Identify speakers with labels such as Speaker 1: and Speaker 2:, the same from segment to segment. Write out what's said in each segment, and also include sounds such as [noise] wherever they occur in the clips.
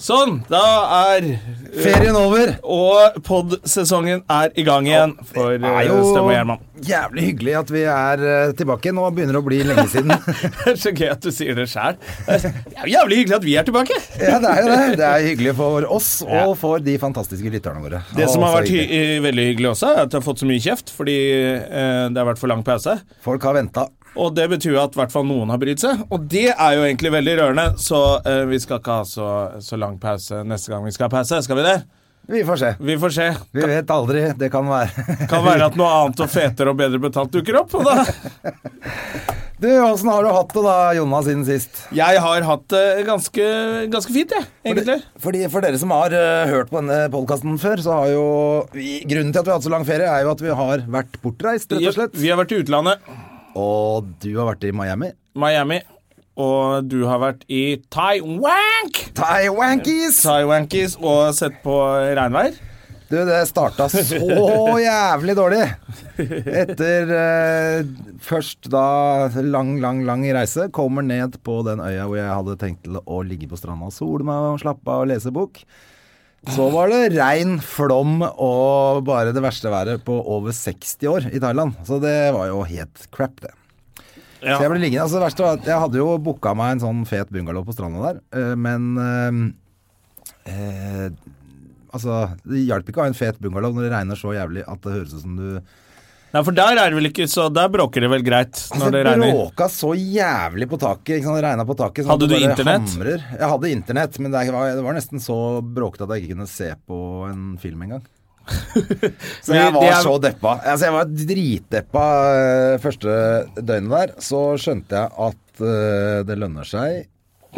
Speaker 1: Sånn, da er
Speaker 2: Ferien over.
Speaker 1: Og pod-sesongen er i gang igjen for
Speaker 2: Det er
Speaker 1: eh,
Speaker 2: jo
Speaker 1: Støm og Gjerman. [laughs]
Speaker 2: jævlig hyggelig at vi er eh, tilbake. Nå begynner det å bli lenge siden. [laughs]
Speaker 1: Det er så gøy at du sier det sjæl. Det er jo jævlig hyggelig at vi er tilbake.
Speaker 2: ja, det er jo det. Det er hyggelig for oss og for de fantastiske lytterne våre.
Speaker 1: Det som
Speaker 2: Og
Speaker 1: har
Speaker 2: for
Speaker 1: vært hy
Speaker 2: hyggelig.
Speaker 1: eh, veldig hyggelig også, er at jeg har fått så mye kjeft fordi eh, det har vært for lang pause.
Speaker 2: Folk har venta.
Speaker 1: Og det betyr jo at i hvert fall noen har brydd seg, og det er jo egentlig veldig rørende. Så eh, vi skal ikke ha så, så lang pause neste gang vi skal ha pause. Skal vi det?
Speaker 2: Vi får se.
Speaker 1: Vi får se.
Speaker 2: Vi vet aldri. Det kan være [laughs]
Speaker 1: Kan være at noe annet og fetere og bedre betalt dukker opp. Og da
Speaker 2: [laughs] Du, åssen har du hatt det da, Jonna, siden sist?
Speaker 1: Jeg har hatt det ganske, ganske fint, jeg, egentlig.
Speaker 2: Fordi For dere som har eh, hørt på denne podkasten før, så har jo vi, Grunnen til at vi har hatt så lang ferie, er jo at vi har vært bortreist, rett og slett.
Speaker 1: Vi har vært i utlandet.
Speaker 2: Og du har vært i Miami.
Speaker 1: Miami. Og du har vært i Taiwank!
Speaker 2: Taiwankies!
Speaker 1: Taiwankies og sett på regnvær.
Speaker 2: Du, det starta så jævlig dårlig. Etter eh, først da lang, lang, lang reise, kommer ned på den øya hvor jeg hadde tenkt til å ligge på stranda og sole meg og slappe av og lese bok. Så var det regn, flom og bare det verste været på over 60 år i Thailand. Så det var jo helt crap, det.
Speaker 1: Ja.
Speaker 2: Så jeg ble liggende. Altså, det verste var at jeg hadde jo booka meg en sånn fet bungalow på stranda der, eh, men eh, eh, Altså, det hjalp ikke å ha en fet bungalow når det regner så jævlig at det høres ut som du
Speaker 1: Nei, for der er det vel ikke så Der bråker det vel greit når
Speaker 2: Altså,
Speaker 1: det regner.
Speaker 2: bråka så jævlig på taket. Ikke sant? Det regna på taket. sånn
Speaker 1: Hadde
Speaker 2: at det
Speaker 1: du
Speaker 2: bare
Speaker 1: internett?
Speaker 2: Hamrer. Jeg hadde internett, men det var, det var nesten så bråkete at jeg ikke kunne se på en film engang. Så jeg
Speaker 1: Men
Speaker 2: var
Speaker 1: det er-
Speaker 2: så deppa. Altså, jeg var dritdeppa eh, første døgnet der. Så skjønte jeg at eh, det lønner seg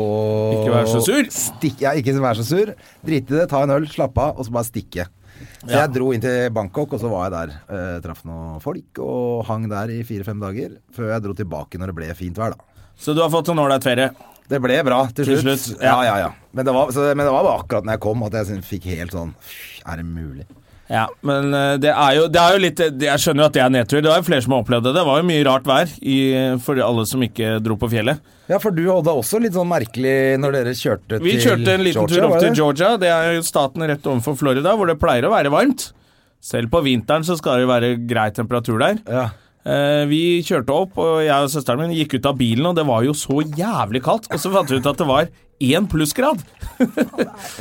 Speaker 2: å
Speaker 1: Ikke være så sur.
Speaker 2: Stikk, ja, ikke være så sur. Drite i det, ta en øl, slappe av, og så bare stikke. Så jeg dro inn til Bangkok, og så var jeg der. Eh, traff noen folk og hang der i fire-fem dager. Før jeg dro tilbake når det ble fint vær, da.
Speaker 1: Så du har fått en ålreit ferie.
Speaker 2: Det ble bra til
Speaker 1: Til
Speaker 2: slutt.
Speaker 1: slutt,
Speaker 2: ja.
Speaker 1: ja.
Speaker 2: ja, ja, Men, det var, så, men det var bare akkurat når jeg kom at jeg syn- fikk helt sånn "Fy, Er det mulig?
Speaker 1: Ja, men eh, det er jo, det er jo litt det- Jeg skjønner jo at det er nedtur. Det var jo flere som har opplevd det. Det var jo mye rart vær i, for alle som ikke dro på fjellet.
Speaker 2: Ja, for du hadde også litt sånn merkelig når dere kjørte
Speaker 1: Vi
Speaker 2: til
Speaker 1: kjørte en liten tur
Speaker 2: var
Speaker 1: opp til
Speaker 2: det?
Speaker 1: Georgia. Det er jo staten rett overfor Florida, hvor det pleier å være varmt. Selv på vinteren så skal det jo være grei temperatur der.
Speaker 2: Ja.
Speaker 1: Eh, vi kjørte opp, og jeg og søsteren min gikk ut av bilen, og det var jo så jævlig kaldt. Og så fant vi ut at det var én plussgrad.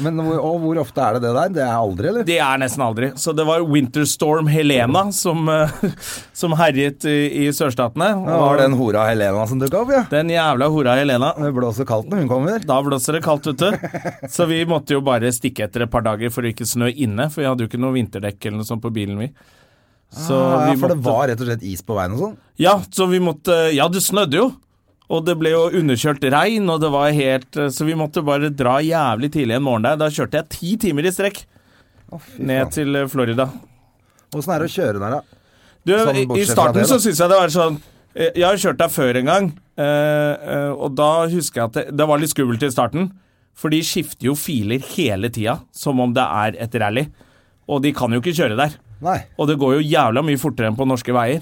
Speaker 2: Men hvor, og hvor ofte er det det der? Det er aldri, eller?
Speaker 1: Det er nesten aldri. Så det var winterstorm Helena som, eh, [laughs] som herjet i, i sørstatene.
Speaker 2: Det var den hora Helena som dukka opp, ja.
Speaker 1: den jævla hora Helena.
Speaker 2: Det blåser kaldt når hun kommer.
Speaker 1: Da blåser det kaldt ute, så vi måtte jo bare stikke etter et par dager for å ikke snø inne, for vi hadde jo ikke noe vinterdekk eller noe sånt på bilen, vi. Så
Speaker 2: Ah, ja,
Speaker 1: vi
Speaker 2: for det
Speaker 1: måtte-
Speaker 2: var rett og slett is på veien og sånn.
Speaker 1: Ja, så vi måtte Ja, det snødde jo. Og det ble jo underkjølt regn, og det var helt eh, Så vi måtte bare dra jævlig tidlig en morgen der. Da kjørte jeg ti timer i strekk ned til eh, Florida.
Speaker 2: Åssen er det å kjøre der, da?
Speaker 1: Du,
Speaker 2: Sånn
Speaker 1: i- I
Speaker 2: bortsett fra
Speaker 1: starten
Speaker 2: det,
Speaker 1: så
Speaker 2: da.
Speaker 1: syns jeg det var sånn eh, Jeg har kjørt der før en gang, eh, eh, og da husker jeg at det, det var litt skummelt i starten. For de skifter jo filer hele tida, som om det er et rally. Og de kan jo ikke kjøre der.
Speaker 2: Nei.
Speaker 1: Og det går jo jævla mye fortere enn på norske veier.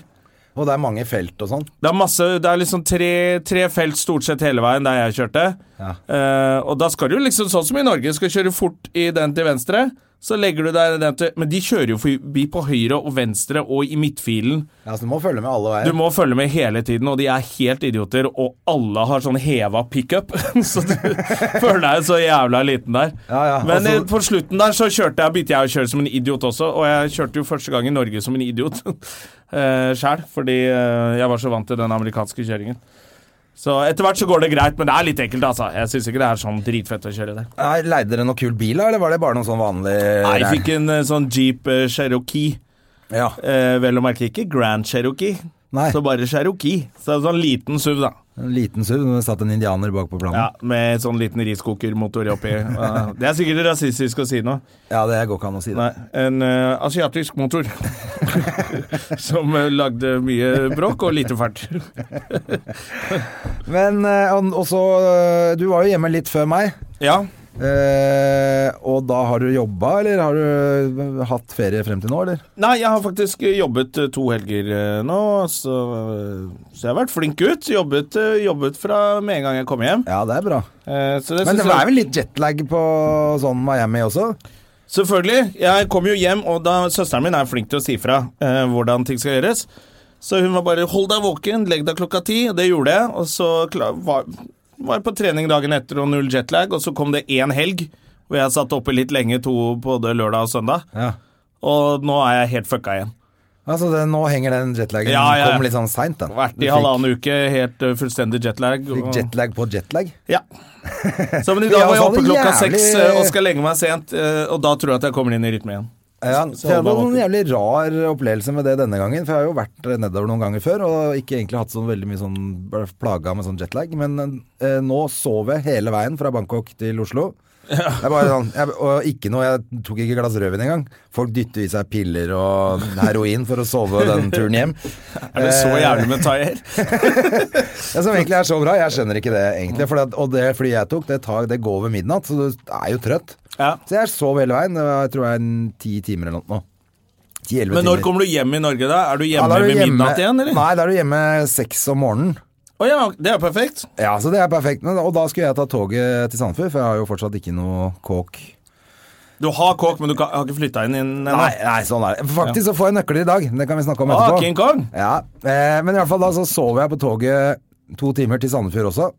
Speaker 2: Og det er mange felt og sånn.
Speaker 1: Det er masse, det er liksom tre, tre felt stort sett hele veien der jeg kjørte.
Speaker 2: Ja.
Speaker 1: Eh, og da skal du liksom, sånn som i Norge, skal kjøre fort i den til venstre, så legger du deg i den til Men de kjører jo forbi på høyre og venstre og i midtfilen.
Speaker 2: Ja, så du må følge med alle
Speaker 1: Du
Speaker 2: veier.
Speaker 1: må følge med hele tiden, og de er helt idioter, og alle har sånn heva pickup, [laughs] så du føler deg så jævla liten der.
Speaker 2: Ja, ja,
Speaker 1: Men
Speaker 2: altså-
Speaker 1: eh, på slutten der så kjørte jeg, begynte jeg å kjøre som en idiot også, og jeg kjørte jo første gang i Norge som en idiot [laughs] uh, sjæl, fordi eh, jeg var så vant til den amerikanske kjøringen. Så etter hvert så går det greit, men det er litt ekkelt, altså. Jeg syns ikke det er sånn dritfett å kjøre der.
Speaker 2: Nei, Leide dere noen kul bil, da, eller var det bare noen sånn vanlig
Speaker 1: Nei, jeg
Speaker 2: ræl?
Speaker 1: fikk en eh, sånn Jeep eh, Cherokee.
Speaker 2: ja.
Speaker 1: Eh, vel å merke ikke Grand Cherokee,
Speaker 2: Nei.
Speaker 1: så bare Cherokee. Så en sånn liten SUV, da.
Speaker 2: En liten SUV, men det satt en indianer bak på planen.
Speaker 1: Ja, Med sånn liten riskokermotor oppi. Ja, Det er sikkert rasistisk å si noe.
Speaker 2: Ja, det går ikke an å si det.
Speaker 1: Nei, en eh, asiatisk motor. [laughs] Som eh, lagde mye bråk og lite fart.
Speaker 2: Men eh, og og så eh, Du var jo hjemme litt før meg.
Speaker 1: [laughs] Ja,
Speaker 2: Eh, og da har du jobba, eller har du hatt ferie frem til nå, eller?
Speaker 1: Nei, jeg har faktisk jobbet eh, to helger eh, nå, så, eh, så jeg har vært flink gutt. Jobbet, eh, jobbet fra med en gang jeg kom hjem.
Speaker 2: Ja, det er bra.
Speaker 1: Eh, Så det
Speaker 2: Men
Speaker 1: synes
Speaker 2: det
Speaker 1: jeg-
Speaker 2: er vel litt jetlag på sånn Miami også?
Speaker 1: Selvfølgelig. Jeg kom jo hjem, og da søsteren min er flink til å si fra eh, hvordan ting skal gjøres. Så hun var bare 'hold deg våken, legg deg klokka ti', og det gjorde jeg. Og så kla- var, var jeg på trening dagen etter og null jetlag, og så kom det én helg hvor jeg satt oppe litt lenge, to både lørdag og søndag.
Speaker 2: Ja.
Speaker 1: Og nå er jeg helt fucka igjen.
Speaker 2: Altså, det, nå henger den jetlagen
Speaker 1: Ja, ja, ja.
Speaker 2: Kom litt sånn seint, den.
Speaker 1: Vært
Speaker 2: Du
Speaker 1: i
Speaker 2: fikk-
Speaker 1: halvannen uke, helt eh, fullstendig jetlag.
Speaker 2: Fikk
Speaker 1: og-
Speaker 2: jetlag på jetlag. [laughs]
Speaker 1: Ja. Så, men i
Speaker 2: Ja,
Speaker 1: dag var
Speaker 2: så
Speaker 1: jeg oppe
Speaker 2: hadde
Speaker 1: klokka
Speaker 2: jævlig-
Speaker 1: seks eh, og skal legge meg sent, eh, og da tror jeg at jeg kommer inn i rytme igjen.
Speaker 2: Ja,
Speaker 1: Så- så
Speaker 2: det
Speaker 1: holdt meg
Speaker 2: var en
Speaker 1: våken.
Speaker 2: jævlig rar opplevelse med det denne gangen. For jeg har jo vært nedover noen ganger før og ikke egentlig hatt sånn veldig mye sånn ble plaga med sånn jetlag. Men eh, nå sov jeg hele veien fra Bangkok til Oslo. Jeg bare sånn, jeg, og ikke noe, jeg tok ikke glass rødvin engang. Folk dytter i seg piller og heroin for å sove den turen
Speaker 1: [laughs]
Speaker 2: hjem.
Speaker 1: Er det så jævlig med taier?
Speaker 2: [laughs] Det som egentlig er så bra, jeg skjønner ikke det egentlig. For det, og det flyet jeg tok, det, tar, det går ved midnatt, så du er jo trøtt.
Speaker 1: Ja.
Speaker 2: Så jeg sov hele veien. Det var, jeg tror jeg en ti timer eller noe nå. Ti-elleve
Speaker 1: Men
Speaker 2: timer.
Speaker 1: når kommer du hjem i Norge, da? Er du
Speaker 2: Ja,
Speaker 1: hjemme
Speaker 2: da er du
Speaker 1: ved
Speaker 2: hjemme-
Speaker 1: midnatt igjen, eller?
Speaker 2: Nei, da er du hjemme seks om morgenen.
Speaker 1: Å ja, det er perfekt.
Speaker 2: Ja, så det er perfekt. Men, og da skulle jeg ta toget til Sandefjord, for jeg har jo fortsatt ikke noe kåk.
Speaker 1: Du har kåk, men du kan, har ikke flytta inn inn ennå.
Speaker 2: Nei, nei, sånn er det. Faktisk så får jeg nøkler i dag. Det kan vi snakke om
Speaker 1: Ah,
Speaker 2: etterpå.
Speaker 1: King Kong.
Speaker 2: Ja, eh, Men i hvert fall da så sov jeg på toget to timer til Sandefjord også.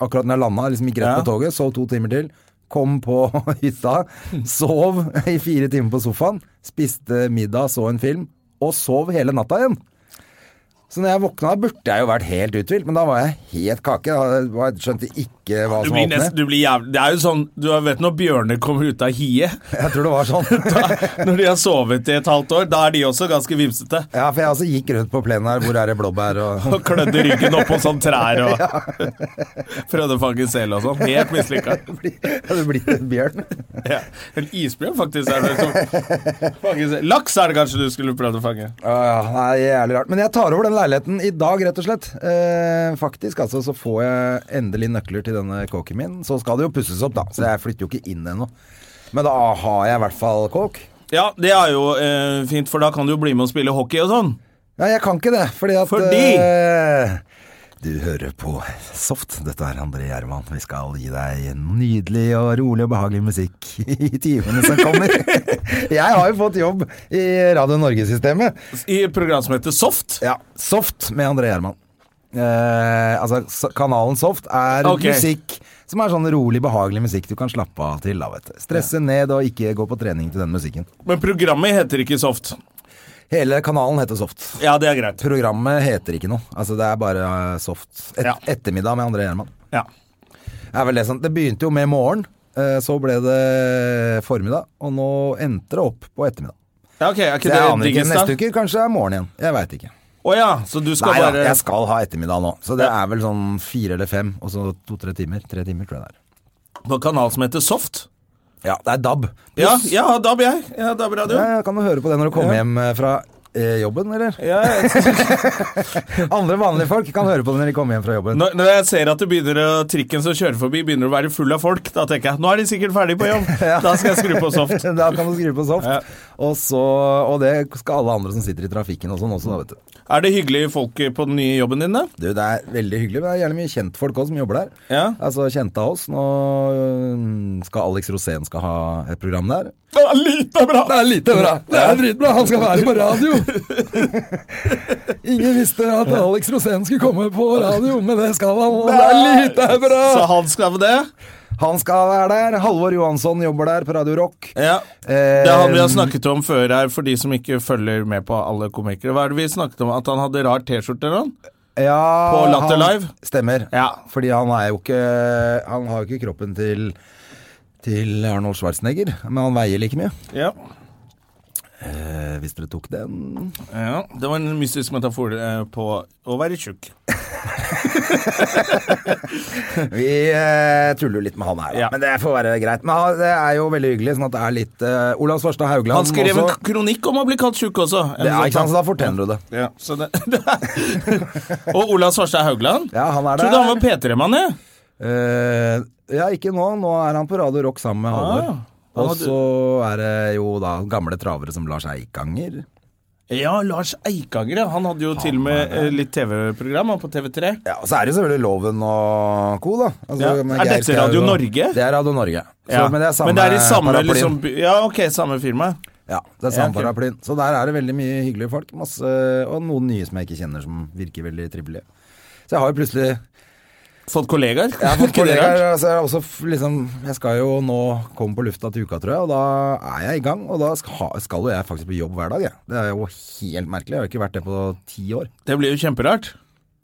Speaker 2: Akkurat når jeg landa, liksom gikk rett
Speaker 1: Ja.
Speaker 2: på toget, sov to timer til. Kom på [laughs] hytta, sov i fire timer på sofaen, spiste middag, så en film, og sov hele natta igjen. Så når jeg våkna, burde jeg jo vært helt uthvilt, men da var jeg helt kake. Jeg var- skjønte ikke hva
Speaker 1: Du
Speaker 2: som
Speaker 1: blir
Speaker 2: åpnet.
Speaker 1: nesten, du blir jævlig, det er jo sånn, du vet når bjørner kommer ut av
Speaker 2: [laughs]
Speaker 1: hiet?
Speaker 2: Jeg tror det var sånn.
Speaker 1: [laughs] Da, når de har sovet i et halvt år, da er de også ganske vimsete.
Speaker 2: Ja, for jeg altså gikk rundt på plenen her, hvor er det blåbær og
Speaker 1: Og klødde ryggen opp på sånn trær
Speaker 2: [laughs]
Speaker 1: og [laughs] prøvde å fange sel og sånn. Helt mislykka.
Speaker 2: [laughs] Jeg hadde blitt en bjørn.
Speaker 1: Ja. En isbjørn, faktisk. Er det som fange sel. Laks er det kanskje du skulle prøvd å fange.
Speaker 2: [laughs] Ja, ja, nei, jævlig rart. Men jeg tar over den leiligheten i dag, rett og slett. Eh, faktisk, altså, så får jeg endelig nøkler til denne kåken min. Så skal det jo pusses opp, da. Så jeg flytter jo ikke inn ennå. Men da har jeg i hvert fall kåk.
Speaker 1: Ja, det er jo eh, fint, for da kan du jo bli med og spille hockey og sånn.
Speaker 2: Nei, jeg kan ikke det, fordi at
Speaker 1: Fordi?
Speaker 2: eh, Du hører på Soft. Dette er André Gjerman. Vi skal gi deg nydelig og rolig og behagelig musikk [laughs] i timene som [laughs] kommer. jeg har jo fått jobb i Radio Norge-systemet.
Speaker 1: I et program som heter Soft.
Speaker 2: Ja, Soft med André Gjerman. Eh, altså, s- kanalen Soft er
Speaker 1: Ok.
Speaker 2: musikk som er sånn rolig, behagelig musikk du kan slappe av til. da, vet du. Stresse ned og ikke gå på trening til den musikken.
Speaker 1: Men programmet heter ikke Soft.
Speaker 2: Hele kanalen heter Soft.
Speaker 1: Ja, det er greit.
Speaker 2: Programmet heter ikke noe. Altså, det er bare eh, Soft. Et
Speaker 1: Ja.
Speaker 2: Ettermiddag med André Gjerman.
Speaker 1: Ja.
Speaker 2: Det er vel det, som- det begynte jo med morgen, eh, så ble det formiddag, og nå endte det opp på ettermiddag.
Speaker 1: ja ok, er
Speaker 2: Så
Speaker 1: ikke
Speaker 2: jeg
Speaker 1: det
Speaker 2: aner ikke.
Speaker 1: diggest,
Speaker 2: Neste
Speaker 1: da?
Speaker 2: uke kanskje det er morgen igjen. Jeg veit ikke.
Speaker 1: Å ja, så du skal
Speaker 2: Nei da,
Speaker 1: bare
Speaker 2: jeg skal ha ettermiddag nå. Så det er vel sånn fire eller fem, og så to-tre timer. Tre timer, tror jeg det er.
Speaker 1: på en kanal som heter Soft?
Speaker 2: Ja, det er DAB.
Speaker 1: Ja, ja, DAB, jeg. Ja, DAB-radio.
Speaker 2: Ja, kan du høre på det når du kommer hjem eh, fra eh, jobben, eller?
Speaker 1: Ja,
Speaker 2: Andre vanlige folk kan høre på det når de kommer hjem fra jobben.
Speaker 1: når, når jeg ser at det begynner å, trikken som kjører forbi, begynner å være full av folk, da tenker jeg nå er de sikkert ferdig på
Speaker 2: [laughs]
Speaker 1: jobb. Da skal jeg skru på Soft.
Speaker 2: da kan du skrive på soft.
Speaker 1: Ja.
Speaker 2: Og, så, og det skal alle andre som sitter i trafikken og sånn også, da, vet du.
Speaker 1: Er det hyggelige folk på den nye jobben din, da?
Speaker 2: Du, det er veldig hyggelig, men det er gjerne mye kjentfolk òg som jobber der.
Speaker 1: Ja.
Speaker 2: Altså kjente av oss. Nå øh, skal Alex Rosén skal ha et program der.
Speaker 1: Det er lite bra!
Speaker 2: Det er lite bra. Det er dritbra. Han skal være på radio. Ingen visste at Alex Rosén skulle komme på radio, men det skal han. og Det er lite bra.
Speaker 1: Så han skal med det?
Speaker 2: Han skal være der. Halvor Johansson jobber der på Radio Rock.
Speaker 1: Ja.
Speaker 2: Eh,
Speaker 1: Det er han vi har snakket om før her, for de som ikke følger med på alle komikere. Hva er det vi snakket om? At han hadde rar T-skjorte eller noe?
Speaker 2: ja,
Speaker 1: på Latter
Speaker 2: han-
Speaker 1: Live.
Speaker 2: Stemmer.
Speaker 1: Ja.
Speaker 2: Fordi han er jo ikke Han har jo ikke kroppen til til Arnold Schwarzenegger, men han veier like mye.
Speaker 1: Ja.
Speaker 2: Eh, hvis dere tok den
Speaker 1: ja. Det var en mystisk metafor eh, på å være tjukk.
Speaker 2: Vi eh, tuller jo litt med han her, da.
Speaker 1: Ja.
Speaker 2: men det får være greit. Men han- det er jo veldig hyggelig, sånn at det er litt eh, Olav Svarstad Haugland
Speaker 1: Han skrev en
Speaker 2: også.
Speaker 1: kronikk om å bli kalt tjukk også. sånn.
Speaker 2: Det er ikke han, så da fortjener du det.
Speaker 1: Ja, så det, [laughs] det er. Og Olav Svarstad Haugland.
Speaker 2: Ja, han er
Speaker 1: Trodde han var
Speaker 2: der.
Speaker 1: P3-mann, jeg.
Speaker 2: Eh, ja, ikke nå. Nå er han på Radio Rock sammen med Halvor.
Speaker 1: Ah, han
Speaker 2: Og
Speaker 1: hadde-
Speaker 2: så er det jo da gamle travere som Lars Eikanger.
Speaker 1: Ja, Lars Eikanger, ja. Han hadde jo til og med eh, litt TV-program han på TV3.
Speaker 2: Ja, og så er det selvfølgelig Loven og co, da. Altså,
Speaker 1: Ja.
Speaker 2: med
Speaker 1: Er
Speaker 2: Geir
Speaker 1: dette
Speaker 2: Skau
Speaker 1: Radio
Speaker 2: og-
Speaker 1: Norge?
Speaker 2: Det er Radio Norge. Så,
Speaker 1: Ja.
Speaker 2: Men det er samme,
Speaker 1: i samme
Speaker 2: paraplyen.
Speaker 1: liksom, by- Ja, ok, samme firma.
Speaker 2: Ja, det er samme
Speaker 1: Ja, ok.
Speaker 2: paraplyen. Så der er det veldig mye hyggelige folk. Masse, og noen nye som jeg ikke kjenner, som virker veldig trivelige. Så jeg har jo plutselig
Speaker 1: Fått kollegaer.
Speaker 2: jeg har
Speaker 1: [laughs]
Speaker 2: fått
Speaker 1: Ikke det
Speaker 2: kollegaer,
Speaker 1: rart?
Speaker 2: altså jeg, har også, f- liksom, jeg skal jo nå komme på lufta til uka, tror jeg, og da er jeg i gang. Og da skal, ha- skal jo jeg faktisk på jobb hver dag, jeg. Det er jo helt merkelig. Jeg har jo ikke vært det på ti år.
Speaker 1: Det blir jo kjemperart.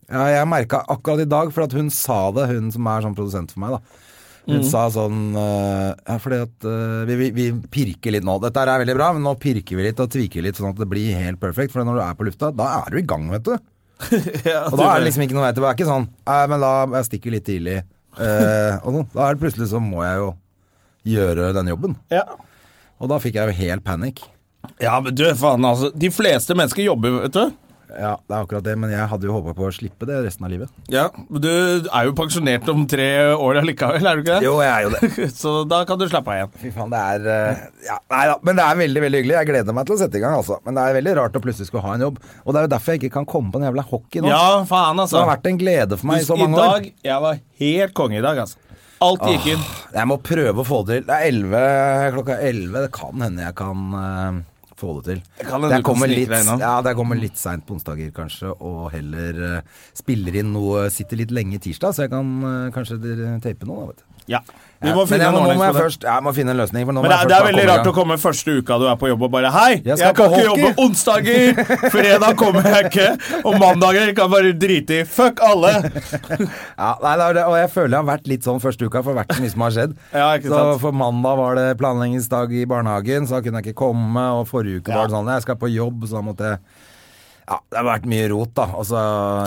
Speaker 2: Ja, jeg merka akkurat i dag, for at hun sa det, hun som er sånn produsent for meg, da.
Speaker 1: Mm.
Speaker 2: Hun sa sånn eh, Ja, fordi at eh, vi, vi, vi pirker litt nå. Dette her er veldig bra, men nå pirker vi litt og tviker litt, sånn at det blir helt perfekt. For når du er på lufta, da er du i gang, vet du.
Speaker 1: Ja,
Speaker 2: Og da er det liksom ikke noe vei tilbake. Det er ikke sånn Nei, men da jeg stikker litt tidlig. eh, og sånn. Da er det plutselig så må jeg jo gjøre den jobben.
Speaker 1: ja.
Speaker 2: Og da fikk jeg jo helt panikk.
Speaker 1: ja, men du, faen altså. De fleste mennesker jobber, vet du.
Speaker 2: Ja, det er akkurat det, men jeg hadde jo håpa på å slippe det resten av livet.
Speaker 1: Ja, men Du er jo pensjonert om tre år allikevel, er du ikke det?
Speaker 2: Jo, jeg er jo det.
Speaker 1: Så da kan du slappe av igjen.
Speaker 2: [laughs] Fy faen, det er eh, ja, Nei da, men det er veldig veldig hyggelig. Jeg gleder meg til å sette i gang, altså. Men det er veldig rart å plutselig skulle ha en jobb. Og det er jo derfor jeg ikke kan komme på den jævla hockey nå.
Speaker 1: Ja, faen,
Speaker 2: det
Speaker 1: altså.
Speaker 2: har vært en glede for meg i så mange
Speaker 1: I
Speaker 2: år.
Speaker 1: dag, jeg var helt konge i dag, altså. Alt gikk inn.
Speaker 2: Jeg må prøve å få det til. Det er 11, klokka 11. Det kan hende jeg kan eh, få det til.
Speaker 1: Det kan hende du kan
Speaker 2: kommer
Speaker 1: snike
Speaker 2: litt,
Speaker 1: deg innom.
Speaker 2: ja, det kommer litt seint på onsdager, kanskje, og heller eh, spiller inn noe Sitter litt lenge tirsdag, så jeg kan eh, kanskje tape noe, da, vet du.
Speaker 1: Ja.
Speaker 2: Ja,
Speaker 1: Vi må
Speaker 2: men
Speaker 1: finne
Speaker 2: jeg
Speaker 1: en
Speaker 2: må- nå
Speaker 1: ordning
Speaker 2: må
Speaker 1: på
Speaker 2: jeg
Speaker 1: det.
Speaker 2: først- ja, Jeg må finne en løsning, for nå må
Speaker 1: Men det er,
Speaker 2: jeg først
Speaker 1: det er
Speaker 2: bare
Speaker 1: veldig
Speaker 2: komme i
Speaker 1: rart
Speaker 2: gang.
Speaker 1: å komme første uka du er på jobb og bare Hei, jeg,
Speaker 2: skal på
Speaker 1: kan ikke
Speaker 2: hockey!»
Speaker 1: jobbe onsdager! Fredag kommer jeg ikke! Og mandager kan jeg bare drite i. Fuck alle!
Speaker 2: Ja, nei, det er det, og jeg føler jeg har vært litt sånn første uka, for det har vært så mye som har skjedd.
Speaker 1: [laughs] Ja, ikke
Speaker 2: så
Speaker 1: sant.
Speaker 2: for mandag var det planleggingsdag i barnehagen, så da kunne jeg ikke komme. Og forrige uke
Speaker 1: Ja.
Speaker 2: var det sånn jeg skal på jobb, så da måtte jeg Ja, det har vært mye rot, da. Og så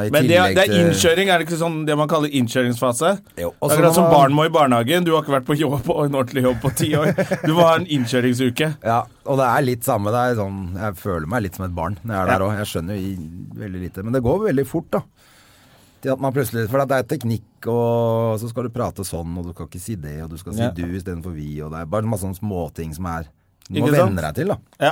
Speaker 2: i
Speaker 1: Men det,
Speaker 2: tillegg
Speaker 1: det er
Speaker 2: til-
Speaker 1: innkjøring, er det ikke sånn det man kaller innkjøringsfase?
Speaker 2: Jo, og
Speaker 1: Det er
Speaker 2: så
Speaker 1: Akkurat
Speaker 2: må
Speaker 1: som
Speaker 2: man-
Speaker 1: barn må i barnehagen. Du har ikke vært på jobb på en ordentlig jobb på ti år. Du må ha en innkjøringsuke.
Speaker 2: Ja, og det er litt samme. Det er sånn, jeg føler meg litt som et barn når jeg er
Speaker 1: Ja.
Speaker 2: der òg. Jeg skjønner jo i- veldig lite. Men det går veldig fort, da. Til at man plutselig, for at det er teknikk, og så skal du prate sånn, og du skal ikke si det, og du skal si
Speaker 1: Ja.
Speaker 2: du istedenfor vi, og det er bare masse sånne småting som er Du må
Speaker 1: Ikke sant?
Speaker 2: venne deg til, da.
Speaker 1: Ja.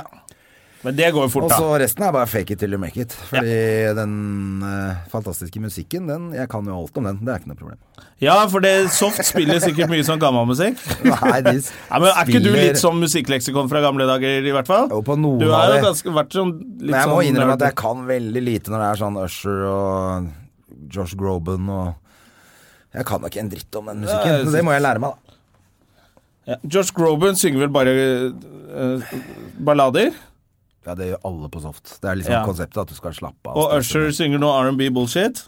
Speaker 1: Men det går jo fort,
Speaker 2: Og så
Speaker 1: da.
Speaker 2: resten er bare fake it till you make it. Fordi den eh, fantastiske musikken, den, jeg kan jo alt om den. Det er ikke noe problem.
Speaker 1: Ja, for det Soft spiller sikkert mye sånn gammalmusikk.
Speaker 2: Nei, [laughs] de s-
Speaker 1: Ja, men er ikke du
Speaker 2: spiller-
Speaker 1: litt sånn musikkleksikon fra gamle dager, i hvert fall?
Speaker 2: Jo, på noen
Speaker 1: Du
Speaker 2: av
Speaker 1: har jo
Speaker 2: det.
Speaker 1: ganske vært sånn litt
Speaker 2: Men jeg må
Speaker 1: sånn
Speaker 2: innrømme at
Speaker 1: nerd.
Speaker 2: jeg kan veldig lite når det er sånn Usher og Josh Groban og Jeg kan da ikke en dritt om den
Speaker 1: Ja,
Speaker 2: musikken.
Speaker 1: jeg
Speaker 2: Så det må jeg lære meg, da.
Speaker 1: Ja. Josh Groban synger vel bare eh, ballader,
Speaker 2: Ja, det gjør alle på Soft. Det er liksom
Speaker 1: Ja.
Speaker 2: konseptet at du skal slappe av.
Speaker 1: og Usher synger noe R&B bullshit.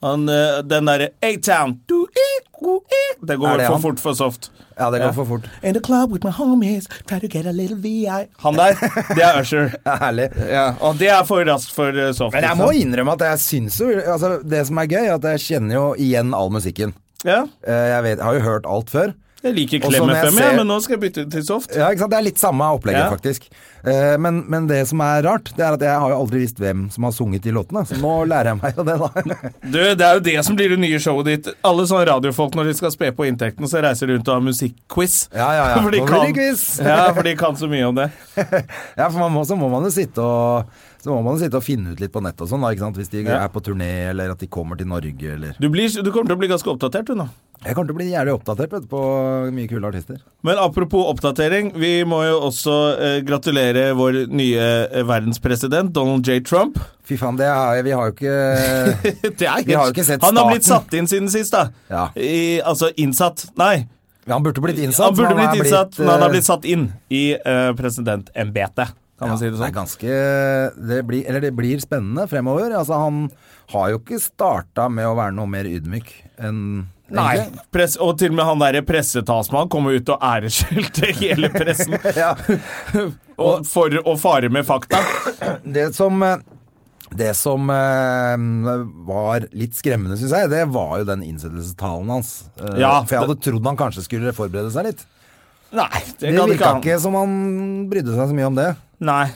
Speaker 1: Han, eh, den derre A-Town Du, eh, du, eh. Det
Speaker 2: Er
Speaker 1: går
Speaker 2: det
Speaker 1: for
Speaker 2: han?
Speaker 1: fort for
Speaker 2: [laughs]
Speaker 1: soft.
Speaker 2: Ja, det går
Speaker 1: Ja.
Speaker 2: for fort.
Speaker 1: In the club with my homies, try to get a little VI Han der, det er Usher.
Speaker 2: Herlig.
Speaker 1: Ja, og det er for raskt for eh, soft.
Speaker 2: Men jeg
Speaker 1: liksom.
Speaker 2: må innrømme at jeg syns jo altså, Det som er gøy, er at jeg kjenner jo igjen all musikken.
Speaker 1: ja.
Speaker 2: Eh, Jeg, vet, jeg har jo hørt alt før.
Speaker 1: Jeg liker
Speaker 2: Og så
Speaker 1: Klem
Speaker 2: når jeg
Speaker 1: FM, ja,
Speaker 2: ser-
Speaker 1: men nå skal jeg bytte til soft.
Speaker 2: Ja, ikke sant? Det er litt samme opplegget,
Speaker 1: Ja.
Speaker 2: faktisk. Eh, men, men det som er rart, det er at jeg har jo aldri visst hvem som har sunget de låtene. Så nå lærer jeg meg jo det, da. [laughs]
Speaker 1: Du, Det er jo det som blir det nye showet ditt. Alle sånne radiofolk, når de skal spe på inntekten, så reiser de rundt og har musikkquiz.
Speaker 2: Ja, ja, ja.
Speaker 1: [laughs] For de
Speaker 2: Nå blir
Speaker 1: kan,
Speaker 2: det quiz.
Speaker 1: ja, for de kan så mye om det.
Speaker 2: ja, for man må, så må man jo sitte og så må man jo sitte og finne ut litt på nett og sånn, da, ikke sant? hvis de
Speaker 1: Ja.
Speaker 2: er på turné, eller at de kommer til Norge, eller
Speaker 1: Du, blir, du kommer til å bli ganske oppdatert, du nå.
Speaker 2: Jeg kommer til å bli jævlig oppdatert vet, du, på mye kule artister.
Speaker 1: Men apropos oppdatering, vi må jo også eh, gratulere vår nye eh, verdenspresident, Donald J. Trump.
Speaker 2: Fy faen, det er, vi har jo ikke
Speaker 1: [laughs] Det er
Speaker 2: Vi har jo ikke sett
Speaker 1: han har blitt
Speaker 2: starten.
Speaker 1: satt inn siden sist, da.
Speaker 2: Ja.
Speaker 1: I, altså innsatt. Nei,
Speaker 2: Han burde blitt innsatt.
Speaker 1: han burde
Speaker 2: men er
Speaker 1: blitt innsatt, men han
Speaker 2: eh,
Speaker 1: har blitt satt inn i eh, presidentembetet, kan man si det
Speaker 2: Det er
Speaker 1: sånn.
Speaker 2: ganske det blir, Eller det blir spennende fremover. Altså, han har jo ikke starta med å være noe mer ydmyk enn
Speaker 1: Nei.
Speaker 2: egentlig.
Speaker 1: Press, og til og med han derre pressetalsmannen kommer ut og æreskjelte hele
Speaker 2: [laughs]
Speaker 1: pressen.
Speaker 2: Ja,
Speaker 1: og for å fare med fakta.
Speaker 2: det som eh, Det som eh, var litt skremmende, syns jeg, det var jo den innsettelsestalen hans. Eh,
Speaker 1: Ja,
Speaker 2: for jeg hadde trodd han kanskje skulle forberede seg litt.
Speaker 1: Nei, det
Speaker 2: Det
Speaker 1: kan ikke
Speaker 2: virka
Speaker 1: han.
Speaker 2: ikke som han brydde seg så mye om det.
Speaker 1: Nei.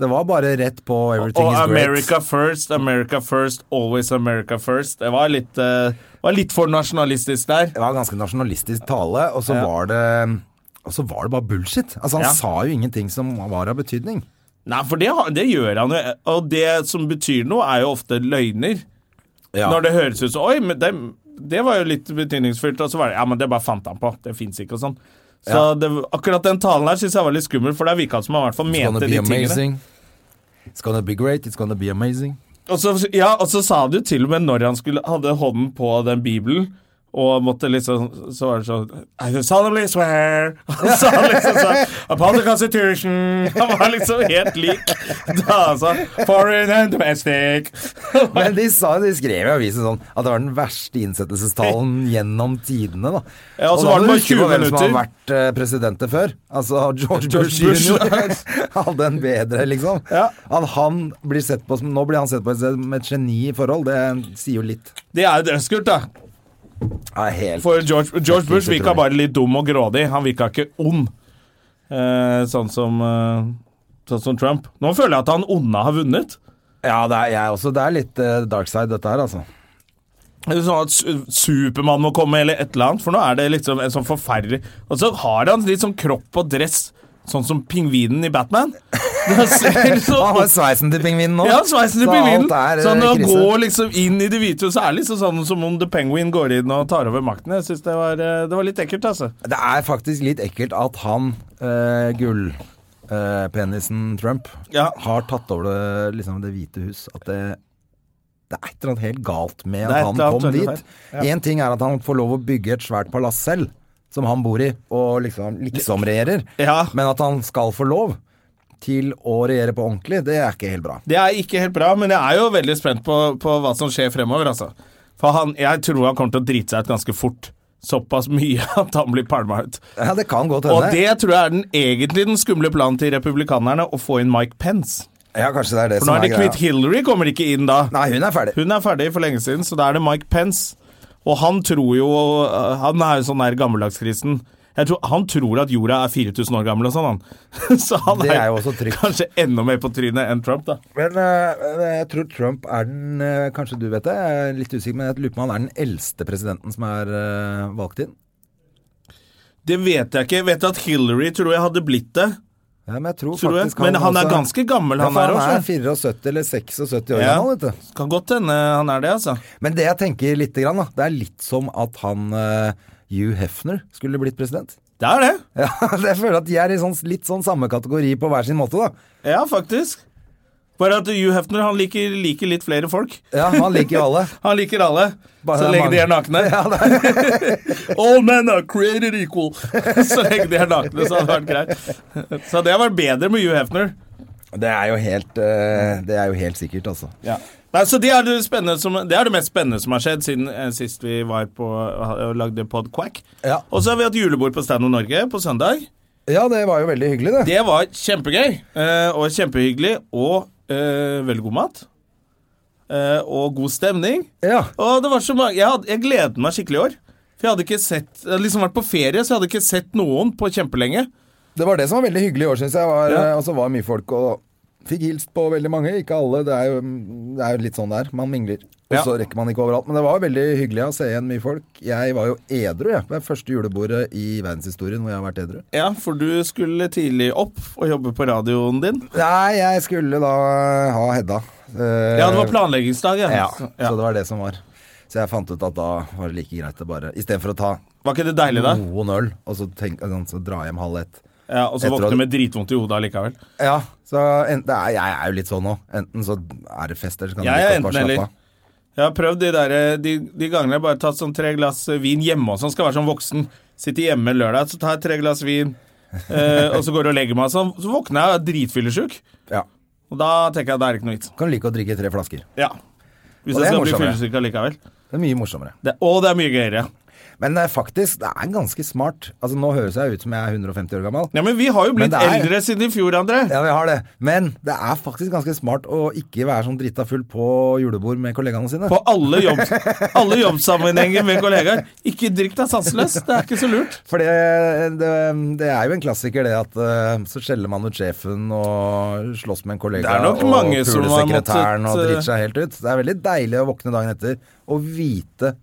Speaker 2: Det var bare rett på 'everything
Speaker 1: Og
Speaker 2: is great'.
Speaker 1: America first, America first, always America first. Det var litt, eh, var litt for nasjonalistisk der.
Speaker 2: Det var en ganske nasjonalistisk tale, og så
Speaker 1: Ja.
Speaker 2: var det og så var det bare bullshit. Altså Han
Speaker 1: Ja.
Speaker 2: sa jo ingenting som var av betydning.
Speaker 1: Nei, for det, har- det gjør han jo. Og det som betyr noe, er jo ofte løgner. Når det høres ut som Oi, men det, det var jo litt betydningsfullt. Og så var det Ja, men det bare fant han på. Det fins ikke og sånn. Så
Speaker 2: Ja.
Speaker 1: det, akkurat den talen her syns jeg var litt skummel, for der virka det som han i hvert fall
Speaker 2: It's gonna
Speaker 1: mente
Speaker 2: be
Speaker 1: de tingene.
Speaker 2: amazing. It's gonna be great. It's gonna be amazing.
Speaker 1: Og så, ja, og så sa han jo til og med når han skulle, hadde hånden på den bibelen, og måtte liksom Så var det sånn I solemnly swear. [laughs] Og så han liksom sånn Upon the Constitution. [laughs] Han var liksom helt lik da, altså. Foreign and domestic.
Speaker 2: Men de, sa, de skrev i avisen sånn at det var den verste innsettelsestalen
Speaker 1: [laughs]
Speaker 2: gjennom tidene. da.
Speaker 1: Ja, og så
Speaker 2: da
Speaker 1: var
Speaker 2: må
Speaker 1: det
Speaker 2: du
Speaker 1: bare 20
Speaker 2: huske på hvem som har
Speaker 1: minutter.
Speaker 2: vært eh, presidenter før. Altså [laughs] George,
Speaker 1: George Bush,
Speaker 2: Bush, jr. [laughs] hadde en bedre, liksom.
Speaker 1: Ja.
Speaker 2: At han blir sett på som, nå blir han sett på som et geni i forhold, det sier jo litt.
Speaker 1: Det er jo dødskult, da.
Speaker 2: Ja, helt
Speaker 1: For George, George Bush virka bare litt dum og grådig. Han virka ikke ond, eh, sånn som eh, Sånn som Trump. Nå føler jeg at han onde har vunnet.
Speaker 2: Ja, det er, jeg også, det er litt eh, dark side, dette her, altså.
Speaker 1: Det er sånn at Su- Supermann må komme, eller et eller annet. For nå er det liksom en sånn forferdelig Og så har han litt sånn kropp og dress, sånn som pingvinen i Batman. [laughs] Det ser
Speaker 2: Han
Speaker 1: så
Speaker 2: har sveisen til pingvinen nå.
Speaker 1: Ja, sveisen til
Speaker 2: Så
Speaker 1: pingvinen.
Speaker 2: alt er,
Speaker 1: Så når
Speaker 2: eh,
Speaker 1: han
Speaker 2: krise.
Speaker 1: går liksom inn i Det hvite huset, er det liksom sånn som om The Penguin går inn og tar over makten. Jeg syns det, var, eh, det var litt ekkelt, altså.
Speaker 2: Det er faktisk litt ekkelt at han, eh, gullpenisen Trump,
Speaker 1: Ja.
Speaker 2: har tatt over det, liksom, det hvite hus. At det, det er et eller annet helt galt
Speaker 1: Det
Speaker 2: med
Speaker 1: er
Speaker 2: at
Speaker 1: et
Speaker 2: han
Speaker 1: eller annet
Speaker 2: kom
Speaker 1: veldig
Speaker 2: dit. Én ting er at han får lov å bygge et svært palass selv, som han bor i, og liksom liksom-regjerer.
Speaker 1: Ja.
Speaker 2: Men at han skal få lov til å regjere på ordentlig, det er ikke helt bra.
Speaker 1: Det er ikke helt bra, men jeg er jo veldig spent på, på hva som skjer fremover, altså. For han, jeg tror han kommer til å drite seg ut ganske fort. Såpass mye [laughs] at han blir palma ut.
Speaker 2: Ja, det kan godt
Speaker 1: Og
Speaker 2: hende.
Speaker 1: det tror jeg er den, egentlig den skumle planen til republikanerne, å få inn Mike Pence.
Speaker 2: Ja, kanskje det er det
Speaker 1: For nå
Speaker 2: som
Speaker 1: er det
Speaker 2: greia.
Speaker 1: kvitt Hillary kommer ikke inn da.
Speaker 2: Nei, hun er ferdig.
Speaker 1: Hun er ferdig for lenge siden, så da er det Mike Pence. Og han tror jo øh, Han er jo sånn der gammeldagskristen. Jeg tror, han tror at jorda er 4000 år gammel og sånn, han. [laughs] Så han
Speaker 2: Det er jo også trygt.
Speaker 1: kanskje enda mer på trynet enn Trump, da.
Speaker 2: Men eh, jeg tror Trump er den eh, Kanskje du vet det, jeg er litt usikker, men jeg lurer på om han er den eldste presidenten som er eh, valgt inn.
Speaker 1: Det vet jeg ikke. Jeg vet at Hillary tror jeg hadde blitt det.
Speaker 2: Ja, men jeg tror,
Speaker 1: Tror du det?
Speaker 2: faktisk
Speaker 1: Men han er
Speaker 2: også-
Speaker 1: ganske gammel,
Speaker 2: Ja,
Speaker 1: han
Speaker 2: for
Speaker 1: er også.
Speaker 2: Han er 74 eller 76 år
Speaker 1: Ja.
Speaker 2: gammel, vet du.
Speaker 1: Kan godt hende han er det, altså.
Speaker 2: Men det jeg tenker lite grann, da, det er litt som at han eh, Hugh Hefner skulle blitt president. [laughs]
Speaker 1: Det er det.
Speaker 2: Ja, jeg føler at de er i sånn, litt sånn samme kategori på hver sin måte, da.
Speaker 1: Ja, faktisk. Bare at Hugh Hefner han liker, liker litt flere folk.
Speaker 2: Ja, han liker jo [laughs] alle.
Speaker 1: Han liker alle,
Speaker 2: Bare
Speaker 1: så
Speaker 2: det er
Speaker 1: lenge de er
Speaker 2: mange.
Speaker 1: nakne. [laughs] All men are created equal. [laughs] så lenge de er nakne, så hadde det vært greit. [laughs] Så det har vært bedre med Hugh Hefner.
Speaker 2: Det er jo helt, eh, det er jo helt sikkert, altså.
Speaker 1: Nei, så det er det, spennende som, det er det mest spennende som har skjedd siden eh, sist vi var på og lagde pod Quack.
Speaker 2: Ja.
Speaker 1: Og så har vi hatt julebord på Stand Up Norge på søndag.
Speaker 2: Ja, det var jo veldig hyggelig, det.
Speaker 1: Det var kjempegøy eh, og kjempehyggelig og eh, veldig god mat. Eh, og god stemning.
Speaker 2: Ja.
Speaker 1: Og det var så mange Jeg, hadde- jeg gledet meg skikkelig i år. For jeg hadde ikke sett Jeg hadde liksom vært på ferie, så jeg hadde ikke sett noen på kjempelenge.
Speaker 2: Det var det som var veldig hyggelig i år, syns jeg. Var,
Speaker 1: Ja.
Speaker 2: eh, Og så var mye folk og fikk hilst på veldig mange. Ikke alle. Det er jo, det er jo litt sånn det er. Man mingler. Og
Speaker 1: Ja.
Speaker 2: så rekker man ikke overalt. Men det var veldig hyggelig å se igjen mye folk. Jeg var jo edru, jeg. På det første julebordet i verdenshistorien hvor jeg har vært edru.
Speaker 1: Ja, for du skulle tidlig opp og jobbe på radioen din.
Speaker 2: Nei, jeg skulle da ha Hedda. Eh,
Speaker 1: Ja, det var planleggingsdag, ja.
Speaker 2: Ja,
Speaker 1: Så-
Speaker 2: så det var det som var. Så jeg fant ut at da var det like greit å bare Istedenfor å ta
Speaker 1: Var ikke det deilig, da?
Speaker 2: noen øl, og så, tenk, så dra hjem halv ett.
Speaker 1: Ja, Og så
Speaker 2: Jeg tror
Speaker 1: våkne
Speaker 2: at-
Speaker 1: med dritvondt i hodet allikevel.
Speaker 2: Ja, så en, det er, jeg er jo litt sånn nå. Enten så er det fest, eller så kan
Speaker 1: Jeg
Speaker 2: du
Speaker 1: er
Speaker 2: like godt
Speaker 1: enten
Speaker 2: bare slappe
Speaker 1: eller.
Speaker 2: av.
Speaker 1: Jeg har prøvd de, der, eh, de, de gangene jeg bare har tatt sånn tre glass vin hjemme og sånn. Skal være sånn voksen. Sitter hjemme lørdag, så tar jeg tre glass vin, eh, og så går jeg og legger meg og sånn. Så våkner jeg og er dritfyllesjuk.
Speaker 2: Ja.
Speaker 1: Og da tenker jeg det er ikke noe vits.
Speaker 2: Kan like å drikke tre flasker.
Speaker 1: Ja. Hvis
Speaker 2: Og
Speaker 1: jeg
Speaker 2: det er
Speaker 1: skal bli
Speaker 2: morsommere.
Speaker 1: fyllesyk allikevel.
Speaker 2: Det er mye morsommere.
Speaker 1: Det, og det er mye gøyere.
Speaker 2: Men eh, faktisk, det er ganske smart. Altså, nå høres jeg ut som jeg er 150 år gammel.
Speaker 1: Ja, men vi har jo
Speaker 2: Men
Speaker 1: blitt
Speaker 2: det er-
Speaker 1: eldre siden i fjor, André.
Speaker 2: Ja, vi har det. Men det er faktisk ganske smart å ikke være sånn drita full på julebord med kollegaene sine.
Speaker 1: På alle, jobb, [laughs] alle jobbsammenhenger med kollegaer. Ikke drikk deg sanseløs, det er ikke så lurt.
Speaker 2: For det, det, det er jo en klassiker, det at eh, så skjeller man ut sjefen og slåss med en kollega.
Speaker 1: Det er nok
Speaker 2: og
Speaker 1: mange som
Speaker 2: puler
Speaker 1: har måttet,
Speaker 2: sekretæren og
Speaker 1: eh,
Speaker 2: driter seg helt ut. Det er veldig deilig å våkne dagen etter og vite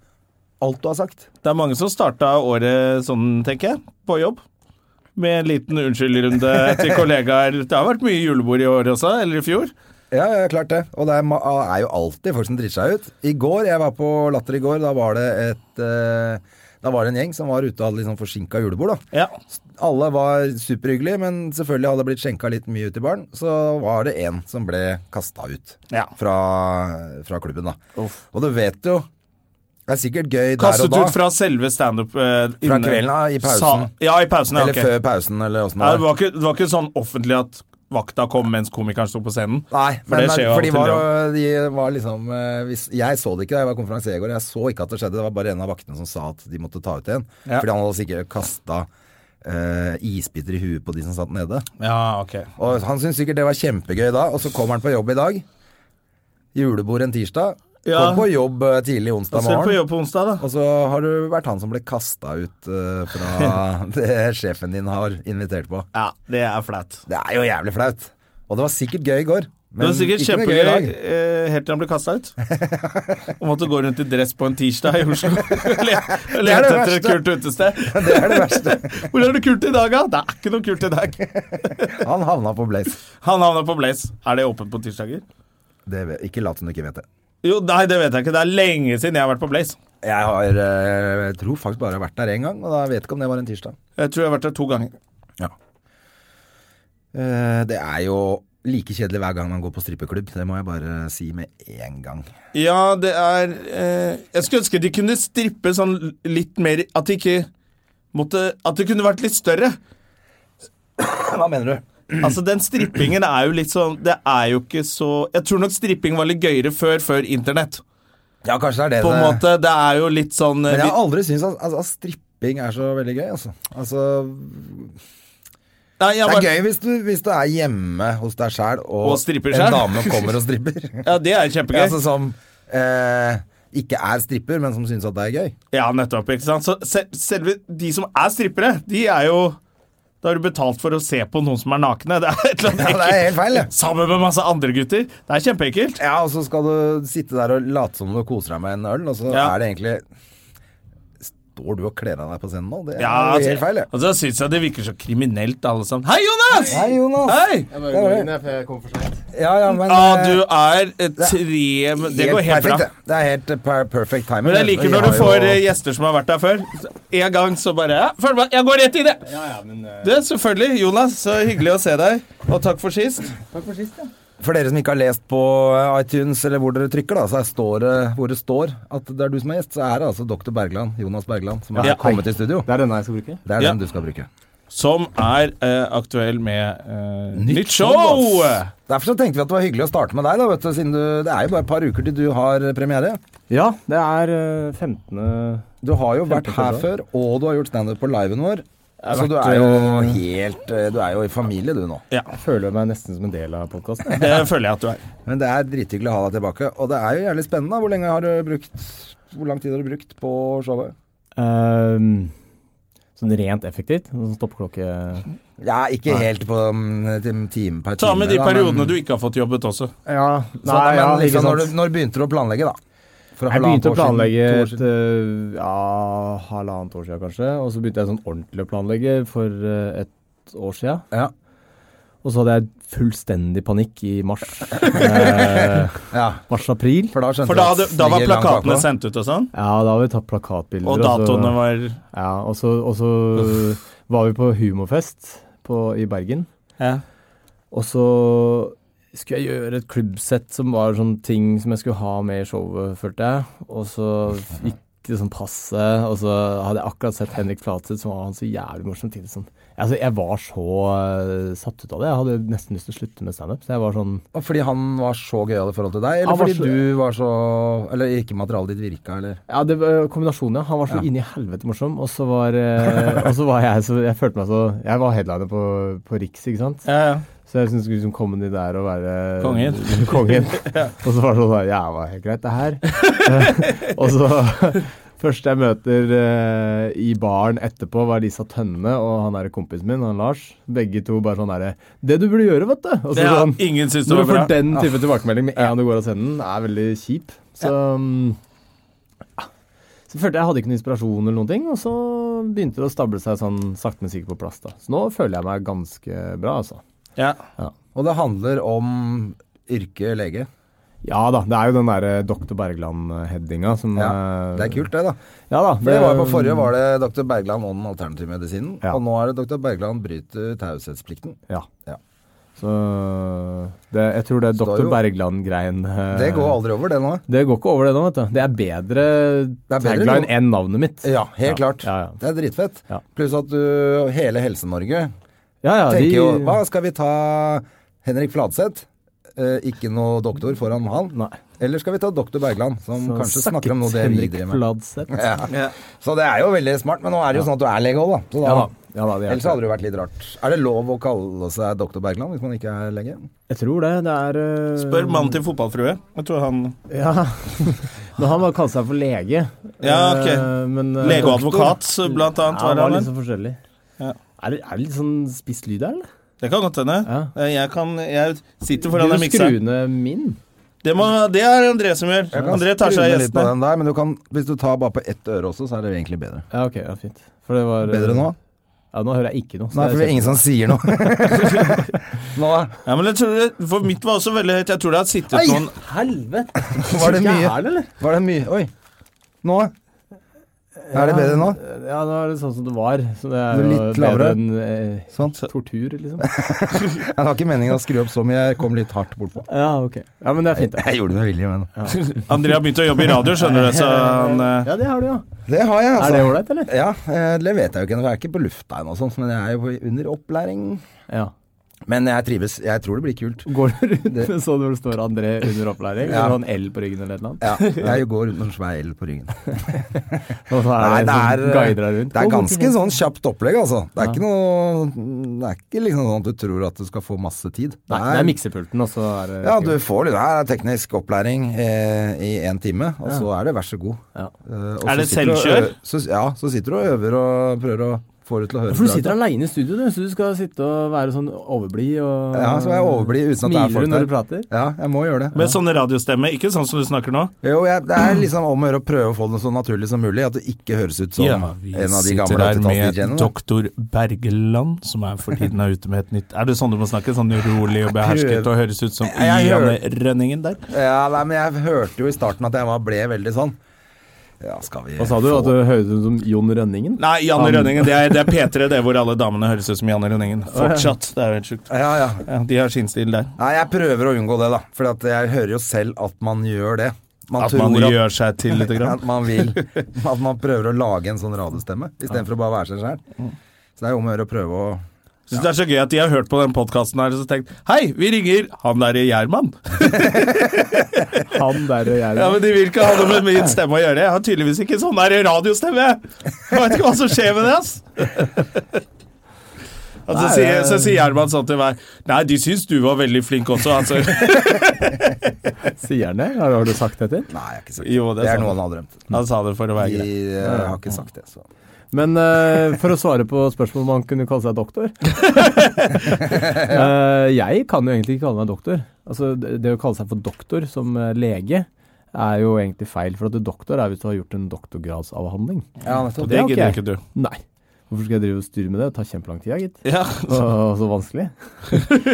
Speaker 2: alt du har sagt.
Speaker 1: Det er mange som starta året sånn, tenker jeg, på jobb. Med en liten unnskyldrunde til kollegaer. Det har vært mye julebord i år også, eller i fjor.
Speaker 2: Ja, ja, klart det. Og det er, ma- er jo alltid folk som driter seg ut. I går, jeg var på Latter i går, da var det et eh, Da var det en gjeng som var ute og hadde litt sånn forsinka julebord, da.
Speaker 1: Ja.
Speaker 2: Alle var superhyggelige, men selvfølgelig hadde det blitt skjenka litt mye ut i baren. Så var det en som ble kasta ut
Speaker 1: Ja.
Speaker 2: fra, fra klubben, da.
Speaker 1: Uff.
Speaker 2: Og du vet jo Det er sikkert gøy
Speaker 1: Kastet
Speaker 2: der og
Speaker 1: ut
Speaker 2: da.
Speaker 1: fra selve standup eh,
Speaker 2: Fra
Speaker 1: inne-
Speaker 2: kvelden av, i pausen.
Speaker 1: ja, i pausen, ja,
Speaker 2: eller
Speaker 1: ok.
Speaker 2: før pausen, eller åssen
Speaker 1: Nei,
Speaker 2: det
Speaker 1: det,
Speaker 2: var.
Speaker 1: var ikke, det var ikke sånn offentlig at vakta kom mens komikeren sto på scenen.
Speaker 2: Nei,
Speaker 1: For
Speaker 2: men
Speaker 1: det skjer jo
Speaker 2: for de
Speaker 1: alltid,
Speaker 2: var,
Speaker 1: det
Speaker 2: de var liksom eh, hvis, Jeg så det ikke da jeg var konferansier i går. Jeg så ikke at det skjedde. Det var bare en av vaktene som sa at de måtte ta ut en.
Speaker 1: Ja.
Speaker 2: Fordi han hadde sikkert kasta isbiter i huet på de som satt nede.
Speaker 1: Ja, ok.
Speaker 2: Og han syntes sikkert det var kjempegøy da, og så kommer han på jobb i dag. Julebord en tirsdag.
Speaker 1: Ja.
Speaker 2: Kom på jobb eh, tidlig
Speaker 1: Da
Speaker 2: onsdag
Speaker 1: skal du på
Speaker 2: morgen.
Speaker 1: jobb på onsdag, da.
Speaker 2: Og så har du vært han som ble kasta ut eh,
Speaker 1: [laughs]
Speaker 2: fra [laughs] det sjefen din har invitert på.
Speaker 1: Ja, det er flaut.
Speaker 2: Det er jo jævlig flaut. Og det var sikkert gøy i går.
Speaker 1: Det var sikkert
Speaker 2: ikke noe gøy i
Speaker 1: kjempegøy
Speaker 2: dag.
Speaker 1: eh, helt til han ble kasta ut.
Speaker 2: [laughs]
Speaker 1: Og måtte gå rundt i dress på en tirsdag i Oslo og le- og
Speaker 2: Det er det
Speaker 1: lete etter et
Speaker 2: verste.
Speaker 1: kult
Speaker 2: [laughs]
Speaker 1: utested.
Speaker 2: Det er det verste.
Speaker 1: Hvor er det kult i dag, da? Det er ikke noe kult i dag.
Speaker 2: Han havna på Blaze.
Speaker 1: Han havna på Blaze. Er det åpent på tirsdager?
Speaker 2: Det vet- Ikke lat som du ikke vet det.
Speaker 1: Jo, nei, det vet jeg ikke. Det er lenge siden jeg har vært på Blaze.
Speaker 2: Jeg har, eh, jeg tror faktisk bare jeg har vært der én gang, og da vet jeg ikke om det var en tirsdag.
Speaker 1: Jeg tror jeg har vært der to ganger.
Speaker 2: Eh, Det er jo like kjedelig hver gang man går på strippeklubb. Det må jeg bare si med én gang.
Speaker 1: Ja, det er eh, Jeg skulle ønske de kunne strippe sånn litt mer At de ikke måtte At det kunne vært litt større.
Speaker 2: Hva mener du?
Speaker 1: Altså, den strippingen er jo litt sånn Det er jo ikke så Jeg tror nok stripping var litt gøyere før, før internett.
Speaker 2: Ja, kanskje det er det
Speaker 1: På en
Speaker 2: det-
Speaker 1: måte, Det er jo litt sånn eh,
Speaker 2: Men jeg
Speaker 1: vi-
Speaker 2: har aldri syntes at, altså, at stripping er så veldig gøy, altså. altså
Speaker 1: Nei, jeg
Speaker 2: det
Speaker 1: var-
Speaker 2: er gøy hvis du, hvis du er hjemme hos deg sjæl, og,
Speaker 1: Og stripper
Speaker 2: en
Speaker 1: selv.
Speaker 2: dame kommer og
Speaker 1: [laughs]
Speaker 2: stripper. [laughs]
Speaker 1: Ja, det er kjempegøy.
Speaker 2: Altså som eh, ikke er stripper, men som syns at det er gøy.
Speaker 1: Ja, nettopp. ikke sant? Så sel selve de som er strippere, de er jo Da har du betalt for å se på noen som er nakne. Det er et eller annet
Speaker 2: Ja, det er helt feil, det.
Speaker 1: ekkelt. Sammen med masse andre gutter. Det er kjempeekkelt.
Speaker 2: Ja, og så skal du sitte der og late som du koser deg med en øl, og så
Speaker 1: Ja.
Speaker 2: er det egentlig Står du og kler av deg på scenen nå? Det er
Speaker 1: Ja, altså-
Speaker 2: jo helt feil, det.
Speaker 1: Og så syns jeg det virker så kriminelt, alle sammen. Hei, Jonas!
Speaker 2: Hei, Jonas.
Speaker 1: Hei!
Speaker 3: Jeg bare går inn, jeg, for jeg kommer for seint.
Speaker 2: Ja, ja, men
Speaker 1: Ja,
Speaker 2: eh,
Speaker 1: du er eh, tre men Det
Speaker 2: helt
Speaker 1: går helt
Speaker 2: perfekt,
Speaker 1: bra.
Speaker 2: det. Det er helt eh, per perfect timing.
Speaker 1: Men jeg
Speaker 2: det.
Speaker 1: liker
Speaker 2: Vi
Speaker 1: når
Speaker 2: har
Speaker 1: du
Speaker 2: jo-
Speaker 1: får eh, gjester som har vært der før. En gang så bare ja, følg meg, Jeg går rett i det!
Speaker 3: Ja, ja, men eh,
Speaker 1: Du, selvfølgelig. Jonas, så hyggelig å se deg. Og takk for sist.
Speaker 3: Takk for sist, ja.
Speaker 2: For dere som ikke har lest på eh, iTunes eller hvor dere trykker, da, så er står, det- hvor det står at det er du som er gjest, så er det altså Dr. Bergland, Jonas Bergland, som har
Speaker 1: Ja.
Speaker 2: kommet i studio.
Speaker 3: Det er denne jeg skal bruke.
Speaker 2: Det er
Speaker 1: Ja.
Speaker 2: den du skal bruke.
Speaker 1: som er eh, aktuell med eh, nytt show!
Speaker 2: Derfor så tenkte vi at det var hyggelig å starte med deg, da, vet du, siden du, det er jo bare et par uker til du har premiere.
Speaker 3: Ja, det er eh, 15.
Speaker 2: Du har jo vært her
Speaker 3: Kjempeforslag.
Speaker 2: før, og du har gjort standup på liven vår.
Speaker 3: har
Speaker 2: Så du
Speaker 3: vært,
Speaker 2: er jo
Speaker 3: eh,
Speaker 2: helt eh, Du er jo i familie, du nå.
Speaker 1: Ja,
Speaker 3: Jeg føler meg nesten som en del av podkasten. [laughs]
Speaker 1: det føler jeg at du er.
Speaker 2: Men det er drithyggelig å ha deg tilbake. Og det er jo jævlig spennende. da. Hvor lenge har du brukt Hvor lang tid har du brukt på showet?
Speaker 3: Ehm, sånn rent effektivt. Sånn stoppeklokke
Speaker 2: Ja, ikke helt på mm, til en time per time.
Speaker 1: Ta med de
Speaker 2: da,
Speaker 1: periodene
Speaker 2: men-
Speaker 1: du ikke har fått jobbet også.
Speaker 3: Ja,
Speaker 2: Sånn, Nei, men,
Speaker 3: ikke
Speaker 2: liksom,
Speaker 3: sant.
Speaker 2: når, du, når begynte du å planlegge, da? For
Speaker 3: Jeg
Speaker 2: halvannet
Speaker 3: begynte å
Speaker 2: år siden,
Speaker 3: planlegge
Speaker 2: to år
Speaker 3: et,
Speaker 2: siden.
Speaker 3: eh, ja, halvannet år siden, kanskje. Og så begynte jeg sånn ordentlig å planlegge for eh, et år siden.
Speaker 2: Ja.
Speaker 3: Og så hadde jeg fullstendig panikk i mars. [laughs] Eh,
Speaker 2: ja.
Speaker 3: Mars-april.
Speaker 2: For da skjønte
Speaker 1: For da,
Speaker 2: du
Speaker 1: hadde,
Speaker 2: at
Speaker 1: da var
Speaker 2: ligger langt
Speaker 1: plakatene
Speaker 2: bakpå.
Speaker 1: sendt ut og sånn,
Speaker 3: Ja, da hadde vi tatt plakatbilder. altså.
Speaker 1: og
Speaker 3: så-
Speaker 1: datoene var
Speaker 3: Ja, og så, og så var vi på humorfest på, i Bergen.
Speaker 1: ja.
Speaker 3: Og så skulle jeg gjøre et klubbsett som var sånn ting som jeg skulle ha med i showet, følte jeg. Og så gikk til sånn passe, og så hadde jeg akkurat sett Henrik Flatseth, som var han så jævlig morsom til sånn. Altså, jeg var så eh, satt ut av det. Jeg hadde nesten lyst til å slutte med standup. Så jeg var sånn
Speaker 2: Og Fordi han var så gøyal i forhold til deg, eller
Speaker 3: Han var
Speaker 2: fordi
Speaker 3: så-
Speaker 2: du var så Eller ikke materialet ditt virka, eller
Speaker 3: Ja, det var eh, kombinasjonen, ja. Han var så
Speaker 2: Ja.
Speaker 3: inni helvete morsom, og så var, eh, [laughs] og så var jeg så Jeg følte meg så Jeg var headliner på, på Riks, ikke sant?
Speaker 1: Ja, ja.
Speaker 3: Så jeg synes jeg skulle liksom komme ned der og være
Speaker 1: Kongen.
Speaker 3: [laughs] kongen. Og så var det sånn der, Ja, det var helt greit, det her.
Speaker 1: [laughs]
Speaker 3: Eh, og så Første jeg møter eh, i baren etterpå, var Lisa Tønne og han der kompisen min, han Lars. Begge to bare sånn derre 'Det du burde gjøre, vet du.' Og så
Speaker 1: Det har
Speaker 3: sånn,
Speaker 1: ingen syntes det var
Speaker 3: når du får
Speaker 1: bra. Ah.
Speaker 3: den type tilbakemelding med en gang du går av scenen, er veldig kjip. Så mm, ja. Så følte jeg jeg hadde ikke noe inspirasjon eller noen ting, og så begynte det å stable seg sånn sakte, men sikkert på plass. da. Så nå føler jeg meg ganske bra, altså.
Speaker 1: Ja.
Speaker 2: Og det handler om yrket lege.
Speaker 3: Ja da, det er jo den derre Dr. Bergland-headinga som
Speaker 2: Ja,
Speaker 3: eh,
Speaker 2: Det er kult, det, da.
Speaker 3: Ja da.
Speaker 2: For det var jo På forrige var det dr. Bergland om alternativmedisinen,
Speaker 3: Ja.
Speaker 2: og nå er det dr. Bergland bryter taushetsplikten.
Speaker 3: Ja.
Speaker 2: Ja.
Speaker 3: Så det, jeg tror det er
Speaker 2: Så da er
Speaker 3: Dr.
Speaker 2: jo-
Speaker 3: Bergland-greien eh,
Speaker 2: Det går aldri over, det nå.
Speaker 3: Det går ikke over det nå, vet du. Det er bedre,
Speaker 2: er bedre
Speaker 3: tagline
Speaker 2: nå.
Speaker 3: enn navnet mitt.
Speaker 2: Ja, helt klart.
Speaker 3: Ja, ja.
Speaker 2: Det er dritfett.
Speaker 3: Ja.
Speaker 2: Pluss at du, hele Helse-Norge
Speaker 3: Ja, ja,
Speaker 2: tenker
Speaker 3: de-
Speaker 2: jo Hva skal vi ta Henrik Fladseth? Eh, ikke noe doktor foran han.
Speaker 3: Nei.
Speaker 2: Eller skal vi ta dr. Bergland, som
Speaker 3: Så
Speaker 2: kanskje
Speaker 3: snakket
Speaker 2: snakker om noe dere
Speaker 3: Henrik
Speaker 2: driver med?
Speaker 3: Fladseth.
Speaker 2: Ja. Så det er jo veldig smart, men nå er det jo sånn at du er lege òg, da. Så da
Speaker 3: Ja da. Ja da, det er
Speaker 2: Ellers hadde det jo vært litt rart. Er det lov å kalle seg doktor Bergland hvis man ikke er lege?
Speaker 3: Jeg tror det. Det er eh,
Speaker 1: Spør mannen til fotballfrue. Jeg tror han
Speaker 3: Ja. [laughs] Men han bare kalte seg for lege.
Speaker 1: Ja, ok.
Speaker 3: Eh, Men, eh,
Speaker 1: Lege og
Speaker 3: doktor-
Speaker 1: advokat, blant
Speaker 3: Ja,
Speaker 1: annet. Var
Speaker 3: han var
Speaker 1: han,
Speaker 3: litt
Speaker 1: vel?
Speaker 3: sånn forskjellig.
Speaker 1: Ja.
Speaker 3: Er, det, er det litt sånn spiss lyd her, eller?
Speaker 1: Det kan godt hende. Eh,
Speaker 3: Ja.
Speaker 1: Jeg, kan, jeg sitter foran den
Speaker 3: du skru
Speaker 1: mikseren.
Speaker 3: ned min.
Speaker 1: Det, må- det er André som gjør. André tar seg av
Speaker 2: Skru ned litt på
Speaker 1: gjestene.
Speaker 2: den der, men du kan, hvis du tar bare på ett øre også, så er det egentlig bedre.
Speaker 3: Ja, ok, ja, fint. For det var
Speaker 2: Bedre nå?
Speaker 3: Ja, nå hører jeg ikke noe. så
Speaker 2: Nei,
Speaker 3: det
Speaker 2: for
Speaker 3: er
Speaker 2: det er ingen som sier noe. [laughs] nå da?
Speaker 1: Ja, men jeg tror det, for mitt var også veldig høyt. Jeg tror det hadde sittet
Speaker 2: Ai!
Speaker 1: noen
Speaker 3: kjempe- Helvete!
Speaker 2: Var det
Speaker 3: Ikke jeg
Speaker 2: mye?
Speaker 3: er det, eller?
Speaker 2: Var det mye? Oi. Nå? Er det bedre nå?
Speaker 3: Ja, nå er det sånn som det var. Så det
Speaker 2: Det er
Speaker 3: er jo
Speaker 2: litt
Speaker 3: bedre
Speaker 2: lavere.
Speaker 3: enn eh,
Speaker 2: Sånn.
Speaker 3: tortur,
Speaker 2: [laughs]
Speaker 3: liksom.
Speaker 2: Jeg har ikke meningen å skru opp så mye, jeg kom litt hardt bortpå.
Speaker 3: Ja, ok. Ja, men det er fint. da.
Speaker 2: Jeg gjorde det med vilje, men
Speaker 1: André har begynt å jobbe i radio, skjønner du, så han eh,
Speaker 3: Ja, det har du, ja.
Speaker 2: Det har jeg,
Speaker 3: Er det
Speaker 2: altså.
Speaker 3: ålreit, eller?
Speaker 2: Ja, eh, det vet jeg jo ikke, for jeg er ikke på lufta ennå, og sånt, men jeg er jo på- under opplæring.
Speaker 3: Ja.
Speaker 2: Men jeg trives. Jeg tror det blir kult.
Speaker 3: Går du rundt
Speaker 2: Det-
Speaker 3: med sånn hvor det står André under opplæring?
Speaker 2: Ja.
Speaker 3: Eller en L på ryggen eller noe?
Speaker 2: Ja, jeg går rundt med en svær L på ryggen.
Speaker 3: Og så er
Speaker 2: Nei, eh,
Speaker 3: det, en som guider deg rundt.
Speaker 2: det er
Speaker 3: Å,
Speaker 2: ganske
Speaker 3: borti
Speaker 2: sånn kjapt opplegg, altså. Det er ikke noe Det er ikke liksom sånn at du tror at du skal få masse tid.
Speaker 3: her. Nei, det er miksepulten, og så er det
Speaker 2: Ja, du får litt her er teknisk opplæring eh, i én time, og så er det vær så god.
Speaker 3: Ja.
Speaker 2: Eh, og
Speaker 1: Er
Speaker 2: så
Speaker 1: det
Speaker 2: sitter du og
Speaker 1: selvkjør?
Speaker 2: ø- Så, ja, så sitter du og øver og prøver å få det til å høre
Speaker 3: For du
Speaker 2: bra ut,
Speaker 3: sitter
Speaker 2: da.
Speaker 3: aleine i studio, du, så du skal sitte og være sånn overblid og
Speaker 2: Ja, så er jeg overblid uten at det er folk
Speaker 3: Smiler du når
Speaker 2: der.
Speaker 3: du prater?
Speaker 2: Ja, jeg må gjøre det.
Speaker 1: Med sånn radiostemme. Ikke sånn som du snakker nå.
Speaker 2: Jo, jeg, det er liksom om å gjøre å prøve å få det så naturlig som mulig, at det ikke høres ut som en av de gamle 80-talls-DJ-ene. da.
Speaker 1: doktor Bergeland, som er for tiden er ute med et nytt Er det sånn du må snakke? Sånn rolig og
Speaker 2: behersket og
Speaker 1: høres ut som
Speaker 2: Jeg- jeg Janne
Speaker 1: Rønningen der?
Speaker 2: Ja, nei, men jeg hørte jo i starten at jeg var, ble veldig sånn Ja, skal vi
Speaker 3: Hva sa du?
Speaker 2: få-
Speaker 3: At du høres ut som Jon Rønningen?
Speaker 1: Nei, Janne Rønningen. Det er, det er P3, det hvor alle damene høres ut som Janne
Speaker 2: [laughs]
Speaker 1: Rønningen. Fortsatt. Det er jo helt sjukt.
Speaker 2: Ja, ja.
Speaker 1: Ja, de har sin stil der.
Speaker 2: Nei, jeg prøver å unngå det, da. For at jeg hører jo selv at man gjør det. Man
Speaker 1: At man
Speaker 2: tror at-
Speaker 1: gjør seg til lite grann.
Speaker 2: [laughs] At man vil. At man prøver å lage en sånn radiostemme, istedenfor å bare være seg sjæl. Så det er jo om å gjøre å prøve å
Speaker 1: Syns det er så gøy at de har hørt på den podkasten her og så tenkt Hei, vi ringer han derre Gjerman. [laughs]
Speaker 3: Han der og jeg.
Speaker 1: Ja, men de vil ikke ha noe med min stemme å gjøre. Jeg har tydeligvis ikke sånn der radiostemme. Jeg vet ikke hva som skjer med det, ass. [laughs] Altså,
Speaker 3: Nei,
Speaker 1: sier,
Speaker 3: det-
Speaker 1: så sier Gjerman sånn til meg Nei, de syns du var veldig flink også, altså.
Speaker 3: Sier han det? Har, har du sagt det til?
Speaker 2: Nei, jeg har ikke sagt det.
Speaker 1: [laughs] Jo, det er
Speaker 2: Det er noe
Speaker 1: sant.
Speaker 2: han har drømt.
Speaker 1: Han sa det for å være
Speaker 2: De
Speaker 1: grei.
Speaker 2: eh, har ikke sagt det, så
Speaker 1: Mm.
Speaker 3: Men eh, for å svare på spørsmålet om han kunne kalle
Speaker 1: [laughs]
Speaker 3: seg doktor Eh, Jeg kan jo egentlig ikke kalle meg doktor. Altså, det det å kalle seg for doktor som eh, lege er jo egentlig feil. For at du doktor er hvis du har gjort en doktorgradsavhandling.
Speaker 2: Ja, nettopp.
Speaker 1: Det
Speaker 3: ok.
Speaker 1: gidder ikke du.
Speaker 3: Nei. Hvorfor skal jeg drive og styre med det? Det tar kjempelang tid, ja, gitt.
Speaker 1: Ja.
Speaker 3: Og så vanskelig.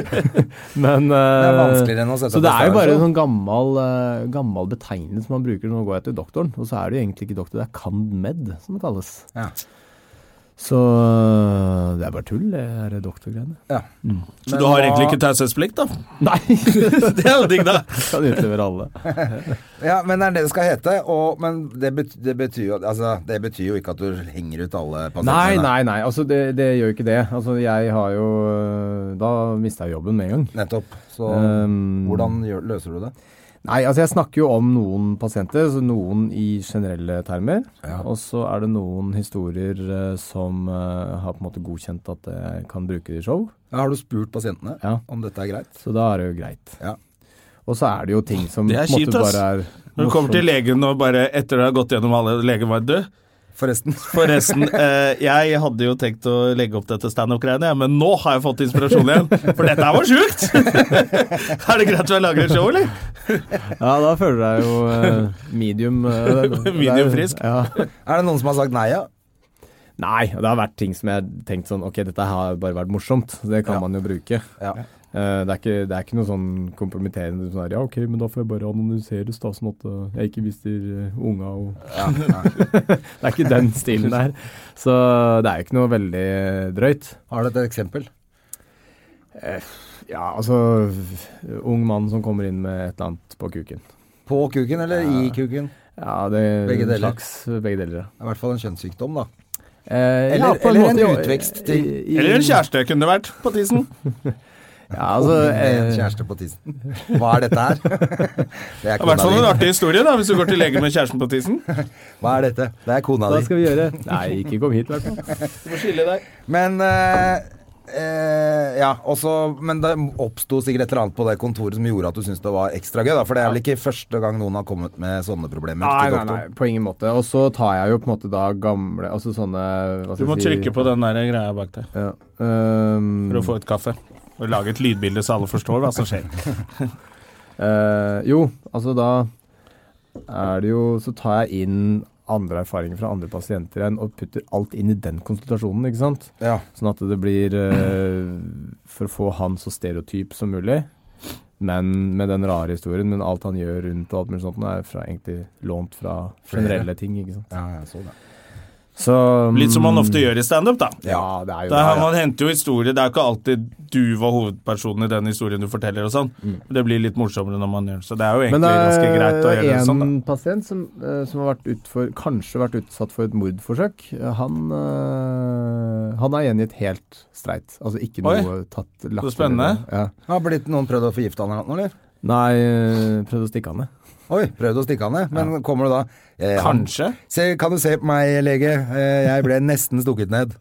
Speaker 3: [laughs] Men eh,
Speaker 2: Det er vanskeligere enn å sette
Speaker 3: Så det
Speaker 2: opp
Speaker 3: er jo bare
Speaker 2: stavelse.
Speaker 3: en sånn gammel, eh, gammel betegnelse man bruker når man går etter doktoren. Og så er det jo egentlig ikke doktor, det er cand.med som det kalles.
Speaker 2: Ja.
Speaker 3: Så eh, det er bare er tull, det her doktorgreiene. [laughs]
Speaker 2: Ja.
Speaker 1: [laughs] Så du har egentlig ikke taushetsplikt, da? [laughs]
Speaker 3: Nei!
Speaker 1: Det er jo digg, da.
Speaker 3: kan utlevere
Speaker 2: [laughs]
Speaker 3: alle.
Speaker 2: Ja, men det er det det skal hete. Og, men det betyr, det, betyr jo, altså, det betyr jo ikke at du henger ut alle
Speaker 3: Nei,
Speaker 2: pasientene.
Speaker 3: nei, nei. Altså, det, det gjør ikke det. Altså, jeg har jo øh, Da mista jeg jobben med en gang.
Speaker 2: Nettopp. Så
Speaker 1: Eh,
Speaker 3: Um,
Speaker 2: hvordan gjør, løser du det?
Speaker 3: Nei, altså jeg snakker jo om noen pasienter, så noen i generelle termer. Og så er det noen historier eh, som eh, har på en måte godkjent at jeg kan bruke det i show.
Speaker 1: mm.
Speaker 2: Ja, har du spurt pasientene
Speaker 3: Ja.
Speaker 2: om dette er greit?
Speaker 3: Så da er det jo greit.
Speaker 2: Ja.
Speaker 3: Og så er det jo ting som
Speaker 1: Det er
Speaker 3: på en måte
Speaker 1: kjipt, ass.
Speaker 3: bare er
Speaker 1: Når du kommer til legen og bare etter du har gått gjennom alle legen var død
Speaker 2: Forresten. [laughs]
Speaker 1: Forresten, eh, jeg hadde jo tenkt å legge opp dette standup-greiene, jeg, men nå har jeg fått inspirasjon igjen. For dette her var sjukt! [laughs] er det greit å lage et show, eller?
Speaker 3: Ja, da føler jeg deg jo eh, medium [laughs] eh, det er-
Speaker 1: Medium frisk.
Speaker 3: Ja.
Speaker 2: Er det noen som har sagt nei, ja?
Speaker 3: Nei, det har vært ting som jeg har tenkt sånn Ok, dette har bare vært morsomt. Det kan
Speaker 2: Ja.
Speaker 3: man jo bruke.
Speaker 2: Ja.
Speaker 3: Eh, Det er, ikke, det er ikke noe sånn kompromitterende sånn her, Ja, ok, men da får jeg bare anonymiseres, da, sånn at eh, jeg ikke mister eh, unga og [laughs] Det er ikke den stilen der. Så det er jo ikke noe veldig drøyt.
Speaker 2: Har du et eksempel?
Speaker 3: Ja, altså Ung mann som kommer inn med et eller annet på kuken.
Speaker 2: På kuken eller i kuken?
Speaker 3: Ja, det er
Speaker 2: Begge
Speaker 3: en
Speaker 2: deler.
Speaker 3: Slags, eh, begge deler, ja.
Speaker 2: Det er I hvert fall en kjønnssykdom, da.
Speaker 3: Eh, ja,
Speaker 2: Eller-
Speaker 3: på
Speaker 2: eller en
Speaker 3: måte, eh,
Speaker 2: utvekst til-
Speaker 3: i- i-
Speaker 1: Eller en kjæreste kunne det vært, på tisen.
Speaker 3: Ja, altså,
Speaker 2: Med en
Speaker 3: eh,
Speaker 2: kjæreste på tissen. Hva er dette her? Det er
Speaker 1: I hvert
Speaker 2: kona
Speaker 1: fall sånn en
Speaker 2: di.
Speaker 1: artig historie, da, hvis du går til legen med kjæresten på tisen.
Speaker 2: Hva er dette? Det er kona
Speaker 3: hva
Speaker 2: di.
Speaker 3: skal vi gjøre? Nei, ikke kom hit, i hvert fall.
Speaker 2: Men eh, eh, ja, også, men det oppsto sikkert et eller annet på det kontoret som gjorde at du syntes det var ekstra gøy. Da, for det er vel ikke første gang noen har kommet med sånne problemer
Speaker 3: Nei,
Speaker 2: til
Speaker 3: nei,
Speaker 2: doktoren.
Speaker 3: nei, på ingen måte. Og så tar jeg jo på en måte da gamle Altså sånne hva
Speaker 1: Du
Speaker 3: skal
Speaker 1: må
Speaker 3: jeg si-
Speaker 1: trykke på den der greia bak deg
Speaker 3: Ja. ehm,
Speaker 1: for å få ut kaffe. Og lage et lydbilde så alle forstår hva som skjer.
Speaker 3: eh, jo, altså da er det jo Så tar jeg inn andre erfaringer fra andre pasienter igjen og putter alt inn i den konsultasjonen, ikke sant?
Speaker 2: Ja.
Speaker 3: Sånn at det blir eh, For å få han så stereotyp som mulig. Men med den rare historien, men alt han gjør rundt og alt mulig sånt, er fra, egentlig lånt fra generelle ting, ikke sant.
Speaker 2: Ja, jeg så det.
Speaker 3: Så
Speaker 1: Litt som man ofte gjør i standup, da.
Speaker 3: Ja, det er
Speaker 1: mm,
Speaker 3: jo
Speaker 1: Da har
Speaker 3: det, ja.
Speaker 1: Man henter jo historier. Det er ikke alltid du var hovedpersonen i den historien du forteller. og sånn.
Speaker 3: Mm.
Speaker 1: Det blir litt morsommere når man gjør det. Så det er jo egentlig ganske greit å gjøre det sånn. da.
Speaker 3: en pasient som, eh, som har vært ut for, kanskje vært utsatt for et mordforsøk. Eh, Han, eh, han er gjengitt helt streit. Altså ikke
Speaker 1: Oi.
Speaker 3: noe tatt lagt
Speaker 1: Så spennende.
Speaker 3: til det. Ja.
Speaker 2: Har blitt noen prøvd å forgifte han eller noe, eller?
Speaker 3: Nei, eh, prøvde å stikke han ned.
Speaker 2: Oi, prøvd å stikke han ned. Men kommer du da eh, han-
Speaker 1: Kanskje.
Speaker 2: se, Kan du se på meg, lege? Eh, jeg ble nesten stukket ned.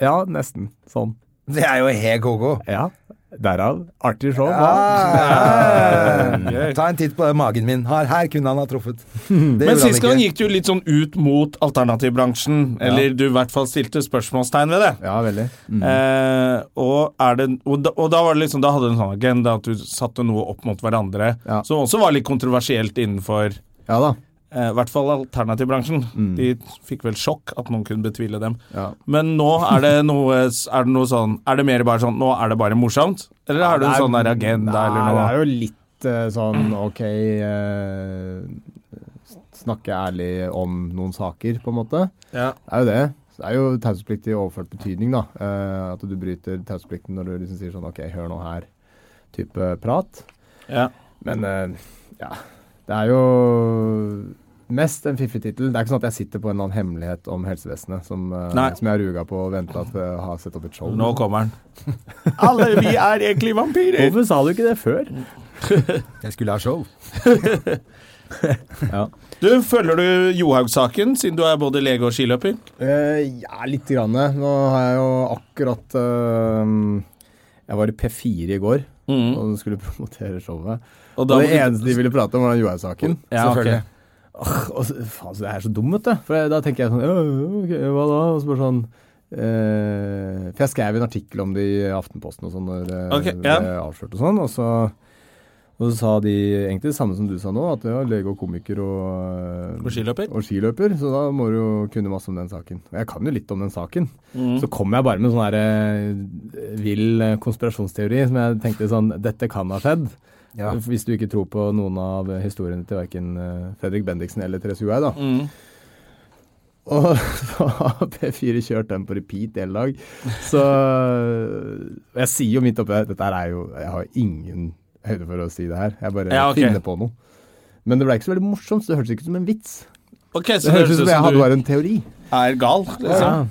Speaker 3: Ja, nesten. Sånn.
Speaker 2: Det er jo helt koko.
Speaker 3: Ja. Derav artig show. hva?
Speaker 2: Ah,
Speaker 1: Gøy.
Speaker 2: ta en titt på magen min. Her, her kunne han ha truffet. Det
Speaker 1: Men
Speaker 2: gjorde han
Speaker 1: sist gang
Speaker 2: ikke.
Speaker 1: gikk det jo litt sånn ut mot alternativbransjen. Eller du i hvert fall stilte spørsmålstegn ved det.
Speaker 3: Ja, veldig. Mm.
Speaker 1: Eh, og, er det og, da, og da var det liksom Da hadde du en sånn agenda at du satte noe opp mot hverandre,
Speaker 3: Ja.
Speaker 1: som også var litt kontroversielt innenfor
Speaker 3: Ja da.
Speaker 1: eh, i hvert fall alternativbransjen. De fikk vel sjokk at noen kunne betvile dem.
Speaker 3: Ja.
Speaker 1: Men nå er det noe, er det noe sånn Er det mer bare sånn Nå er det bare morsomt? Eller har du en
Speaker 3: Nei,
Speaker 1: sånn der agenda
Speaker 3: nei,
Speaker 1: eller noe?
Speaker 3: Det er jo litt eh, sånn ok eh, Snakke ærlig om noen saker, på en måte.
Speaker 1: Ja.
Speaker 3: Det er jo det. Så det er jo taushetsplikt i overført betydning, da. Eh, at du bryter taushetsplikten når du liksom sier sånn OK, hør nå her, type prat.
Speaker 1: Ja.
Speaker 3: Men eh, ja. Det er jo mest en fiffig tittel. Det er ikke sånn at jeg sitter på en eller annen hemmelighet om helsevesenet som, eh,
Speaker 1: Nei.
Speaker 3: som jeg har ruga på og venta på å ha sett opp et show.
Speaker 1: Nå kommer den. Alle vi er egentlig vampyrer!
Speaker 3: Hvorfor sa du ikke det før?
Speaker 2: Jeg skulle ha show.
Speaker 1: Du, Følger du Johaug-saken, siden du er både lege og skiløper?
Speaker 3: Eh, ja, lite grann. Nå har jeg jo akkurat eh, Jeg var i P4 i går
Speaker 1: Mm.
Speaker 3: og skulle promotere showet.
Speaker 1: Og
Speaker 3: Og,
Speaker 1: da må
Speaker 3: det
Speaker 1: du-
Speaker 3: eneste de ville prate om, var den Johaug-saken.
Speaker 1: Ja, ok.
Speaker 2: Selvfølgelig.
Speaker 3: Og så, faen, så det er så dumt, vet du. For da tenker jeg sånn «Ja, ja, ok, hva da? Og så bare sånn eh, For jeg skrev en artikkel om det i Aftenposten og sånn når eh,
Speaker 1: Ok,
Speaker 3: det
Speaker 1: ja.
Speaker 3: ble avslørt og sånn. Og så, og så sa de egentlig det samme som du sa nå, at ja, lege og komiker og, eh,
Speaker 1: Og skiløper?
Speaker 3: og skiløper. Så da må du jo kunne masse om den saken. Og jeg kan jo litt om den saken.
Speaker 1: Mm.
Speaker 3: Så kom jeg bare med sånn her eh, vill eh, konspirasjonsteori som jeg tenkte sånn Dette kan ha skjedd.
Speaker 2: Ja.
Speaker 3: Hvis du ikke tror på eh,
Speaker 1: Mm.
Speaker 3: noen av historiene til verken Fredrik Bendiksen eller Therese Johaug, da. Og [laughs] så har P4 kjørt den på repeat hele dag. Så og Jeg sier jo midt oppi her, dette her er jo Jeg har ingen høyde for å si det her. Jeg bare
Speaker 1: Ja, ok.
Speaker 3: finner på noe. Men det ble ikke så veldig morsomt, så det hørtes ikke ut som en vits.
Speaker 1: Ok, så
Speaker 3: Det
Speaker 1: det
Speaker 3: hørtes
Speaker 1: høres
Speaker 3: ut som jeg hadde
Speaker 1: du
Speaker 3: bare en teori.
Speaker 1: er gal. Liksom.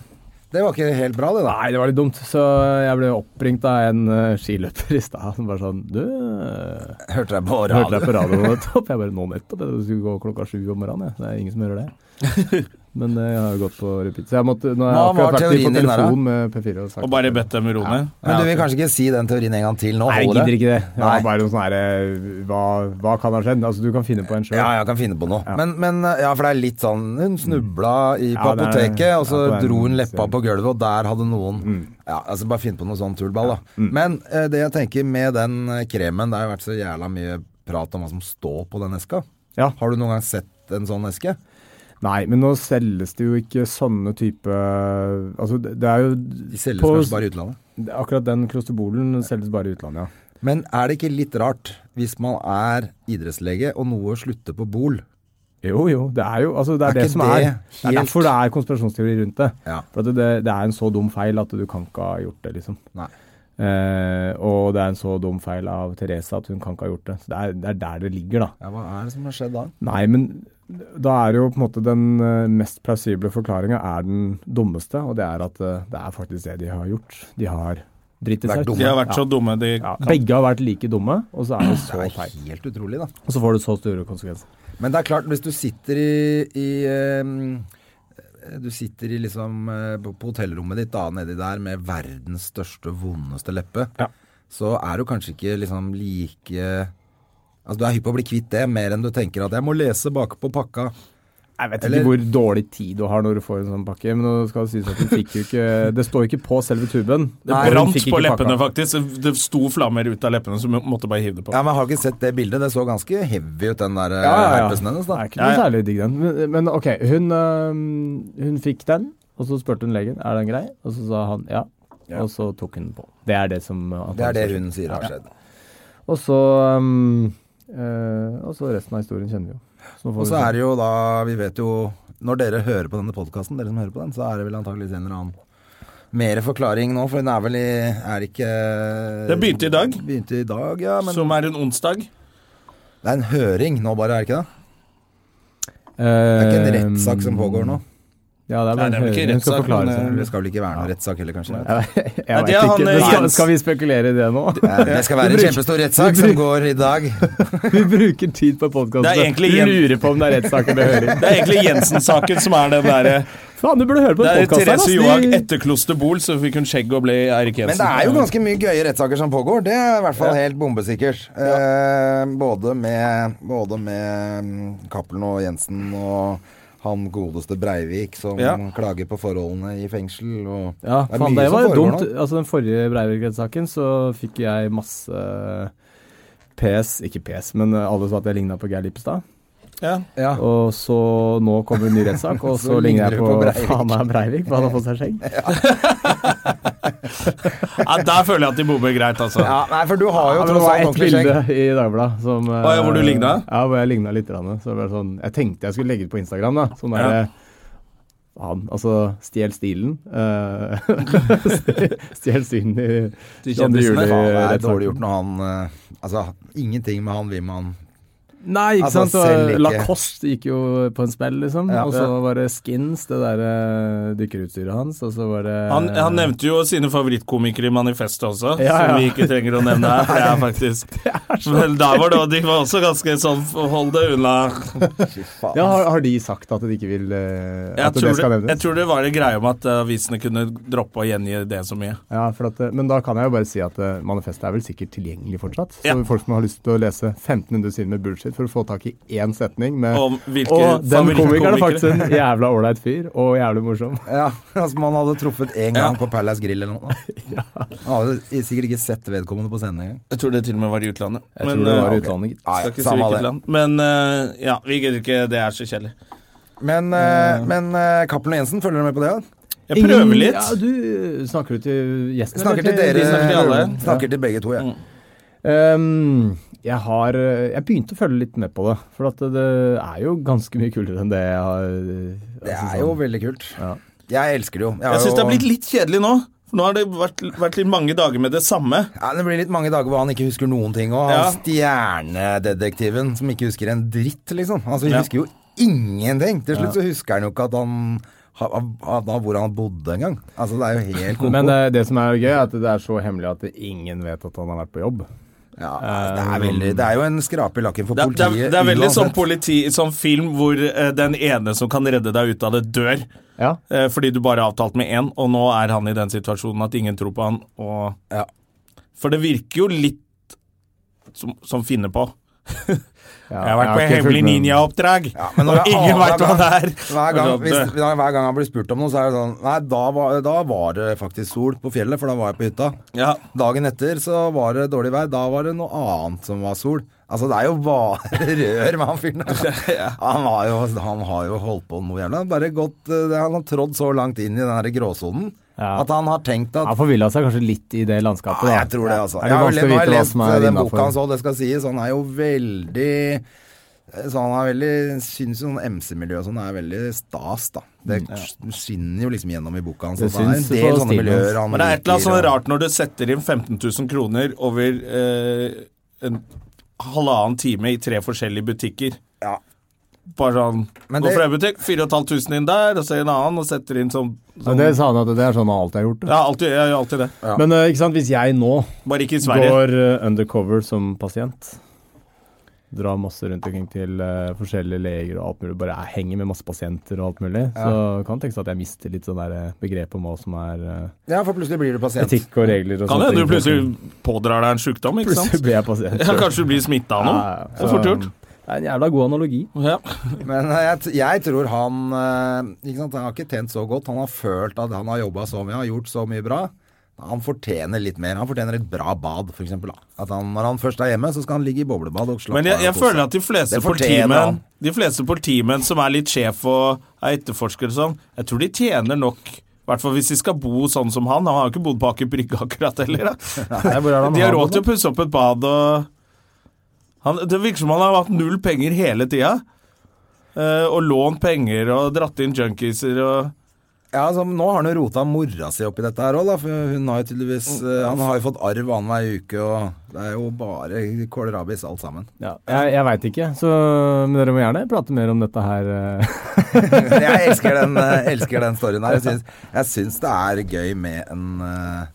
Speaker 2: Det var ikke helt bra, det da.
Speaker 3: Nei, det var litt dumt. Så jeg ble oppringt av en eh, skiløper i stad som bare sånn Du, eh,
Speaker 2: Hørte deg på
Speaker 3: hørte deg på radioen nettopp? Jeg bare Nå nettopp? Jeg skulle gå klokka sju om morgenen, jeg. Det er ingen som hører det. Men eh, jeg har jo gått på repeat. Så jeg måtte Nå har jeg
Speaker 2: Hva var
Speaker 3: akkurat vært i- på
Speaker 2: teorien din der, da?
Speaker 3: telefon med P4 og sagt
Speaker 1: Og bare
Speaker 3: at-
Speaker 1: bedt dem roe ned.
Speaker 2: Men du vil kanskje ikke si den teorien en gang til nå?
Speaker 3: Nei, jeg
Speaker 2: holder
Speaker 3: gidder ikke det. Det var
Speaker 2: Nei.
Speaker 3: bare noe sånn herre hva, hva kan ha skjedd? Altså, du kan finne på en sjøl.
Speaker 2: Ja, jeg kan finne på noe. Men, men ja, for det er litt sånn Hun snubla i, på
Speaker 3: Mm. Ja, det er-
Speaker 2: apoteket, og så
Speaker 3: ja, det er en Mm.
Speaker 2: dro hun leppa
Speaker 3: scene.
Speaker 2: på gulvet, og der hadde noen Ja, altså Bare finn på noe sånn tullball, da.
Speaker 3: mm.
Speaker 2: Men eh, det jeg tenker med den eh, kremen Det har jo vært så jævla mye prat om hva som står på den eska.
Speaker 3: Ja.
Speaker 2: Har du noen gang sett en sånn eske?
Speaker 3: Nei, men nå selges det jo ikke sånne type Altså, det det er jo
Speaker 2: De selges
Speaker 3: på-
Speaker 2: kanskje bare i utlandet.
Speaker 3: Akkurat den klosterbolen selges bare i utlandet, ja.
Speaker 2: Men er det ikke litt rart hvis man er idrettslege og noe slutter på bol?
Speaker 3: Jo, jo. Det er jo altså, det, er
Speaker 2: Er
Speaker 3: det,
Speaker 2: ikke
Speaker 3: som
Speaker 2: det
Speaker 3: er. Det
Speaker 2: helt-
Speaker 3: er derfor det er konspirasjonsteori rundt det.
Speaker 2: Ja.
Speaker 3: For at det, det er en så dum feil at du kan ikke ha gjort det, liksom.
Speaker 2: Nei.
Speaker 3: Eh, og det er en så dum feil av Therese at hun kan ikke ha gjort det. Så det er, det er der det ligger, da.
Speaker 2: Ja, Hva er det som har skjedd da?
Speaker 3: Nei, men da er jo på en måte den eh, mest plausible forklaringa er den dummeste, og det er at eh, det er faktisk det de har gjort. De har dritt i
Speaker 2: Vært
Speaker 3: seg.
Speaker 2: dumme.
Speaker 1: De har vært så
Speaker 3: Ja.
Speaker 1: dumme, de
Speaker 3: Ja. Begge har vært like dumme, og så er det så
Speaker 2: Det er
Speaker 3: feil.
Speaker 2: helt utrolig, da.
Speaker 3: Og så får det så store konsekvenser.
Speaker 2: Men det er klart, hvis du sitter i, i ehm, Du sitter i liksom eh, på på hotellrommet ditt da, nedi der med verdens største, vondeste leppe,
Speaker 3: Ja.
Speaker 2: så er du kanskje ikke liksom like Altså, du er hypp på å bli kvitt det, mer enn du tenker at 'jeg må lese bakpå pakka'.
Speaker 3: Jeg vet
Speaker 2: Eller-
Speaker 3: ikke hvor dårlig tid du har når du får en sånn pakke, men nå skal det sies at hun fikk jo ikke Det står jo ikke på selve tuben.
Speaker 1: Det
Speaker 3: Og hun
Speaker 1: brant
Speaker 3: fikk
Speaker 1: på
Speaker 3: ikke
Speaker 1: leppene,
Speaker 3: pakka.
Speaker 1: faktisk. Det sto flammer ut av leppene, så vi måtte bare hive det på.
Speaker 2: Ja, men Har du ikke sett det bildet? Det så ganske heavy ut, den der eh,
Speaker 3: Ja, ja, ja.
Speaker 2: herpesen hennes.
Speaker 3: Det
Speaker 2: da.
Speaker 3: er ikke noe
Speaker 1: Ja, ja.
Speaker 3: særlig digg, den. Men, men ok, hun, øhm, hun fikk den, og så spurte hun legen er den grei, og så sa han ja. Og så tok hun den på. Det er det som øh,
Speaker 2: Det er det
Speaker 3: antageligvis-
Speaker 2: hun sier har skjedd.
Speaker 3: Og så øhm, øh, Og så resten av historien kjenner vi jo. Så nå får
Speaker 2: Og
Speaker 3: vi
Speaker 2: så
Speaker 3: se.
Speaker 2: er det jo da Vi vet jo Når dere hører på denne podkasten, dere som hører på den, så er det vel antakeligvis en eller annen mer forklaring nå, for den er vel i Er ikke
Speaker 1: Det begynte i dag.
Speaker 2: Begynte i dag, ja. Men
Speaker 1: Som er en onsdag.
Speaker 2: det er en høring nå, bare, er det ikke det? Det er
Speaker 3: Eh,
Speaker 2: ikke en
Speaker 1: Ehm,
Speaker 2: rettssak som pågår nå.
Speaker 3: Ja, det er bare
Speaker 1: Nei, det er vel ikke
Speaker 3: hun skal
Speaker 1: rettssak,
Speaker 3: forklare
Speaker 1: men, øh,
Speaker 3: seg.
Speaker 2: Det skal vel ikke være noen rettssak heller, kanskje?
Speaker 3: [laughs] Jeg vet
Speaker 1: Nei, det er han, øh,
Speaker 3: ikke. Men Skal,
Speaker 1: Jens.
Speaker 3: skal vi spekulere i det nå?
Speaker 2: Eh, Det skal være en
Speaker 3: Du bruker-
Speaker 2: kjempestor rettssak
Speaker 3: du
Speaker 2: som
Speaker 3: bruker-
Speaker 2: går i dag.
Speaker 3: Vi [laughs] bruker tid på podkasten.
Speaker 1: Det er egentlig
Speaker 3: Du
Speaker 1: Jen-
Speaker 3: lurer på om det er rettssak eller høring.
Speaker 1: [laughs] Det er egentlig Jensen-saken som er
Speaker 3: [laughs]
Speaker 1: den derre
Speaker 3: Faen, du burde høre på
Speaker 1: Det er
Speaker 3: en podkast
Speaker 1: Therese Johaug etter Kloster Bol, så fikk hun skjegg og ble Eirik Jensen.
Speaker 2: Men det er jo ganske mye gøye rettssaker som pågår. Det er i hvert fall helt bombesikkert. Eh, både med, både med mm, Cappelen og Jensen og han godeste Breivik som
Speaker 1: Ja.
Speaker 2: klager på forholdene i fengsel. Og
Speaker 3: Ja,
Speaker 2: Det er
Speaker 3: faen,
Speaker 2: mye
Speaker 3: det
Speaker 2: som
Speaker 3: var jo
Speaker 2: foregår
Speaker 3: dumt.
Speaker 2: nå.
Speaker 3: Altså, den forrige Breivik-rettssaken så fikk jeg masse PS, ikke PS, men alle sa at jeg ligna på Geir Lippestad.
Speaker 1: Ja.
Speaker 2: Ja.
Speaker 3: Og så nå kommer en ny rettssak,
Speaker 2: [laughs]
Speaker 3: og
Speaker 2: Så
Speaker 3: så ligner
Speaker 2: ligner
Speaker 3: jeg
Speaker 2: du
Speaker 3: på,
Speaker 2: på Breivik.
Speaker 3: faen meg Breivik, for han har fått seg skjegg.
Speaker 1: Ja, der føler jeg at de bommer greit, altså.
Speaker 2: Ja, nei, for du har jo
Speaker 3: Ja, men
Speaker 2: tross
Speaker 3: det
Speaker 2: alt
Speaker 3: var ett
Speaker 2: ordentlig skjegg.
Speaker 3: bilde eh, i Dagbladet som eh,
Speaker 1: Å, ja, hvor du lignet?
Speaker 3: Ja, hvor jeg ligna litt. grann, Så det var sånn, jeg tenkte jeg skulle legge ut på Instagram, da. Sånn der,
Speaker 1: Ja.
Speaker 3: eh, Faen, altså stjel stilen. eh, [laughs] stjel stilen i 22.
Speaker 2: Faen, det er
Speaker 3: juli-rettssaken.
Speaker 2: dårlig gjort når han eh, Altså, ingenting med han vil man
Speaker 3: Nei, ikke
Speaker 2: Altså,
Speaker 3: sant.
Speaker 2: selv
Speaker 3: Og
Speaker 2: ikke.
Speaker 3: Lacoste gikk jo på en smell, liksom.
Speaker 2: Ja.
Speaker 3: og så var det Skins, det derre dykkerutstyret hans, og så var det
Speaker 1: Han, han nevnte jo sine favorittkomikere i manifestet også,
Speaker 3: Ja, ja.
Speaker 1: som vi ikke trenger å nevne her. for Det
Speaker 3: [laughs]
Speaker 1: er faktisk Men da var det, De var også ganske sånn Hold det unna.
Speaker 2: Fy faen.
Speaker 3: ja, har, har de sagt at de ikke vil eh,
Speaker 1: Jeg
Speaker 3: At det
Speaker 1: tror
Speaker 3: skal
Speaker 1: det, jeg
Speaker 3: nevnes?
Speaker 1: tror det var en greie om at eh, avisene kunne droppe å gjengi det så mye.
Speaker 3: Ja, for at, eh, men da kan jeg jo bare si at eh, manifestet er vel sikkert tilgjengelig fortsatt. Så
Speaker 1: Ja.
Speaker 3: folk som har lyst til å lese 1500 sider med bullshit for å få tak i én setning med
Speaker 1: Om hvilke
Speaker 3: Og den komikeren er faktisk
Speaker 1: favorittkomikere
Speaker 3: en jævla ålreit fyr, og jævlig morsom.
Speaker 2: Ja, [laughs] altså man hadde truffet én gang
Speaker 1: Ja.
Speaker 2: på Palace Grill eller
Speaker 3: [laughs]
Speaker 2: noe. Man hadde sikkert ikke sett vedkommende på scenen engang.
Speaker 1: Jeg tror det til og med var i utlandet.
Speaker 3: Jeg tror det
Speaker 1: eh,
Speaker 3: var i
Speaker 1: ok.
Speaker 3: utlandet, gitt.
Speaker 2: Nei,
Speaker 1: Skal ikke si
Speaker 2: samme
Speaker 1: hvilket
Speaker 2: det.
Speaker 1: land. Men eh, ja, vi gidder ikke. Det er så kjedelig.
Speaker 2: Men, eh, men eh, Cappelen og Jensen, følger du med på det? da?
Speaker 1: Jeg prøver
Speaker 3: Ja,
Speaker 1: litt.
Speaker 3: du eh, snakker du til gjesten?
Speaker 2: Snakker
Speaker 3: eller
Speaker 1: eh,
Speaker 2: til dere.
Speaker 1: snakker til alle.
Speaker 2: Snakker til begge to, ja.
Speaker 3: Ehm, jeg har eh, Jeg begynte å følge litt med på det. For at det, det er jo ganske mye kulere enn det jeg har eh,
Speaker 2: Det
Speaker 3: altså
Speaker 2: er
Speaker 3: sånn-
Speaker 2: jo veldig kult.
Speaker 3: Ja.
Speaker 2: Jeg elsker det jo. har
Speaker 1: Jeg syns det
Speaker 2: jo-
Speaker 1: har blitt litt kjedelig nå. For nå har det vært, vært litt mange dager med det samme.
Speaker 2: Ja, Det blir litt mange dager hvor han ikke husker noen ting. Og han
Speaker 1: Ja.
Speaker 2: stjernedetektiven som ikke husker en dritt, liksom. Altså, Han
Speaker 1: Ja.
Speaker 2: husker jo ingenting. Til slutt så husker han jo ikke at han ha- ha- da hvor han bodde engang. Altså, det er jo helt koko.
Speaker 3: Men eh, det som er gøy, er at det er så hemmelig at ingen vet at han har vært på jobb.
Speaker 2: ja, altså, det, er veldig, det er jo en skrape i lakken for
Speaker 1: Det, er- det,
Speaker 2: politiet.
Speaker 1: er, det er veldig sånn,
Speaker 2: uansett.
Speaker 1: politi, sånn film hvor eh, den ene som kan redde deg ut av det, dør.
Speaker 3: Ja.
Speaker 1: Eh, fordi du bare avtalte med én, og nå er han i den situasjonen at ingen tror på han. Og...
Speaker 2: Ja.
Speaker 1: For det virker jo litt som, som finner på.
Speaker 3: Ja,
Speaker 1: Jeg har vært på
Speaker 3: ikke fulgt
Speaker 1: hemmelig
Speaker 3: med.
Speaker 1: ninjaoppdrag,
Speaker 2: Ja, men når
Speaker 1: og
Speaker 2: det er
Speaker 1: ingen
Speaker 2: annenhver
Speaker 1: veit hva det er.
Speaker 2: gang- Hver
Speaker 1: Og
Speaker 2: gang,
Speaker 1: så
Speaker 2: hvis,
Speaker 1: dø.
Speaker 2: hver gang han blir spurt om noe, så er det sånn Nei, da var, da var det faktisk sol på fjellet, for da var jeg på hytta.
Speaker 1: ja.
Speaker 2: Dagen etter så var det dårlig vær. Da var det noe annet som var sol. Altså, det er jo bare [laughs] rør med han fyren der. Han, har jo- han har jo holdt på noe jævla. Bare gått eh, det- Han har trådd så langt inn i den her gråsonen
Speaker 3: Ja.
Speaker 2: at han har tenkt at
Speaker 3: Han forvilla seg kanskje litt i det landskapet,
Speaker 2: ja,
Speaker 3: da.
Speaker 2: jeg tror det, altså.
Speaker 3: Er det
Speaker 2: Jeg har
Speaker 3: vanskelig å
Speaker 2: le- nå har
Speaker 3: vite
Speaker 2: jeg
Speaker 3: hva
Speaker 2: lest eh,
Speaker 3: som er
Speaker 2: den
Speaker 3: innenfor?
Speaker 2: boka hans òg, det skal sies. Han er jo veldig eh, så han er veldig, synes jo sånn MC-miljø og sånn er veldig stas, da. Det skinner jo liksom gjennom i boka hans.
Speaker 3: Mm, Det
Speaker 2: at Det, er en
Speaker 3: syns
Speaker 2: del sånne
Speaker 3: på stilen hans.
Speaker 2: miljøer han
Speaker 1: Men det er et eller annet
Speaker 2: liker, og-
Speaker 1: sånn rart når du setter inn 15 000 kroner over eh, en halvannen time i tre forskjellige butikker.
Speaker 2: Ja.
Speaker 1: Bare sånn
Speaker 2: Men
Speaker 1: Gå
Speaker 2: det-
Speaker 1: fra en butikk, 4500 inn der, og så en annen, og setter inn sånn,
Speaker 3: Men
Speaker 1: sånn
Speaker 3: det sa han at det er sånn han alltid har gjort det.
Speaker 1: Ja, alltid, jeg gjør alltid det.
Speaker 3: Men eh, ikke sant, hvis jeg nå
Speaker 1: Bare ikke i Sverige.
Speaker 3: går eh, undercover som pasient, drar masse rundt omkring til eh, forskjellige leger og alt mulig, bare er, henger med masse pasienter og alt mulig, så kan det tenkes at jeg mister litt sånn der eh, begrep om hva som er eh,
Speaker 2: Ja, for plutselig blir du pasient.
Speaker 3: etikk og regler og
Speaker 1: Kan
Speaker 3: sånne
Speaker 1: hende du
Speaker 3: ting.
Speaker 1: plutselig pådrar deg en sjukdom, ikke sant?
Speaker 3: [laughs] Plutselig blir jeg pasient.
Speaker 1: Ja, kanskje du blir smitta av noe.
Speaker 3: Ja, ja, ja.
Speaker 1: Det er fort gjort.
Speaker 3: Det er en jævla god analogi.
Speaker 1: Ja.
Speaker 2: Men eh, jeg, t- jeg tror han eh, ikke sant, Han har ikke tjent så godt. Han har følt at han har jobba så mye, har gjort så mye bra. Han fortjener litt mer. Han fortjener et bra bad, f.eks. At han, når han først er hjemme, så skal han ligge i boblebad og slappe
Speaker 1: Men jeg, jeg føler at de fleste
Speaker 2: Det fortjener
Speaker 1: politimenn
Speaker 2: han.
Speaker 1: De fleste politimenn som er litt sjef og er etterforskere og sånn, jeg tror de tjener nok i hvert fall hvis de skal bo sånn som han. Han har jo ikke bodd på Aker Brygge akkurat heller. Da.
Speaker 3: [laughs] Nei, hvor er det han
Speaker 1: De har
Speaker 3: har
Speaker 1: råd
Speaker 3: det,
Speaker 1: til å pusse opp et bad og han, Det virker som han har hatt null penger hele tida. Eh, og lånt penger og dratt inn junkiser og
Speaker 2: Ja, altså, Nå har han jo rota mora si oppi dette her òg, da. For hun har jo tydeligvis
Speaker 3: Mm.
Speaker 2: eh, Han har jo fått arv annenhver uke, og det er jo bare kålrabis alt sammen. [laughs]
Speaker 3: Ja, jeg jeg veit ikke, så, men dere må gjerne prate mer om dette her. eh. [laughs]
Speaker 2: Jeg elsker den, eh, elsker den storyen her. Jeg syns, jeg syns det er gøy med en eh,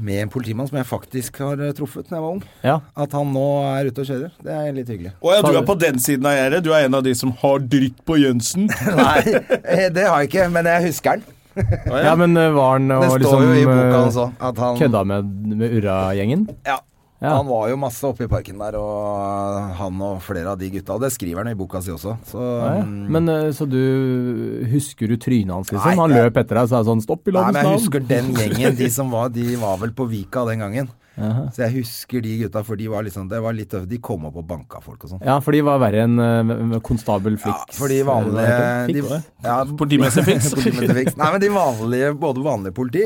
Speaker 2: med en politimann som jeg faktisk har eh, truffet da jeg var ung.
Speaker 3: Ja.
Speaker 2: At han nå er ute og kjører. Det er litt
Speaker 3: [laughs]
Speaker 2: hyggelig.
Speaker 1: Å ja, du er på den siden av gjerdet. Du er en av de som har dritt på Jønsen.
Speaker 2: Nei, [laughs] eh, det har jeg ikke, men jeg husker den.
Speaker 3: ja, men eh, var han
Speaker 2: Det
Speaker 3: og
Speaker 2: står
Speaker 3: liksom
Speaker 2: jo i boka
Speaker 3: eh,
Speaker 2: også. At han,
Speaker 3: kødda med, med Urra-gjengen?
Speaker 2: Ja.
Speaker 3: Ja.
Speaker 2: Han var jo masse oppe i parken der, og eh, han og flere av de gutta. Og det skriver han i boka si også. Så
Speaker 3: Ja, ja.
Speaker 2: mm,
Speaker 3: Men eh, så du Husker du trynet hans, liksom?
Speaker 2: Nei,
Speaker 3: han
Speaker 2: jeg-
Speaker 3: løp etter deg og sa sånn 'stopp
Speaker 2: Nei,
Speaker 3: i
Speaker 2: men
Speaker 3: landets
Speaker 2: jeg
Speaker 3: navn'.
Speaker 2: husker den gjengen,
Speaker 3: [laughs]
Speaker 2: de som var De var vel på Vika den gangen. Så jeg husker de gutta, for de var liksom, det var litt tøft. De kom opp og banka folk og sånn.
Speaker 3: Ja, for de var verre enn eh, konstabel
Speaker 2: Ja,
Speaker 3: Flix.
Speaker 2: for de
Speaker 3: eller hva
Speaker 2: vanlige
Speaker 3: det heter.
Speaker 2: de,
Speaker 3: Flix, var det?
Speaker 2: ja,
Speaker 1: Politimester Fix.
Speaker 2: [laughs] politimester Fix. Nei, men de vanlige, både vanlige politi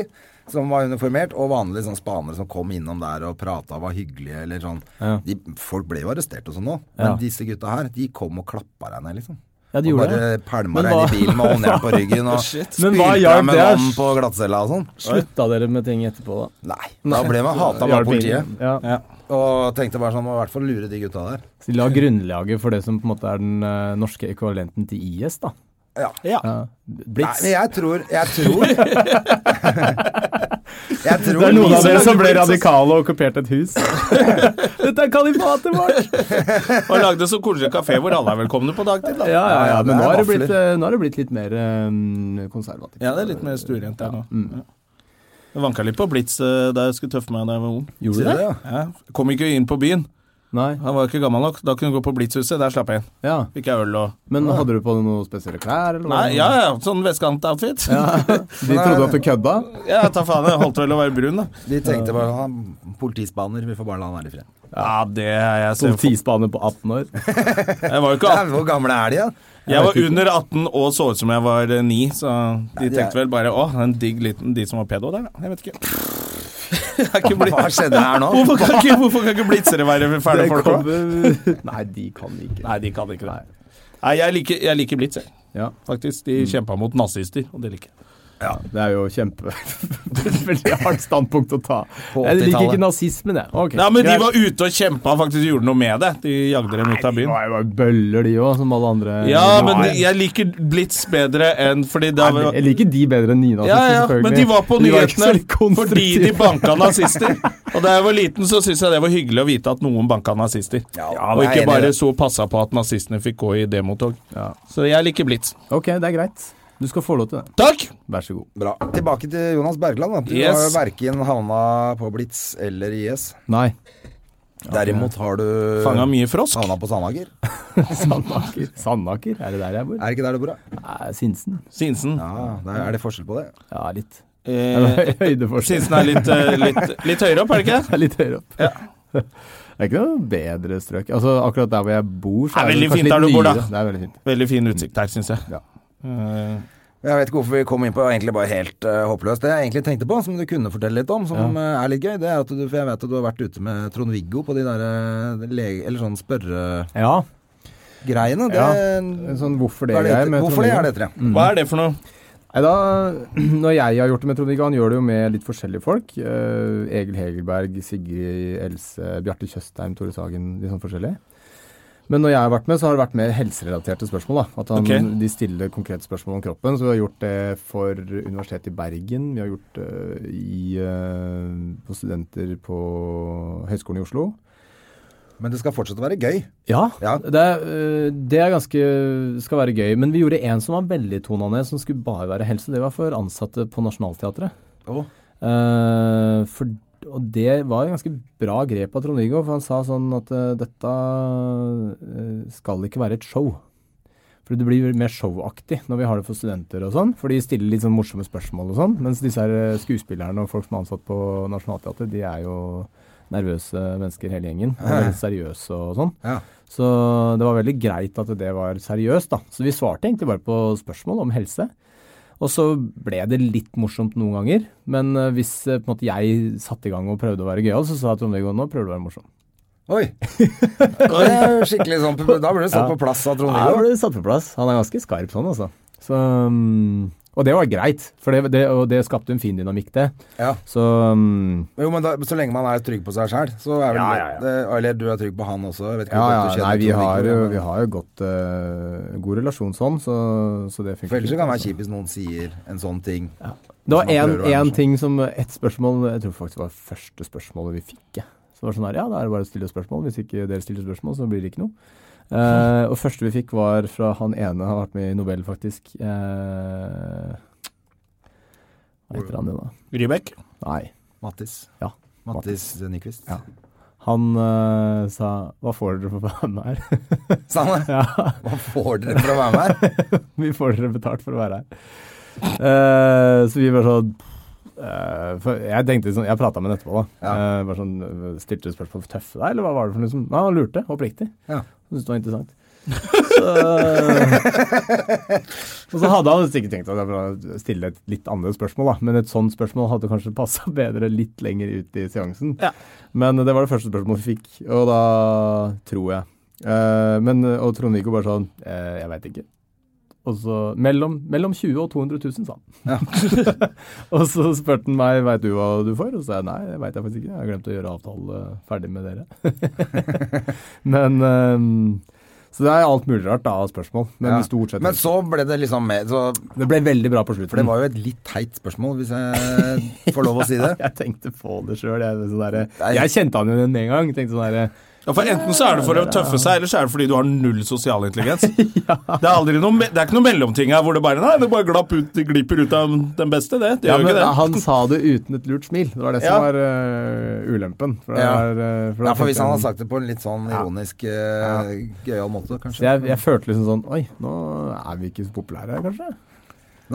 Speaker 2: som var uniformert, og vanlige sånn spanere som kom innom der og prata, var hyggelige eller sånn.
Speaker 3: Ja.
Speaker 2: De, folk ble jo arrestert og sånn nå, men
Speaker 3: Ja.
Speaker 2: disse gutta her, de kom og klappa deg ned, liksom.
Speaker 3: Ja, de
Speaker 2: og
Speaker 3: gjorde
Speaker 2: bare
Speaker 3: det.
Speaker 2: pælma
Speaker 3: Men
Speaker 2: deg inn
Speaker 3: hva-
Speaker 2: i bilen med håndjern på ryggen
Speaker 3: [laughs]
Speaker 2: og
Speaker 3: Men
Speaker 2: spylte
Speaker 3: hva
Speaker 2: deg
Speaker 3: hjalp
Speaker 2: med
Speaker 3: det?
Speaker 2: vann på glattcella og sånn.
Speaker 3: Slutta dere med ting etterpå, da?
Speaker 2: Nei, da ble man hata av
Speaker 3: Hjalp
Speaker 2: politiet.
Speaker 3: ingen. Ja.
Speaker 2: Og tenkte bare sånn, må i hvert fall lure de gutta der.
Speaker 3: Så de la grunnlaget for det som på en måte er den eh, norske ekvivalenten til IS, da.
Speaker 2: Ja.
Speaker 3: Ja.
Speaker 2: Nei,
Speaker 3: Blitz.
Speaker 2: men jeg tror Jeg
Speaker 3: [laughs]
Speaker 2: tror Jeg tror
Speaker 3: det er noen av
Speaker 1: som
Speaker 3: dere
Speaker 1: lagde
Speaker 3: som ble
Speaker 1: Blitz, altså.
Speaker 3: radikale og okkuperte et hus. [laughs] Dette er kalifatet vårt!
Speaker 1: [laughs] Og lagde en så koselig kafé hvor alle er velkomne på dagtid.
Speaker 3: Ja,
Speaker 1: Da.
Speaker 3: ja, ja, men
Speaker 2: det er
Speaker 3: nå har det
Speaker 2: vafler.
Speaker 3: blitt, eh, nå har det blitt litt mer eh, konservativt.
Speaker 1: Ja, det er litt mer stuerent der nå. Ja. Mm. Jeg vanka litt på Blitz eh, da jeg skulle tøffe meg da jeg var ung.
Speaker 3: Gjorde
Speaker 2: Sier
Speaker 3: du
Speaker 2: du
Speaker 3: det?
Speaker 2: det, ja?
Speaker 1: Ja, kom ikke inn på byen.
Speaker 3: Nei.
Speaker 1: Han var ikke gammel nok. Da kunne du gå på Blitzhuset. Der slapp jeg inn.
Speaker 3: Ja.
Speaker 1: Fikk jeg øl og
Speaker 3: Men hadde du på deg noen spesielle klær, eller?
Speaker 1: Nei, ja, ja, sånn vestkant-outfit. [laughs] Ja.
Speaker 3: De trodde at du kødda?
Speaker 1: ta faen. Jeg holdt vel å være brun, da.
Speaker 2: De tenkte bare han politispaner, vi får bare la han være i fred.
Speaker 1: Ja, det er jeg ser for-
Speaker 3: Politispaner Sånn på 18 år.
Speaker 1: Jeg var jo [laughs] ikke
Speaker 2: Ja,
Speaker 1: 18.
Speaker 2: hvor gamle er de, da?
Speaker 1: Jeg var under 18 og så ut som jeg var 9, så de
Speaker 2: det er-
Speaker 1: tenkte vel bare å, en digg liten de som var pedo der, da. [laughs] Jeg vet ikke. er ikke blitt-
Speaker 2: Hva skjedde her nå?
Speaker 1: Hvorfor kan ikke, hvorfor kan ikke blitzere være fæle
Speaker 3: [laughs] Det
Speaker 1: folk òg?
Speaker 3: kommer- Nei, de kan ikke.
Speaker 1: Nei, de kan ikke det. Nei, jeg liker, jeg liker blitz, jeg.
Speaker 3: Ja,
Speaker 1: Faktisk. De
Speaker 3: Mm.
Speaker 1: kjempa mot nazister, og det liker jeg.
Speaker 3: det er jo kjempe [laughs] Veldig hardt standpunkt å ta.
Speaker 2: På
Speaker 3: Jeg liker
Speaker 2: 80-tallet.
Speaker 3: ikke nazismen, jeg. Ok,
Speaker 1: Nei, men de
Speaker 3: greit.
Speaker 1: var ute og kjempa, faktisk gjorde noe med det. De jagde dem ut av
Speaker 3: Nei,
Speaker 1: byen.
Speaker 3: de var jo bøller, de òg, som alle andre.
Speaker 1: Ja, men
Speaker 3: Nei.
Speaker 1: jeg liker blitz bedre enn fordi da
Speaker 3: Nei, Jeg liker de bedre enn nynazister,
Speaker 1: Ja, ja,
Speaker 3: selvfølgelig.
Speaker 1: men de var på
Speaker 3: ikke så
Speaker 1: nyhetene
Speaker 3: litt konstruktive.
Speaker 1: fordi de banka nazister. Og da jeg var liten, så syntes jeg det var hyggelig å vite at noen banka nazister.
Speaker 2: Ja,
Speaker 1: og
Speaker 2: jeg er enig
Speaker 1: ikke
Speaker 2: i
Speaker 1: bare
Speaker 2: det.
Speaker 1: så passa på at nazistene fikk gå i demotog.
Speaker 3: Ja.
Speaker 1: Så jeg liker blitz.
Speaker 3: Ok, det er greit. Du skal få lov til det.
Speaker 1: Takk!
Speaker 3: Vær så god.
Speaker 2: Bra. Tilbake til Jonas Bergland. Da. Du
Speaker 1: Yes.
Speaker 2: har jo verken havna på Blitz eller IS.
Speaker 3: Nei.
Speaker 2: Derimot har du
Speaker 1: Fanga mye frosk.
Speaker 2: havna på Sandaker.
Speaker 3: Sandaker. Sandaker? Er det der jeg bor?
Speaker 2: Er det ikke der du bor, da?
Speaker 3: Nei, Sinsen.
Speaker 1: Sinsen.
Speaker 2: Ja, der er det forskjell på det.
Speaker 3: Ja, litt.
Speaker 1: Eh,
Speaker 3: Høydeforskjell.
Speaker 1: Sinsen er litt,
Speaker 3: [laughs]
Speaker 1: eh, litt, litt høyere opp, er det ikke? det?
Speaker 3: Det er litt høyere opp. [laughs] Det er ikke noe bedre strøk. Altså, akkurat der hvor jeg bor, så
Speaker 1: Det er
Speaker 3: er,
Speaker 1: veldig
Speaker 3: kanskje
Speaker 1: fint der
Speaker 3: litt
Speaker 1: du bor, da.
Speaker 3: nyere. Det er veldig fint.
Speaker 1: Veldig fin utsikt her, syns jeg.
Speaker 3: Ja.
Speaker 1: Eh,
Speaker 2: Jeg vet ikke hvorfor vi kom inn på egentlig bare helt eh, håpløst. Det jeg egentlig tenkte på, som du kunne fortelle litt om, som eh, er litt gøy, det er at du, for jeg vet at du har vært ute med Trond-Viggo på de der eh, lege... Eller sånn spørregreiene.
Speaker 3: Ja.
Speaker 2: Det,
Speaker 3: Ja. En sånn hvorfor det,
Speaker 2: hva er det
Speaker 3: jeg
Speaker 2: heter?
Speaker 3: med
Speaker 2: Hvorfor det
Speaker 3: Trond-Viggo.
Speaker 2: er det heter det?
Speaker 1: Hva er det for noe?
Speaker 3: Nei, da, [clears throat] når jeg har gjort det med Trond-Viggo, han gjør det jo med litt forskjellige folk. Eh, Egil Hegelberg, Sigrid Else, Bjarte Tjøstheim, Tore Sagen, litt sånn forskjellig. Men når jeg har vært med, så har det vært mer helserelaterte spørsmål. da. At han,
Speaker 1: Ok.
Speaker 3: De stiller konkrete spørsmål om kroppen. Så vi har gjort det for Universitetet i Bergen. Vi har gjort det i, eh, på studenter på Høgskolen i Oslo.
Speaker 2: Men det skal fortsatt være gøy.
Speaker 3: Ja,
Speaker 2: Ja.
Speaker 3: Det, er, øh, det er ganske, skal være gøy. Men vi gjorde en som var veldig tonende, som skulle bare være helse. Det var for ansatte på Nationaltheatret.
Speaker 2: Å.
Speaker 3: Eh, for, og det var ganske bra grep av Trond-Viggo, for han sa sånn at eh, dette eh, skal ikke være et show. For det blir mer showaktig når vi har det for studenter og sånn. For de stiller litt sånn morsomme spørsmål og sånn. Mens disse her eh, skuespillerne og folk som er ansatt på Nationaltheatret, de er jo nervøse mennesker hele gjengen. Og veldig seriøse og sånn.
Speaker 2: Ja.
Speaker 3: Så det var veldig greit at det var seriøst, da. Så vi svarte egentlig bare på spørsmål om helse. Og så ble det litt morsomt noen ganger. Men eh, hvis eh, på en måte jeg satte i gang og prøvde å være gøyal, så sa Trond-Viggo nå prøver du å være morsom. [laughs]
Speaker 2: Oi! Det er jo skikkelig sånn pub- Da ble du satt på plass av
Speaker 3: Ja, da
Speaker 2: Trond-Viggo.
Speaker 3: ble det satt på plass. Han er ganske skarp sånn, altså. Så, um, og det var greit, for det, det, og det skapte en fin dynamikk, det.
Speaker 2: Ja.
Speaker 3: Så um,
Speaker 2: Jo, men da, så lenge man er trygg på seg sjæl, så er vel
Speaker 3: Ja, ja, ja.
Speaker 2: Det, Eller du er trygg på han også. Jeg vet ikke
Speaker 3: ja,
Speaker 2: hvor
Speaker 3: ja,
Speaker 2: godt du kjenner
Speaker 3: nei, vi
Speaker 2: Trond-Viggo,
Speaker 3: har jo,
Speaker 2: men-
Speaker 3: vi har jo godt, eh, god relasjon sånn, så, så det funker.
Speaker 2: For ellers så kan det være
Speaker 3: altså.
Speaker 2: kjipt hvis noen sier en sånn ting.
Speaker 3: Det var
Speaker 2: Hvis man prøver å være
Speaker 3: én
Speaker 2: morsom.
Speaker 3: ting som Et spørsmål Jeg tror faktisk det var første spørsmålet vi fikk. jeg. Så det var sånn her, ja, da er det bare å stille spørsmål. Hvis ikke dere stiller spørsmål, så blir det ikke noe. Eh, og første vi fikk, var fra han ene har vært med i Nobel, faktisk. Eh, hva heter han det, da?
Speaker 1: Rybek?
Speaker 3: Nei.
Speaker 2: Mattis.
Speaker 3: Ja.
Speaker 2: Mattis Nyquist.
Speaker 3: Ja. Han eh, sa 'hva får dere for å være med her'?
Speaker 2: Sa han det?
Speaker 3: ja,
Speaker 2: [laughs] Hva får dere for å være med her?
Speaker 3: [laughs] vi får dere betalt for å være her. Eh, så vi bare sånn eh, for Jeg tenkte sånn, jeg prata med ham etterpå, da. Eh, bare sånn, eh, Stilte du spørsmål for tøffe deg, eller hva var det for noe som Nei, han lurte, oppriktig.
Speaker 2: Ja.
Speaker 3: Han syntes det var interessant. Så, og så hadde han visst ikke tenkt at jeg ville stille et litt annerledes spørsmål, da. Men et sånt spørsmål hadde kanskje passa [laughs] bedre litt lenger ut i seansen.
Speaker 1: Ja.
Speaker 3: Men det var det første spørsmålet vi fikk, og da tror jeg. Eh, men, og Trond-Viggo bare sånn eh, Jeg veit ikke. Og så mellom, mellom 20 og 200 000, sa han. [laughs] Og så spurte han meg veit du hva du får, og så sa jeg nei, det veit jeg faktisk ikke. Jeg har glemt å gjøre avtale eh, ferdig med dere.
Speaker 2: [laughs]
Speaker 3: [laughs] Men ehm, Så det er alt mulig rart da, av spørsmål. Men
Speaker 2: Ja.
Speaker 3: stort sett
Speaker 2: Men så ble det liksom med så,
Speaker 3: Det ble veldig bra på slutten.
Speaker 2: For det var jo et litt teit spørsmål, hvis jeg får lov å si det.
Speaker 3: [laughs] Jeg tenkte på det sjøl. Jeg, sånn derre-
Speaker 2: Nei.
Speaker 3: jeg kjente han jo med en gang. Tenkte sånn derre
Speaker 1: Ja, for Enten så er det for å tøffe seg, eller så er det fordi du har null sosial [laughs] intelligens. Det er aldri noe, me- det er ikke noe mellomting her hvor det bare nei, det bare glapp ut, det glipper ut av den beste. Det Det
Speaker 3: ja,
Speaker 1: gjør jo
Speaker 3: men
Speaker 1: ikke det.
Speaker 3: Han sa det uten et lurt smil. Det var det
Speaker 1: Ja.
Speaker 3: som var øh, ulempen. For det
Speaker 2: Ja.
Speaker 3: var, øh, for da
Speaker 2: Ja, for hvis
Speaker 3: tenkte
Speaker 2: han
Speaker 3: jeg-
Speaker 2: hadde sagt det på en litt sånn ironisk, eh, gøyal måte,
Speaker 3: Så
Speaker 2: kanskje.
Speaker 3: jeg, jeg følte liksom sånn Oi, nå er vi ikke så populære her, kanskje?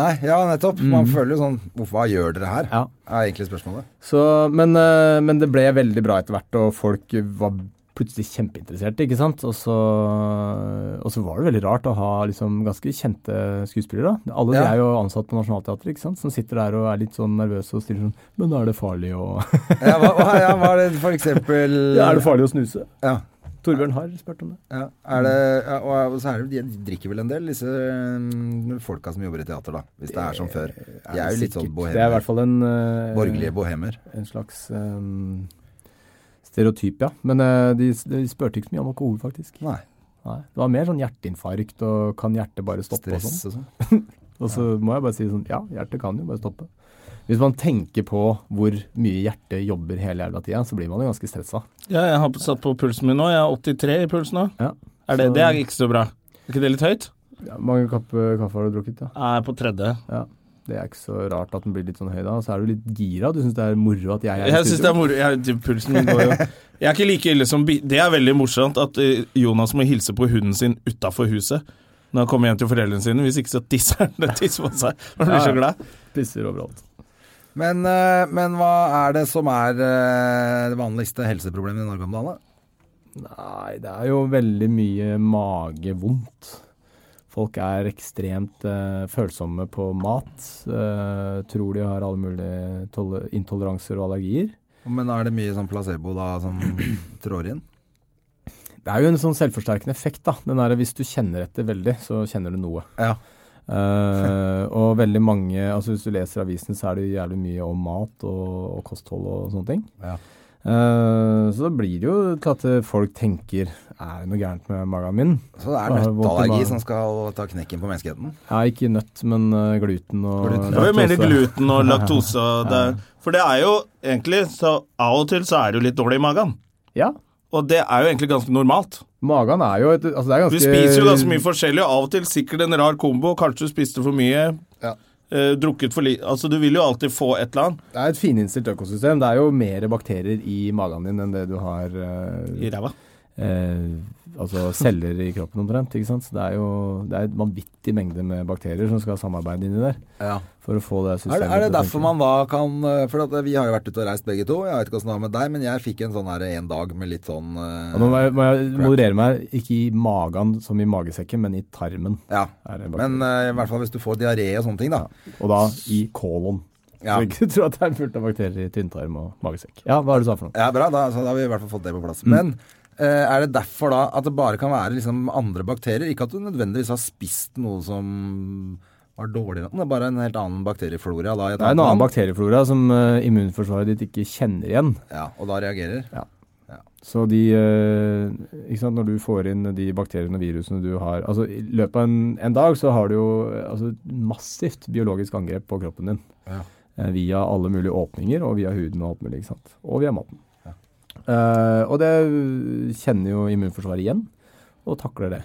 Speaker 2: Nei, ja, nettopp. Man føler jo sånn Hvorfor, hva gjør dere her?
Speaker 3: Mm. Ja.
Speaker 2: er egentlig spørsmålet.
Speaker 3: Så, men, eh, men det ble veldig bra etter hvert, og folk var plutselig kjempeinteresserte, ikke sant. Og så, og så var det veldig rart å ha liksom ganske kjente skuespillere. da. Alle de
Speaker 2: Ja.
Speaker 3: er jo ansatt på Nationaltheatret, ikke sant. Som sitter der og er litt sånn nervøse og stiller sånn Men er det farlig å [laughs]
Speaker 2: Ja, hva, hva, ja, hva er det for eksempel
Speaker 3: Er det farlig å snuse?
Speaker 2: Ja.
Speaker 3: Torbjørn Harr spurte om det.
Speaker 2: Ja, er det, ja, og og så er det, de drikker vel en del, disse øhm, folka som jobber i teater, da. Hvis det er som før. De er jo litt sånn
Speaker 3: Sikkert. Det er i
Speaker 2: bohemer.
Speaker 3: hvert fall en eh,
Speaker 2: Borgerlige bohemer.
Speaker 3: en slags um, stereotyp, ja. Men eh, de, de spurte ikke så mye om alkohol, faktisk.
Speaker 2: Nei.
Speaker 3: Nei. Det var mer sånn hjerteinfarkt og kan hjertet bare stoppe og
Speaker 2: Stress
Speaker 3: sånn.
Speaker 2: og sånn.
Speaker 3: Og så må jeg bare si sånn, ja, hjertet kan jo bare stoppe. Hvis man tenker på hvor mye hjertet jobber hele jævla tida, så blir man jo ganske stressa.
Speaker 1: Ja, jeg har satt på pulsen min nå. Jeg har 83 i puls nå.
Speaker 3: Ja.
Speaker 1: Er det,
Speaker 3: Så-
Speaker 1: det er ikke så bra. Er ikke det litt høyt?
Speaker 3: Ja, mange kapper kaffe har du drukket, ja.
Speaker 1: Jeg er på tredje.
Speaker 3: Det er ikke så rart at den blir litt sånn høy da. Og så er du litt gira. Du syns det er moro at jeg er
Speaker 1: Jeg syns det er moro. Jeg, det- pulsen min går jo [laughs] Jeg er ikke like ille som bi- Det er veldig morsomt at eh, Jonas må hilse på hunden sin utafor huset når han kommer hjem til foreldrene sine. Hvis ikke så tisser han [laughs] det tisser på seg. Han blir så
Speaker 3: Ja, ja.
Speaker 1: glad.
Speaker 3: Pisser overalt.
Speaker 2: Men, øh, men hva er det som er øh, det vanligste helseproblemet i Norge om dagen? da?
Speaker 3: Nei, det er jo veldig mye magevondt. Folk er ekstremt eh, følsomme på mat. eh, tror de har alle mulige tolle- intoleranser og allergier.
Speaker 2: Men er det mye sånn placebo da som [clears throat] trår inn?
Speaker 3: Det er jo en sånn selvforsterkende effekt, da. Den er, hvis du kjenner etter veldig, så kjenner du
Speaker 1: [laughs]
Speaker 3: noe.
Speaker 2: Ja.
Speaker 3: Eh, og veldig mange altså Hvis du leser avisen, så er det jo jævlig mye om mat og, og kosthold og sånne ting.
Speaker 2: Ja.
Speaker 3: Eh, så da blir det jo til at eh, folk tenker Er det noe gærent med magen min?
Speaker 2: Så det er
Speaker 3: Ja, vondt i
Speaker 2: nøtteallergi
Speaker 3: magen.
Speaker 2: som skal ta knekken på menneskeheten?
Speaker 3: Ja, ikke nøtt, men eh, gluten og
Speaker 2: Gluten.
Speaker 1: Det var jo mer
Speaker 3: laktose.
Speaker 1: gluten og laktose og det, For det er jo egentlig så Av og til så er du litt dårlig i magen.
Speaker 3: Ja.
Speaker 1: Og det er jo egentlig ganske normalt.
Speaker 3: Magen er jo et altså det er
Speaker 1: Du
Speaker 3: ganske,
Speaker 1: spiser jo ganske mye forskjellig, og av og til sikkert en rar kombo. Kanskje du spiste for mye,
Speaker 2: Ja.
Speaker 1: eh, drukket for lite Altså, du vil jo alltid få et eller annet
Speaker 3: Det er et fininnstilt økosystem. Det er jo mer bakterier i magen din enn det du har eh,
Speaker 1: i ræva.
Speaker 3: eh, altså celler i kroppen omtrent. ikke sant? Så det er jo det er en vanvittig mengde med bakterier som skal samarbeide inni der
Speaker 2: Ja.
Speaker 3: for å få det
Speaker 2: Er,
Speaker 3: systemet
Speaker 2: er det
Speaker 3: til å
Speaker 2: derfor
Speaker 3: funke.
Speaker 2: man da kan øh, For at vi har jo vært ute og reist begge to. Jeg vet ikke åssen det var med deg, men jeg fikk en sånn her en dag med litt sånn øh,
Speaker 3: Ja, Nå må jeg, må jeg moderere meg, ikke i magen som i magesekken, men i tarmen.
Speaker 2: Ja.
Speaker 3: Er det bakterier.
Speaker 2: Men øh, i hvert fall hvis du får diaré og sånne ting, da.
Speaker 3: Og da i kolon.
Speaker 2: Ja.
Speaker 3: Så ikke [laughs] tro at det er fullt av bakterier i tynntarm og magesekk. Ja, hva er det du sa for noe?
Speaker 2: Ja, bra. Da, så da har vi i hvert fall fått det på plass.
Speaker 3: Mm.
Speaker 2: Men eh, er det derfor da at det bare kan være liksom andre bakterier? Ikke at du nødvendigvis har spist noe som var dårligere, det er bare en helt annen bakterieflora da. i et
Speaker 3: Det er en
Speaker 2: annet
Speaker 3: annen
Speaker 2: land.
Speaker 3: bakterieflora som eh, immunforsvaret ditt ikke kjenner igjen.
Speaker 2: Ja, og da reagerer.
Speaker 3: Så de eh, Ikke sant, når du får inn de bakteriene og virusene du har Altså i løpet av en, en dag så har du jo eh, altså, massivt biologisk angrep på kroppen din.
Speaker 2: Ja.
Speaker 3: Eh, via alle mulige åpninger, og via huden og alt mulig, ikke sant. Og via maten. Eh, og det kjenner jo immunforsvaret igjen, og takler det.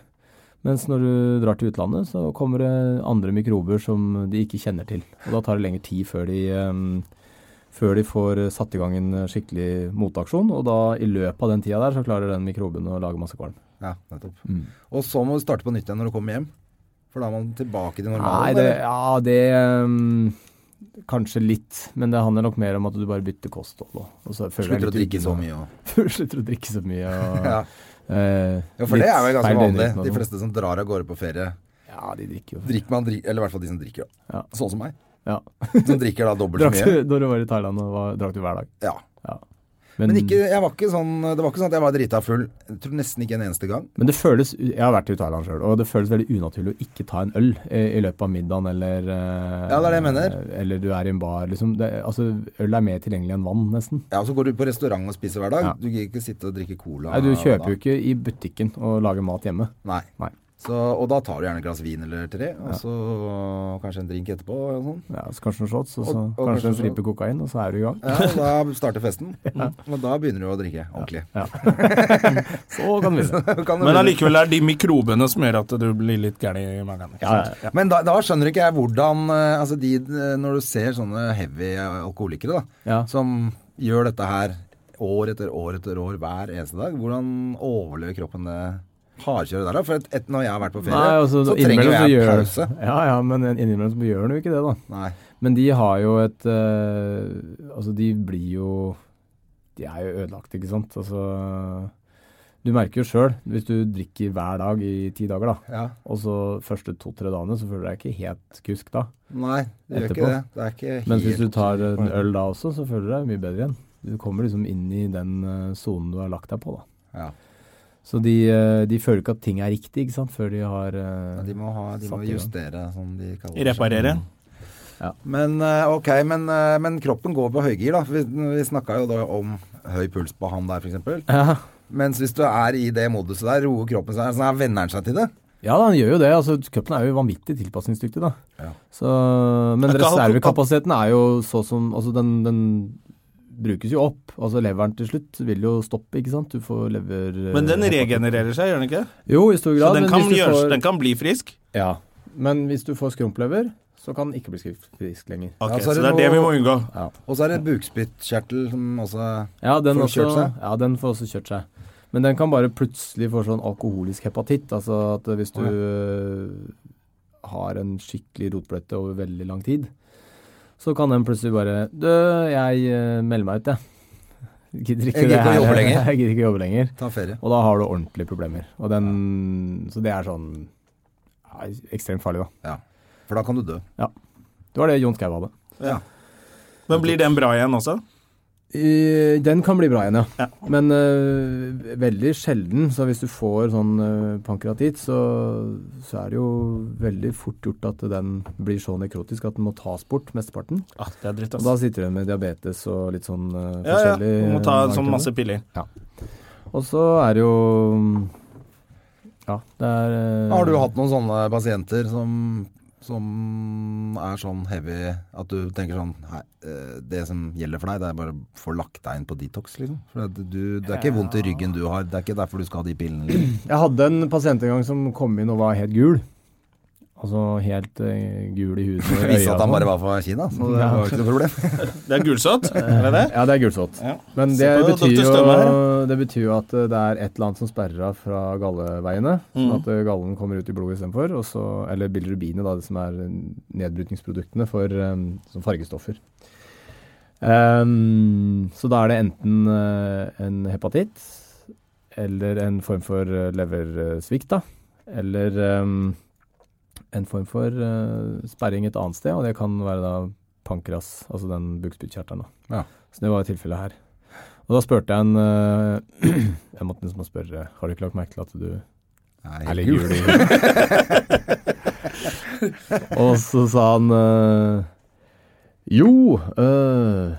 Speaker 3: Mens når du drar til utlandet, så kommer det andre mikrober som de ikke kjenner til. Og da tar det lengre tid før de eh, før de får eh, satt i gang en eh, skikkelig motaksjon. Og da i løpet av den tida der så klarer den mikroben å lage masse kvalm.
Speaker 2: Ja, nettopp. Og så må du starte på nytt igjen når du kommer hjem. For da er man tilbake til normalen.
Speaker 3: Nei, det,
Speaker 2: eller?
Speaker 3: ja, det ehm, Kanskje litt, men det handler nok mer om at du bare bytter kosthold. og- Og så føler jeg
Speaker 2: Slutter å
Speaker 3: litt
Speaker 2: drikke så
Speaker 3: uten-
Speaker 2: mye og
Speaker 3: [laughs] Slutter å drikke så mye. Og,
Speaker 2: [laughs] Ja.
Speaker 3: eh,
Speaker 2: Jo, for
Speaker 3: litt
Speaker 2: det er vel ganske
Speaker 3: feil
Speaker 2: vanlig.
Speaker 3: døgnrytme og
Speaker 2: De
Speaker 3: sånn.
Speaker 2: fleste som drar av gårde på ferie,
Speaker 3: Ja, de drikker jo.
Speaker 2: drikker man dri- Eller i hvert fall de som drikker, da.
Speaker 3: Ja.
Speaker 2: Sånn som meg.
Speaker 3: Ja.
Speaker 2: Som drikker da dobbelt så
Speaker 3: Drakk
Speaker 2: mye.
Speaker 3: [laughs] du, da du var i Thailand, og var, drakk du hver dag?
Speaker 2: Ja.
Speaker 3: Ja.
Speaker 2: Men ikke,
Speaker 3: Mm.
Speaker 2: jeg var ikke sånn, det var ikke sånn at jeg var drita full. Jeg tror nesten ikke en eneste gang.
Speaker 3: Men det føles, jeg har vært i Thailand sjøl, og det føles veldig unaturlig å ikke ta en øl i, i løpet av middagen eller eh,
Speaker 2: Ja, det er det jeg mener.
Speaker 3: Eller du er i en bar, liksom. Det, altså, øl er mer tilgjengelig enn vann, nesten.
Speaker 2: Ja, og Så går du på restaurant og spiser hver dag.
Speaker 3: Ja.
Speaker 2: Du gidder ikke sitte og drikke cola.
Speaker 3: Nei, du kjøper jo
Speaker 2: da.
Speaker 3: ikke i butikken og lager mat hjemme.
Speaker 2: Nei.
Speaker 3: Nei.
Speaker 2: Så, og da tar du gjerne et glass vin eller tre, og så kanskje en drink etterpå. Og
Speaker 3: [laughs]
Speaker 2: sånn.
Speaker 3: Ja, så kanskje noen shots, og så
Speaker 2: Og- og
Speaker 3: kanskje en
Speaker 2: kanskje-
Speaker 3: stripe kokain, og så er du i gang.
Speaker 2: Ja, og da starter festen. Og da begynner du å drikke ordentlig. [laughs]
Speaker 3: Så kan du begynne.
Speaker 2: Kan du
Speaker 1: Men
Speaker 2: begynne-
Speaker 1: allikevel er det de mikrobene som gjør at du blir litt gæren i magen.
Speaker 3: Ja, ja, ja.
Speaker 2: Men da, da skjønner ikke jeg hvordan eh, altså de, eh, Når du ser sånne heavy eh, alkoholikere da,
Speaker 3: Ja.
Speaker 2: som gjør dette her år etter år etter år hver eneste dag, hvordan overlever kroppen det hardkjøret der? da? For et, et, når jeg har vært på ferie,
Speaker 3: Nei, altså,
Speaker 2: så trenger jo
Speaker 3: innimellom så
Speaker 2: jeg
Speaker 3: gjør-
Speaker 2: pause.
Speaker 3: Ja, ja, men innimellom så gjør du jo ikke det, da.
Speaker 2: Nei.
Speaker 3: Men de har jo et eh, Altså, de blir jo De er jo ødelagt, ikke sant? Altså Du merker jo sjøl, hvis du drikker hver dag i ti dager, da,
Speaker 2: Ja.
Speaker 3: og så første to-tre dagene, så føler du deg ikke helt kusk da.
Speaker 2: Nei, det gjør ikke
Speaker 3: Etterpå.
Speaker 2: det. Det er ikke
Speaker 3: Mens hvis
Speaker 2: helt
Speaker 3: du tar en øl da også, så føler du deg mye bedre igjen. Du kommer liksom inn i den eh, sonen du har lagt deg på, da.
Speaker 2: Ja.
Speaker 3: Så de, eh, de føler ikke at ting er riktig, ikke sant, før de har eh,
Speaker 2: Ja, de må, ha, de må
Speaker 3: Satt i gang.
Speaker 2: justere, som de kaller det.
Speaker 1: Reparere.
Speaker 2: Men eh, ok, men, eh, men kroppen går på høygir, da. Vi, vi snakka jo da om høy puls på han der, f.eks.
Speaker 3: [laughs] ja.
Speaker 2: Mens hvis du er i det moduset der, roer kroppen seg, så venner den seg til det.
Speaker 3: Ja, da, han gjør jo det. altså Kroppen er jo vanvittig tilpasningsdyktig. da.
Speaker 2: Ja.
Speaker 3: Så, men
Speaker 1: Er ikke han-
Speaker 3: reservekapasiteten er jo så som altså den, den brukes jo opp. altså Leveren til slutt vil jo stoppe, ikke sant. Du får lever...
Speaker 1: Men den
Speaker 3: eh,
Speaker 1: regenererer seg, gjør den ikke?
Speaker 3: Jo, i
Speaker 1: Så
Speaker 3: stor grad.
Speaker 1: den
Speaker 3: men
Speaker 1: kan,
Speaker 3: hvis du
Speaker 1: gjøres,
Speaker 3: får,
Speaker 1: den kan bli frisk?
Speaker 3: Ja, Men hvis du får skrumplever, så kan den ikke bli skri- frisk lenger.
Speaker 1: Ok,
Speaker 2: Ja, så
Speaker 1: så
Speaker 2: er det
Speaker 1: det er det vi må unngå.
Speaker 2: Og så er det bukspyttkjertel som også
Speaker 3: Ja,
Speaker 2: Får
Speaker 3: den,
Speaker 2: den
Speaker 3: også,
Speaker 2: kjørt seg?
Speaker 3: ja, den får også kjørt seg. Men den kan bare plutselig få sånn alkoholisk hepatitt. Altså at hvis du
Speaker 2: Å, ja.
Speaker 3: øh, har en skikkelig rotbløtte over veldig lang tid, så kan den plutselig bare Du, jeg øh, melder meg ut, jeg. Gidder ikke
Speaker 2: Jeg gidder
Speaker 3: det
Speaker 2: ikke å
Speaker 3: her.
Speaker 2: jobbe lenger.
Speaker 3: [laughs] Jeg gidder ikke å jobbe lenger.
Speaker 2: tar ferie.
Speaker 3: Og da har du ordentlige problemer. Og den, så det er sånn ja, ekstremt farlig, da.
Speaker 2: Ja. For da kan du dø.
Speaker 3: Det var det Jon Skau hadde.
Speaker 2: Ja.
Speaker 1: Men blir den bra igjen også?
Speaker 3: Eh, Den kan bli bra igjen, ja. Men eh, veldig sjelden. Så hvis du får sånn eh, pankreatitt, så, så er det jo veldig fort gjort at den blir så nekrotisk at den må tas bort, mesteparten.
Speaker 1: Ah, det er dritt,
Speaker 3: Og da sitter du med diabetes og litt sånn eh,
Speaker 1: Ja, ja.
Speaker 3: forskjellig.
Speaker 1: Du må ta en
Speaker 3: eh,
Speaker 1: sånn
Speaker 3: arter.
Speaker 1: masse piller.
Speaker 3: Og så er det jo mm, Ja, det er eh,
Speaker 2: Har du hatt noen sånne pasienter som, som er sånn heavy at du tenker sånn Nei, eh, det som gjelder for deg, det er bare å få lagt deg inn på detox, liksom. For det, du, det er ikke vondt i ryggen du har. Det er ikke derfor du skal ha de pillene. Liksom.
Speaker 3: Jeg hadde en pasient en gang som kom inn og var helt gul. Altså helt eh, gul i
Speaker 2: [laughs]
Speaker 3: huet. og i
Speaker 2: Det viser at han
Speaker 3: øya og sånn.
Speaker 2: bare var fra Kina, så det var jo ikke noe problem.
Speaker 1: Det er gulsott, er det det?
Speaker 3: Ja, det er gulsott.
Speaker 1: Ja.
Speaker 3: Men
Speaker 1: Se
Speaker 3: det
Speaker 1: på
Speaker 3: betyr,
Speaker 1: Dr.
Speaker 3: jo,
Speaker 1: Støme
Speaker 3: det betyr jo at eh, det er et eller annet som sperrer av fra galleveiene. Sånn
Speaker 1: Mm.
Speaker 3: at eh, gallen kommer ut i blodet istedenfor. og så- Eller bilirubinet, da, det som er eh, nedbrytningsproduktene for eh, som fargestoffer. Ehm, så da er det enten eh, en hepatitt eller en form for eh, leversvikt, da. Eller ehm, en form for eh, sperring et annet sted, og det kan være da pankras, altså den bukspyttkjertelen. da. Så det var jo tilfellet her. Og da spurte jeg en eh, [clears throat] Jeg måtte nesten bare spørre Har du ikke lagt merke til at du
Speaker 2: Nei,
Speaker 3: er litt gul i huet? Og så sa han eh, Jo, eh,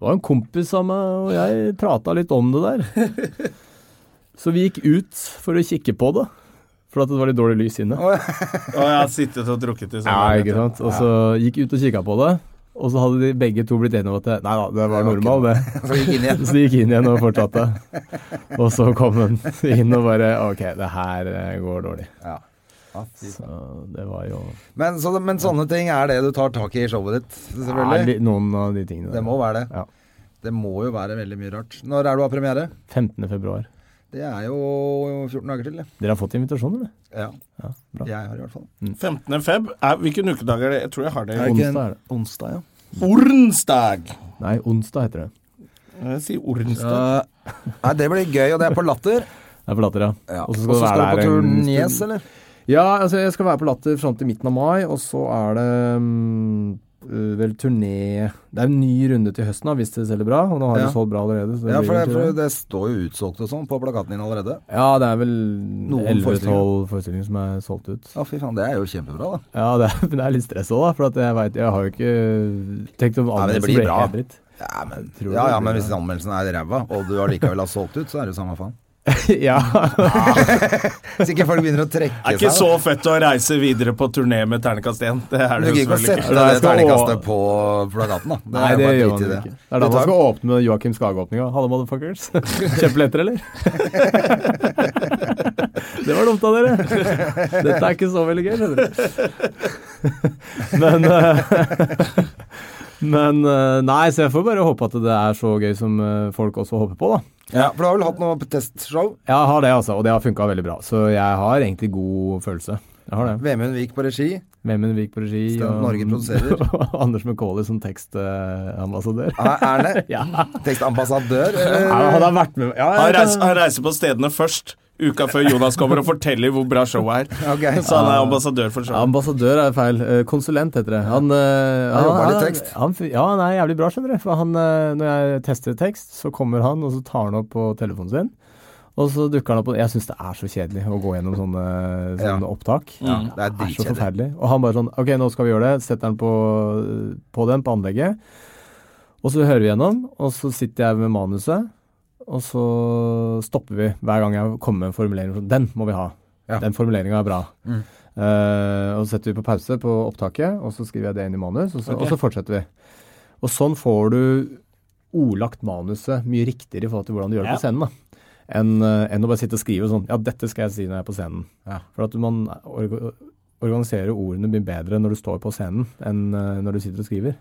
Speaker 3: det var en kompis av meg, og jeg prata litt om det der. Så vi gikk ut for å kikke på det, for at det var litt dårlig lys inne.
Speaker 1: Og jeg har sittet og drukket i sånn.
Speaker 3: Ja, ikke sant? Og så gikk ut og kikka på det, og så hadde de begge to blitt enige om at det, Nei da,
Speaker 2: Det
Speaker 3: det var
Speaker 2: var ikke
Speaker 3: normal,
Speaker 2: [laughs]
Speaker 3: det.
Speaker 2: Så gikk inn igjen.
Speaker 3: [laughs] Så de gikk inn igjen og fortsatte. Og så kom hun inn og bare OK, det her eh, går dårlig.
Speaker 2: Ja. Ja, fy faen.
Speaker 3: Så det var jo
Speaker 2: Men, så, men sånne ting er det du tar tak i i showet ditt,
Speaker 3: Ja,
Speaker 2: selvfølgelig.
Speaker 3: li- noen av de tingene der.
Speaker 2: Det må være det.
Speaker 3: Ja.
Speaker 2: Det må jo være veldig mye rart. Når er du har premiere?
Speaker 3: 15. februar.
Speaker 2: Det er jo 14 dager til, det.
Speaker 3: Dere har fått invitasjon, eller?
Speaker 2: Ja.
Speaker 3: Ja, bra.
Speaker 2: Jeg har i hvert fall.
Speaker 1: 15. feb. Er, hvilken ukedag er det? Jeg tror jeg har det.
Speaker 2: Er det ikke en-
Speaker 3: Onsdag er
Speaker 2: Onsdag,
Speaker 3: det.
Speaker 2: ja.
Speaker 1: Ornsdag!
Speaker 3: Nei, onsdag heter det.
Speaker 1: Jeg sier ornsdag.
Speaker 2: Eh, nei, det blir gøy, og det er på Latter.
Speaker 3: Jeg forlater det.
Speaker 2: Ja.
Speaker 3: Og
Speaker 2: Og
Speaker 3: så skal,
Speaker 2: så du
Speaker 3: du være
Speaker 2: på
Speaker 3: der en
Speaker 2: turnes,
Speaker 3: stund.
Speaker 2: eller?
Speaker 3: Ja, altså jeg skal være på Latter fram til midten av mai, og så er det mm, øh, vel turné Det er en ny runde til høsten, da, hvis det selger bra. Og nå har
Speaker 2: Ja.
Speaker 3: det solgt bra allerede. Så det
Speaker 2: Ja,
Speaker 3: blir
Speaker 2: for det,
Speaker 3: en
Speaker 2: for
Speaker 3: turné.
Speaker 2: det står jo utsolgt og sånn på plakaten din allerede.
Speaker 3: ja, det er vel
Speaker 2: Noen
Speaker 3: 11-12
Speaker 2: forestillinger.
Speaker 3: forestillinger som er solgt ut.
Speaker 2: Å, fy faen, det er jo kjempebra, da.
Speaker 3: Ja, det er, [laughs] det er litt stress òg, da. For at jeg vet, jeg har jo ikke tenkt om
Speaker 2: Nei, men det
Speaker 3: anmeldelsen
Speaker 2: blir
Speaker 3: blir
Speaker 2: bra.
Speaker 3: helt dritt.
Speaker 2: Ja, men,
Speaker 3: tror det
Speaker 2: ja, ja,
Speaker 3: blir
Speaker 2: men
Speaker 3: bra.
Speaker 2: hvis anmeldelsen er ræva, og du allikevel har solgt ut, så er det jo samme faen.
Speaker 3: [laughs] ja.
Speaker 2: Hvis ikke folk begynner å trekke
Speaker 1: Det er
Speaker 2: seg.
Speaker 1: ikke
Speaker 2: da.
Speaker 1: så fett å reise videre på turné med terningkast 1. Det er
Speaker 2: Du
Speaker 1: det
Speaker 2: gidder
Speaker 1: jo
Speaker 2: ikke å
Speaker 1: selvfølgelig
Speaker 2: sette
Speaker 1: ikke.
Speaker 3: Da
Speaker 2: det
Speaker 3: jeg skal
Speaker 2: terningkastet
Speaker 3: å-
Speaker 2: på plakaten, da. Det
Speaker 3: Nei,
Speaker 2: er
Speaker 3: det
Speaker 2: bare
Speaker 3: gjør
Speaker 2: drit
Speaker 3: man
Speaker 2: i
Speaker 3: ikke. Det er da
Speaker 2: Du
Speaker 3: man
Speaker 2: tar-
Speaker 3: skal åpne med Joakim Skage-åpninga. Hallo, motherfuckers. [laughs] Kjempeletter, [laughs] eller? det var dumt av dere. Dette er ikke så veldig gøy, skjønner du. [laughs] Men eh, [laughs] Men eh, nei, så jeg får bare håpe at det er så gøy som eh, folk også håper på, da.
Speaker 2: Ja, for du har vel hatt noe testshow?
Speaker 3: Jeg har det, altså, og det har funka veldig bra. Så jeg har egentlig god følelse. Jeg har det.
Speaker 2: Vemund Vik på regi.
Speaker 3: Vemund Vik på regi.
Speaker 2: Stemt Norge produserer.
Speaker 3: og [laughs] Anders McCauley som tekstambassadør.
Speaker 2: Er- Er det
Speaker 3: [laughs] ja.
Speaker 2: tekstambassadør? eller?
Speaker 3: Han har vært med ja,
Speaker 1: Han
Speaker 3: jeg-
Speaker 1: reiser, han reiser på stedene først uka før Jonas kommer og forteller hvor bra showet er.
Speaker 2: Ok.
Speaker 1: Så han er ambassadør for showet.
Speaker 3: Ambassadør er feil. Eh, Konsulent heter det. Han, eh,
Speaker 2: Han jobber litt tekst.
Speaker 3: Han, ja, han er jævlig bra, skjønner du. For han, eh, når jeg tester tekst, så kommer han, og så tar han opp på telefonen sin. Og så dukker han opp på Jeg syns det er så kjedelig å gå gjennom sånne, sånne opptak.
Speaker 2: Det er
Speaker 3: Mm. Det er så
Speaker 2: dritkjedelig.
Speaker 3: forferdelig. Og han bare sånn Ok, nå skal vi gjøre det. Setter han på, på den, på anlegget. Og så hører vi gjennom, og så sitter jeg med manuset, og så stopper vi hver gang jeg kommer med en formulering. sånn, Den må vi ha.
Speaker 2: Ja. Mm.
Speaker 3: Den formuleringa er bra. Eh, og så setter vi på pause på opptaket, og så skriver jeg det inn i manus, og så, og så fortsetter vi. Og sånn får du ordlagt manuset mye riktigere i forhold til hvordan du gjør det på scenen. da. Enn eh, enn å bare sitte og skrive sånn Ja, dette skal jeg si når jeg er på scenen. For at man orga- organiserer ordene mye bedre når du står på scenen enn eh, når du sitter og skriver.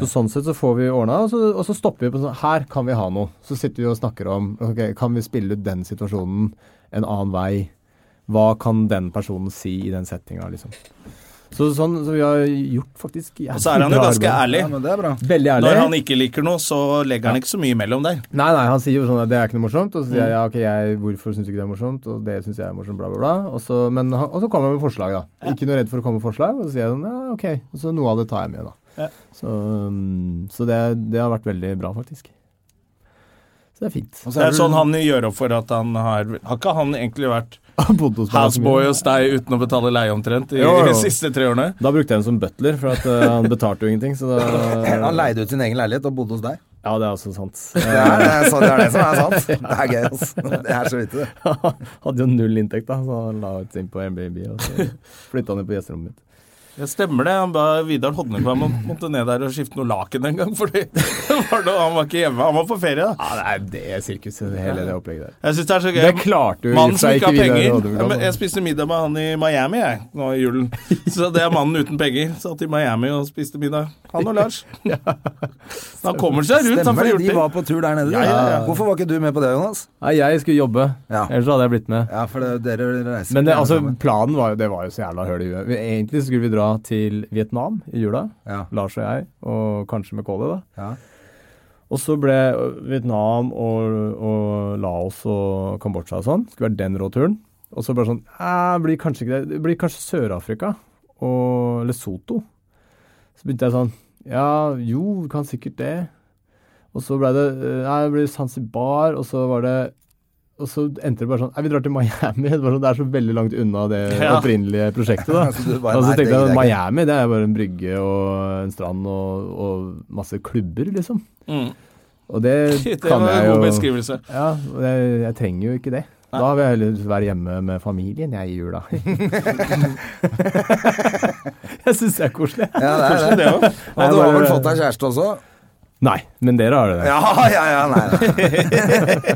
Speaker 3: Så sånn sett så får vi ordna, og, så- og så stopper vi på sånn Her kan vi ha noe. Så sitter vi og snakker om ok, kan vi spille ut den situasjonen en annen vei? Hva kan den personen si i den settinga, liksom? Så sånn så vi har gjort faktisk
Speaker 1: Og så er han jo ganske ærlig.
Speaker 2: Ja, men det er bra.
Speaker 3: Veldig ærlig.
Speaker 1: Når han ikke liker noe, så legger han ikke så mye imellom der.
Speaker 3: Nei, nei, han sier jo sånn at det er ikke noe morsomt, og så sier jeg ja, ok, jeg, hvorfor syns du ikke det er morsomt, og det syns jeg er morsomt, bla, bla, bla. Og så, men, han- og så kommer han med forslag, da. Ikke noe redd for å komme med forslag, og så sier jeg sånn ja, ok, og så noe av det tar jeg med, da. Så, um, så det, det har vært veldig bra, faktisk. Så det er fint.
Speaker 2: Og så
Speaker 1: Det er
Speaker 2: du-
Speaker 1: sånn han gjør opp for at han har Har ikke han egentlig vært
Speaker 3: [laughs] Han bodde hos meg ganske mye.
Speaker 1: houseboy hos deg uten å betale leie omtrent i
Speaker 3: Jo, jo.
Speaker 1: de siste tre årene?
Speaker 3: Da brukte jeg ham som butler, for at, eh, han betalte jo ingenting, så da
Speaker 2: Han leide ut sin egen leilighet og bodde hos deg.
Speaker 3: Ja, det er også sant. [laughs]
Speaker 2: Det er det, er- eh, så det, er det som er sant. Det er gøy, altså. Det er så vidt det.
Speaker 3: Hadde jo null inntekt, da, så han la ut inn på Airbnb, og så [laughs] flytta han inn på gjesterommet mitt.
Speaker 1: Ja, stemmer det. Han ba Vidar Hodnekvam om- måtte ned der og skifte noe laken en gang, fordi [laughs] det var noe, han var ikke hjemme. Han var på ferie, da.
Speaker 3: Ja, det er det sirkuset, hele det opplegget der.
Speaker 1: Jeg synes det er så gøy.
Speaker 3: Det klarte jo i
Speaker 1: Mannen
Speaker 3: og for
Speaker 1: som
Speaker 3: seg
Speaker 1: ikke har
Speaker 3: ikke Vidar
Speaker 1: penger.
Speaker 3: Hodnekvam,
Speaker 1: Ja, men
Speaker 3: da.
Speaker 1: jeg spiste middag med han i Miami jeg, nå i [laughs] julen. Så det er mannen uten penger. Satt i Miami og spiste middag. Han og [laughs] Lars. Han kommer seg rundt, han
Speaker 2: Stemmer
Speaker 1: får
Speaker 2: det,
Speaker 1: gjort
Speaker 2: de
Speaker 1: ting.
Speaker 2: var på tur der nede. de.
Speaker 1: Ja, ja, ja.
Speaker 2: Hvorfor var ikke du med på det, Jonas?
Speaker 3: Nei, jeg skulle jobbe,
Speaker 2: Ja.
Speaker 3: ellers hadde jeg blitt med.
Speaker 2: Ja, for det, dere reiser
Speaker 3: Men det,
Speaker 2: gjerne
Speaker 3: altså,
Speaker 2: sammen.
Speaker 3: planen var jo, det var jo så jævla høl i huet. Vi- Egentlig skulle vi dra til Vietnam i jula,
Speaker 2: Ja.
Speaker 3: Lars og jeg, og kanskje med Kåle, da.
Speaker 2: Ja.
Speaker 3: Og så ble Vietnam og, og Laos og Kambodsja og sånn, skulle være den rå turen. Og så bare sånn, eh, blir kanskje ikke det, det blir kanskje Sør-Afrika og Lesotho. Så begynte jeg sånn, ja, jo, vi kan sikkert det. Og så ble det, eh, nei, det blir Zanzibar, og så var det, og så endte det bare sånn, nei, vi drar til Miami, [laughs] det, var sånn, det er så veldig langt unna det
Speaker 1: Ja.
Speaker 3: opprinnelige prosjektet
Speaker 2: [laughs] Så
Speaker 3: da.
Speaker 2: Altså, du bare,
Speaker 3: og så
Speaker 2: nei, det
Speaker 3: Altså, tenkte
Speaker 2: gidder
Speaker 3: jeg,
Speaker 2: jeg ikke.
Speaker 3: Miami, det er bare en brygge og en strand og, og masse klubber, liksom.
Speaker 1: Mm.
Speaker 3: Og det,
Speaker 1: [laughs] Det
Speaker 3: kan
Speaker 1: var
Speaker 3: jeg
Speaker 1: en god
Speaker 3: jo
Speaker 1: beskrivelse.
Speaker 3: ja, og jeg, jeg trenger jo ikke det. Da vil jeg heller være hjemme med familien jeg i jula.
Speaker 1: [laughs]
Speaker 3: jeg syns det er koselig.
Speaker 2: Ja, det er det.
Speaker 1: Kanskje det også.
Speaker 2: Og du har vel fått deg kjæreste også?
Speaker 3: Nei, men dere har det.
Speaker 2: Ja, ja, ja, nei, nei.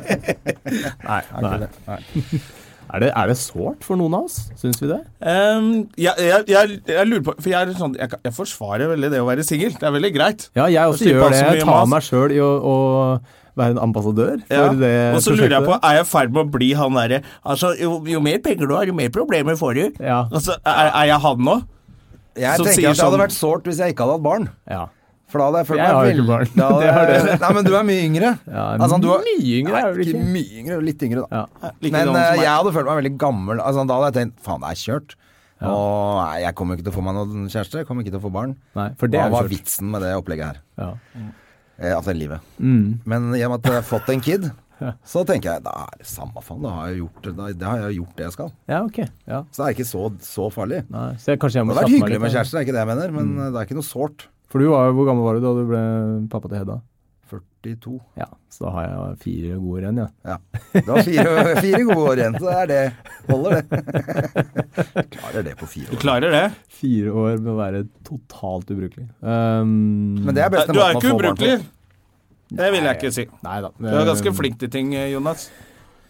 Speaker 3: Nei. [laughs] Er det, er det sårt for noen av oss? Syns vi det?
Speaker 1: Ehm, jeg, jeg, jeg, jeg lurer på For jeg er sånn Jeg, kan- jeg forsvarer veldig det å være singel. Det er veldig greit.
Speaker 3: Ja, jeg
Speaker 1: Og
Speaker 3: også
Speaker 1: slipper
Speaker 3: gjør det.
Speaker 1: altså mye
Speaker 3: Jeg tar
Speaker 1: mas.
Speaker 3: meg sjøl i å, å være en ambassadør for
Speaker 1: Ja.
Speaker 3: det
Speaker 1: og så lurer jeg på,
Speaker 3: prosjektet.
Speaker 1: er jeg i ferd med å bli han derre altså, jo, jo mer penger du har, jo mer problemer får du.
Speaker 3: Ja.
Speaker 1: Altså, er, er jeg han nå?
Speaker 2: Jeg
Speaker 1: Som
Speaker 2: tenker
Speaker 1: sier
Speaker 2: at det hadde
Speaker 1: sånn-
Speaker 2: vært sårt hvis jeg ikke hadde hatt barn.
Speaker 3: Ja.
Speaker 2: For da hadde jeg følt
Speaker 3: Jeg
Speaker 2: meg
Speaker 3: har jo ikke
Speaker 2: veldig-
Speaker 3: barn.
Speaker 2: Da hadde
Speaker 3: Det har
Speaker 2: jeg- Nei, men du er mye yngre. Altså,
Speaker 3: Ja,
Speaker 2: du er-
Speaker 3: mye yngre
Speaker 2: Nei,
Speaker 3: er du ikke.
Speaker 2: mye yngre, litt yngre, da.
Speaker 3: Ja.
Speaker 1: Like
Speaker 2: men
Speaker 1: gammel som
Speaker 2: eh,
Speaker 1: meg.
Speaker 2: jeg hadde følt meg veldig gammel. Altså, da hadde jeg tenkt faen, det er kjørt. Og nei, jeg kommer ikke til å få meg noen kjæreste, jeg kommer ikke til å få barn.
Speaker 3: Nei, for det
Speaker 2: Hva
Speaker 3: er jo
Speaker 2: var
Speaker 3: sårt.
Speaker 2: vitsen med det opplegget her?
Speaker 3: Ja.
Speaker 2: Eh, Altså livet.
Speaker 3: Mm.
Speaker 2: Men i og med at jeg har fått en
Speaker 3: [laughs]
Speaker 2: kid, så tenker jeg da er det samme faen, da har jeg gjort det, da, da har jeg gjort det jeg skal.
Speaker 3: ja, ok. Ja.
Speaker 2: Så det er ikke så, så farlig. Det
Speaker 3: Nei. Så jeg, kanskje jeg må
Speaker 2: hadde vært
Speaker 3: slappe meg
Speaker 2: hyggelig med
Speaker 3: litt. Mm. av.
Speaker 2: kjæreste, det er ikke det jeg mener, men eh, det er ikke noe sårt.
Speaker 3: For du var jo, hvor gammel var du da du ble pappa til Hedda?
Speaker 2: 42.
Speaker 3: Ja, så da har jeg fire gode renn, ja.
Speaker 2: Ja. Det var fire, [laughs] fire gode år igjen, så det er det. Holder det. [laughs] Klarer det på fire
Speaker 1: Du
Speaker 2: år.
Speaker 1: klarer det?
Speaker 3: Fire år med å være totalt ubrukelig. Um,
Speaker 2: Men det er beste
Speaker 1: Eh, Du er
Speaker 2: måten å
Speaker 1: ikke
Speaker 2: få barn på.
Speaker 1: ubrukelig. Det vil jeg ikke si.
Speaker 3: Nei da. Eh,
Speaker 1: Du er ganske flink til ting, eh, Jonas.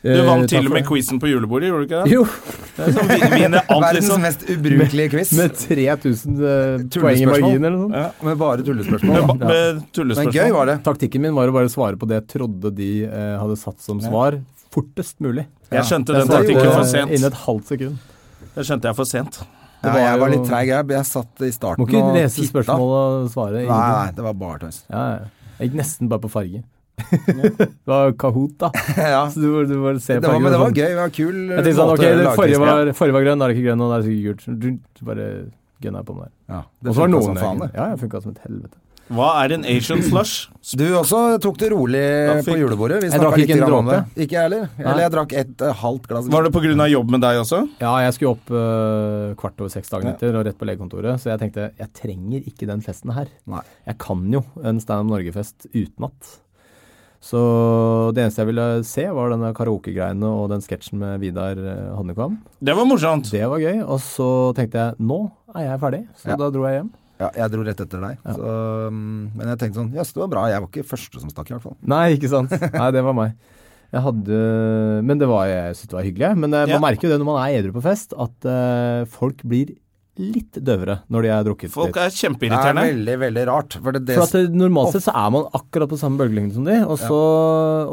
Speaker 2: eh,
Speaker 1: Du vant til og med quizen på julebordet, gjorde du
Speaker 2: [laughs]
Speaker 1: ikke det?
Speaker 3: Jo,
Speaker 1: Det er sånn vi- vinner alt,
Speaker 2: Verdens
Speaker 1: liksom.
Speaker 2: mest ubrukelige quiz
Speaker 3: med 3000 eh, poeng i
Speaker 2: Tullespørsmål.
Speaker 3: margin eller noe sånt.
Speaker 2: med bare tullespørsmål.
Speaker 1: Med,
Speaker 2: da.
Speaker 1: ba- med
Speaker 2: Men gøy
Speaker 1: tullespørsmål.
Speaker 2: var det.
Speaker 3: Taktikken min var å bare svare på det jeg trodde de eh, hadde satt som svar, fortest mulig.
Speaker 1: Jeg skjønte den
Speaker 3: Jeg
Speaker 1: taktikken
Speaker 3: gjorde
Speaker 1: for
Speaker 3: det
Speaker 1: sent.
Speaker 3: Innen et halvt sekund.
Speaker 1: Det skjønte jeg for sent.
Speaker 2: Ja,
Speaker 3: var
Speaker 2: jeg var
Speaker 3: jo-
Speaker 2: litt treig, jeg. Jeg satt i starten
Speaker 3: Må ikke
Speaker 2: og
Speaker 3: lese
Speaker 2: titta.
Speaker 3: spørsmålet og svare.
Speaker 2: Nei,
Speaker 3: ingenting.
Speaker 2: nei, det var bare tøys. [laughs]
Speaker 3: Ja, ja. Jeg gikk nesten bare på farge. [laughs] det var Kahoot, da.
Speaker 2: ja.
Speaker 3: Så du, bare- du bare ser
Speaker 2: det var,
Speaker 3: fargen
Speaker 2: men det
Speaker 3: og
Speaker 2: var
Speaker 3: sånn.
Speaker 2: gøy. Det var kul
Speaker 3: Jeg tenkte sånn,
Speaker 2: måte å
Speaker 3: ok, det
Speaker 2: lage
Speaker 3: forrige
Speaker 2: tekst på.
Speaker 3: var, forrige var grønn, nå er det ikke grønn, og nå er det sikkert gult. Du, du bare gønna på med det.
Speaker 2: ja.
Speaker 3: Og
Speaker 2: Det
Speaker 3: så var det
Speaker 2: funket
Speaker 3: noen
Speaker 2: som faen, det.
Speaker 3: Ja, jeg funka som et helvete.
Speaker 1: Hva er en Asian flush?
Speaker 2: Du også tok det rolig
Speaker 1: Da fikk-
Speaker 2: på julebordet. Vi
Speaker 3: Jeg
Speaker 2: snakket
Speaker 3: drakk ikke
Speaker 2: litt
Speaker 3: en
Speaker 2: grann om det.
Speaker 3: dråpe.
Speaker 2: Ikke jeg heller.
Speaker 3: Nei.
Speaker 2: Eller jeg drakk et eh, halvt glass
Speaker 1: Var det pga. jobb med deg også?
Speaker 3: Ja, jeg skulle opp eh, kvart over seks dagen
Speaker 2: Ja.
Speaker 3: etter og rett på legekontoret, så jeg tenkte jeg trenger ikke den festen her.
Speaker 2: Nei.
Speaker 3: Jeg kan jo en Stand Up Norge-fest utenat. Så det eneste jeg ville se, var denne karaokegreiene og den sketsjen med Vidar eh, Honnekvam.
Speaker 1: Det var morsomt.
Speaker 3: Det var gøy. Og så tenkte jeg nå er jeg ferdig, så
Speaker 2: Ja.
Speaker 3: da dro jeg hjem.
Speaker 2: Ja, jeg dro rett etter deg. Så, mm, men jeg tenkte sånn Jøss, det var bra. Jeg var ikke første som stakk, i hvert fall.
Speaker 3: Nei, ikke sant. [laughs] Nei, det var meg. Jeg hadde Men det var, jeg syntes det var hyggelig. jeg. Men eh, man
Speaker 1: Ja.
Speaker 3: merker jo det når man er edru på fest, at eh, folk blir litt døvere når de er drukket
Speaker 1: Folk
Speaker 3: litt.
Speaker 1: er
Speaker 2: Det er
Speaker 1: kjempeirriterende.
Speaker 2: veldig, veldig rart. For det, det,
Speaker 3: For at eh, Normalt sett så er man akkurat på samme bølgelengde som de, og så,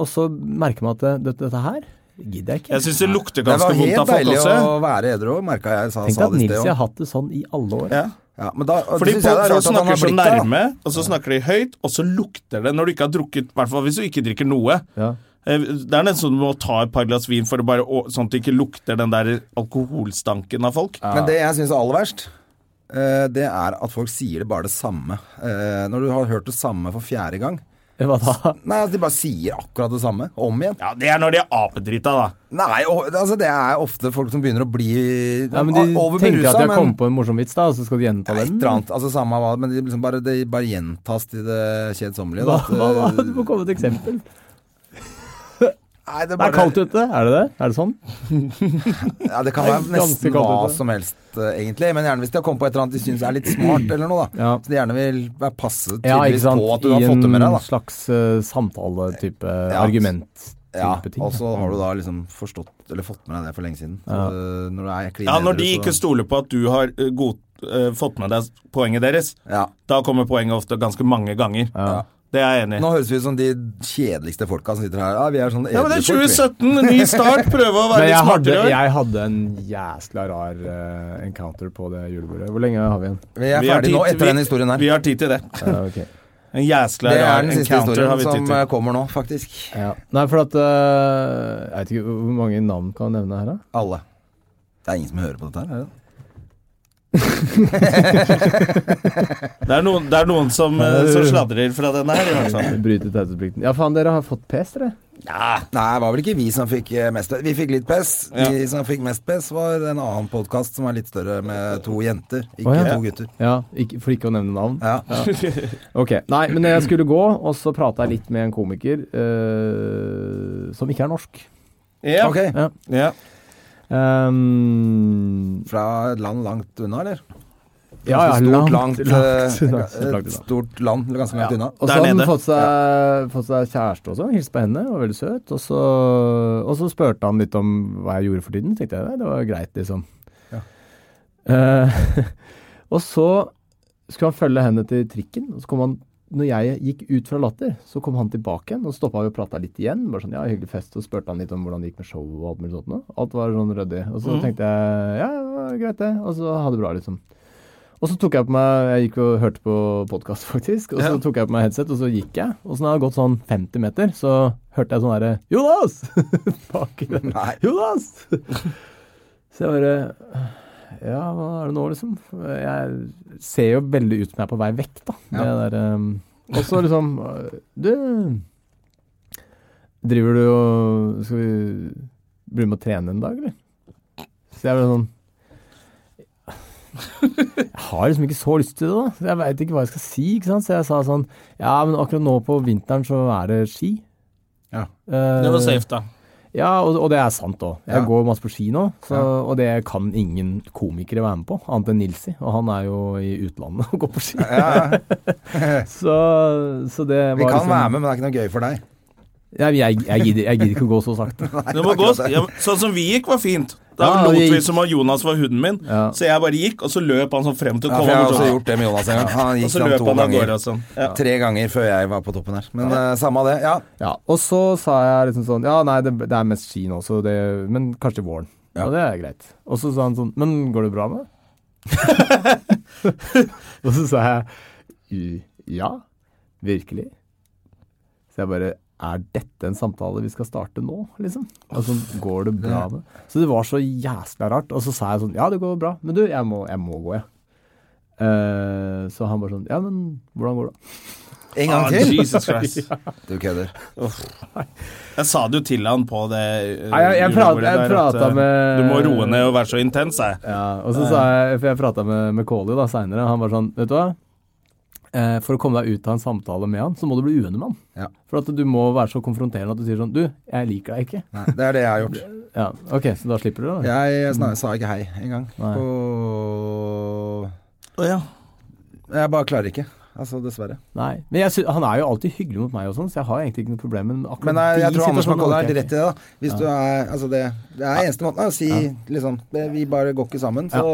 Speaker 3: og så merker man at det, dette- dette her gidder jeg ikke.
Speaker 1: Jeg syns det lukter
Speaker 2: det
Speaker 1: ganske
Speaker 2: var
Speaker 1: vondt
Speaker 2: helt
Speaker 1: av folk
Speaker 2: deilig
Speaker 1: også.
Speaker 2: å være edru, merka jeg. Sa,
Speaker 3: Tenk
Speaker 2: sa
Speaker 3: deg at
Speaker 2: det i
Speaker 3: Nils
Speaker 2: sted
Speaker 3: har
Speaker 2: òg.
Speaker 3: hatt det sånn i alle år.
Speaker 1: Ja.
Speaker 2: Ja, men da, og
Speaker 1: Fordi folk,
Speaker 2: det synes jeg det er
Speaker 1: folk
Speaker 2: rart at han
Speaker 1: snakker
Speaker 2: har
Speaker 1: så
Speaker 2: blitt det, da.
Speaker 1: nærme, og så snakker de høyt, og så lukter det når du ikke har drukket, i hvert fall hvis du ikke drikker noe.
Speaker 3: Ja.
Speaker 1: Eh, Det er nesten som du må ta et par glass vin for å bare, å- sånn at det ikke lukter den der alkoholstanken av folk.
Speaker 2: Men det jeg syns er aller verst, eh, det er at folk sier det bare det samme. Eh, Når du har hørt det samme for fjerde gang.
Speaker 3: Hva da?
Speaker 2: Nei, altså, De bare sier akkurat det samme om igjen.
Speaker 1: Ja, Det er når de er apedrita, da.
Speaker 2: Nei, og, altså Det er ofte folk som begynner å bli
Speaker 3: Ja, men de
Speaker 2: over
Speaker 3: tenker
Speaker 2: berusa,
Speaker 3: at de har
Speaker 2: men
Speaker 3: kommet på en morsom vits, da, og så skal de gjenta
Speaker 2: Ja, et
Speaker 3: den.
Speaker 2: eller annet. Altså, samme hva, men det liksom bare, det bare gjentas til det kjedsommelige.
Speaker 3: Hva,
Speaker 2: da, at,
Speaker 3: hva, da? Du
Speaker 2: eh,
Speaker 3: må komme med et eksempel.
Speaker 2: Nei, det,
Speaker 3: Det
Speaker 2: bare,
Speaker 3: er kaldt ute, er det det? Er det sånn?
Speaker 2: Ja, det kan være
Speaker 3: Det er ganske altså.
Speaker 2: nesten
Speaker 3: kaldt
Speaker 2: hva
Speaker 3: ute.
Speaker 2: som helst, eh, egentlig. Men gjerne hvis de har kommet på et eller annet de syns er litt smart,
Speaker 3: [clears throat]
Speaker 2: eller noe, da.
Speaker 3: Ja.
Speaker 2: Så de gjerne vil være passe
Speaker 3: Ja, ikke
Speaker 2: tydeligvis
Speaker 3: sant.
Speaker 2: på at du har fått det med deg,
Speaker 3: I
Speaker 2: da.
Speaker 3: en slags eh, samtaletype, argumenttype
Speaker 2: Ja,
Speaker 3: ting.
Speaker 2: og så har du da liksom forstått eller fått med deg det for lenge siden. Så,
Speaker 3: Ja.
Speaker 2: øh, når du er klin
Speaker 1: Ja, Når
Speaker 2: edru,
Speaker 1: de
Speaker 2: så-
Speaker 1: ikke stoler på at du har eh, god, eh, fått med deg poenget deres,
Speaker 2: ja.
Speaker 1: da kommer poenget ofte ganske mange ganger. Det er jeg enig i.
Speaker 2: Nå høres vi ut som de kjedeligste folka som sitter her. Ja, vi er sånn
Speaker 1: Ja, men det er
Speaker 2: edru folk, vi.
Speaker 1: 2017, en ny start, prøve
Speaker 2: [laughs]
Speaker 1: å være litt
Speaker 3: Men jeg hadde,
Speaker 1: smartere. i år.
Speaker 3: jeg hadde en jæskla rar eh, encounter på det julebordet. Hvor lenge har vi igjen?
Speaker 2: Vi er
Speaker 1: Vi har
Speaker 2: ferdig nå
Speaker 1: tid-
Speaker 2: etter
Speaker 1: vi-
Speaker 2: den historien her.
Speaker 1: Vi har tid til det.
Speaker 3: Ja, ok.
Speaker 1: En jæskla
Speaker 2: Det
Speaker 1: rar
Speaker 2: er den siste
Speaker 1: encounter har vi
Speaker 2: historien
Speaker 1: tid
Speaker 2: som
Speaker 1: til.
Speaker 2: øh, kommer nå, faktisk.
Speaker 3: ja. Nei, for at eh, Jeg vet ikke hvor mange navn kan jeg
Speaker 2: [clears throat]
Speaker 3: nevne her, da?
Speaker 2: Alle. Det er ingen som hører på dette her, er det?
Speaker 1: Det er noen, det er noen som, eh, som sladrer fra denne her, i hvert fall.
Speaker 3: Bryte taushetsplikten. Ja, faen, dere har fått pes, dere?
Speaker 2: Nei, det var vel ikke vi som fikk eh, mest pes. Vi fikk litt pes.
Speaker 1: Ah. Ja.
Speaker 2: De som fikk mest pes, var en annen podkast som er litt større, med to jenter, ikke
Speaker 3: Å, ja.
Speaker 2: to gutter.
Speaker 3: Ja, ikke, for ikke å nevne navn.
Speaker 2: Ja.
Speaker 3: Ok, Nei, men jeg skulle gå, og så prata jeg litt med en komiker eh, som ikke er norsk.
Speaker 1: Ja.
Speaker 2: Ok.
Speaker 3: Ja.
Speaker 1: Ja.
Speaker 3: Ehm,
Speaker 2: Fra et land langt unna, eller?
Speaker 3: ja, ja,
Speaker 2: Ganske
Speaker 3: langt,
Speaker 2: stort, langt, eh,
Speaker 3: [laughs] langt, langt
Speaker 2: Et
Speaker 3: unna.
Speaker 2: stort land, eller ganske langt unna.
Speaker 3: Og så
Speaker 1: Der
Speaker 3: hadde han
Speaker 1: nede.
Speaker 3: fått seg, fått seg kjæreste også, hilste på henne, var veldig søt. Og så, og så spurte han litt om hva jeg gjorde for tiden, tenkte jeg, nei, det var greit, liksom.
Speaker 2: Ja.
Speaker 3: Eh, [laughs] og så skulle han følge henne til trikken, og så kom han, når jeg gikk ut fra latter, så kom han tilbake igjen, og stoppa vi og prata litt igjen. bare sånn, ja, hyggelig fest, Og spurte han litt om hvordan det gikk med showet og alt mulig sånt. nå. Alt var sånn ryddig. Og så tenkte jeg ja, det var greit det, og så ha det bra, liksom. Og så tok jeg på meg Jeg gikk og hørte på podkast, [laughs] faktisk. Og så
Speaker 1: Ja.
Speaker 3: tok jeg på meg headset, og så gikk jeg. Og så når jeg hadde gått sånn 50 meter, så hørte jeg sånn derre Jonas! [laughs] Bak i det.
Speaker 2: Nei.
Speaker 3: Jonas! så jeg bare Ja, hva er det nå, liksom? Jeg ser jo veldig ut som jeg er på vei vekk, da. Det der, um, [laughs] og så liksom Du Driver du og Skal vi bli med å trene en dag, eller? Så jeg ble sånn Jeg har liksom ikke så lyst til det, da. Så Jeg veit ikke hva jeg skal si, ikke sant. Så jeg sa sånn Ja, men akkurat nå på vinteren så er det ski.
Speaker 2: Ja.
Speaker 3: Eh,
Speaker 1: Det var safe, da.
Speaker 3: ja, og, og det er sant òg. Jeg
Speaker 2: Ja.
Speaker 3: går masse på ski nå, så,
Speaker 2: Ja.
Speaker 3: og det kan ingen komikere være med på, annet enn Nilsi. Og han er jo i utlandet [laughs] og går på ski. så, [laughs] så det var
Speaker 2: Vi kan
Speaker 3: liksom,
Speaker 2: være med, men det er ikke noe gøy for
Speaker 1: [laughs]
Speaker 2: deg.
Speaker 3: Nei, men jeg, jeg, gidder, jeg gidder ikke å gå så sakte.
Speaker 1: Det må gå, ja, sånn som vi gikk, var fint. Da
Speaker 3: Ja,
Speaker 1: lot
Speaker 3: vi
Speaker 1: vi
Speaker 3: gikk.
Speaker 1: som om Jonas var hunden min,
Speaker 3: Ja.
Speaker 1: så jeg bare gikk, og så løp han sånn frem til
Speaker 2: Ja,
Speaker 1: Tom
Speaker 2: for jeg har
Speaker 1: og
Speaker 2: også
Speaker 1: Jonas.
Speaker 2: gjort det med Jonas en gang. Han
Speaker 1: Og
Speaker 2: gikk
Speaker 1: så
Speaker 2: sånn
Speaker 1: løp
Speaker 2: to
Speaker 1: han av
Speaker 2: ganger.
Speaker 1: gårde og sånn. Ja.
Speaker 2: Tre ganger før jeg var på toppen her. Men eh, samme av det. Ja,
Speaker 3: Ja, og så sa jeg liksom sånn Ja, nei, det, det er mest ski nå, så det Men kanskje i våren.
Speaker 2: Ja.
Speaker 3: Og det er greit. Og så sa han sånn Men går det bra med deg? [laughs] og så sa jeg «I- ja, virkelig. Så jeg bare Er dette en samtale vi skal starte nå, liksom? Altså, går det bra med deg? Så det var så jæskla rart. Og så sa jeg sånn Ja, det går bra. Men du, jeg må, jeg må gå, jeg. Eh, så han bare sånn Ja, men hvordan går det?
Speaker 2: En
Speaker 1: Ah,
Speaker 2: gang til?
Speaker 1: Jesus Christ.
Speaker 2: Du kødder.
Speaker 1: Jeg sa det jo til han på det eh,
Speaker 3: Nei, jeg- jeg
Speaker 1: julebordet
Speaker 3: prat- jeg
Speaker 1: der, at,
Speaker 3: prata
Speaker 1: eh,
Speaker 3: med-
Speaker 1: Du må roe ned og være så intens, jeg.
Speaker 3: Ja, og så sa
Speaker 2: Eh.
Speaker 3: jeg, for jeg prata med, med Kåli da seinere, han var sånn, vet du hva. Eh, for å komme deg ut av en samtale med han, så må du bli uenig med han.
Speaker 2: Ja.
Speaker 3: For at du må være så konfronterende at du sier sånn Du, jeg liker deg ikke.
Speaker 2: Nei, det er det jeg har gjort.
Speaker 3: Ja, OK, så da slipper du det? da.
Speaker 2: Jeg snar, sa ikke hei engang.
Speaker 3: Nei.
Speaker 2: Og
Speaker 1: ja.
Speaker 2: Jeg bare klarer ikke. Altså, dessverre.
Speaker 3: Nei. Men jeg sy han er jo alltid hyggelig mot meg og sånn, så jeg har egentlig ikke noe problem med akkurat
Speaker 2: Men jeg, jeg
Speaker 3: de
Speaker 2: tror Anders
Speaker 3: situasjonene
Speaker 2: Macaulay
Speaker 3: orker
Speaker 2: har
Speaker 3: jeg
Speaker 2: rett i det. da Hvis du er Altså, det, det er eneste måten å si liksom det, Vi bare går ikke sammen, så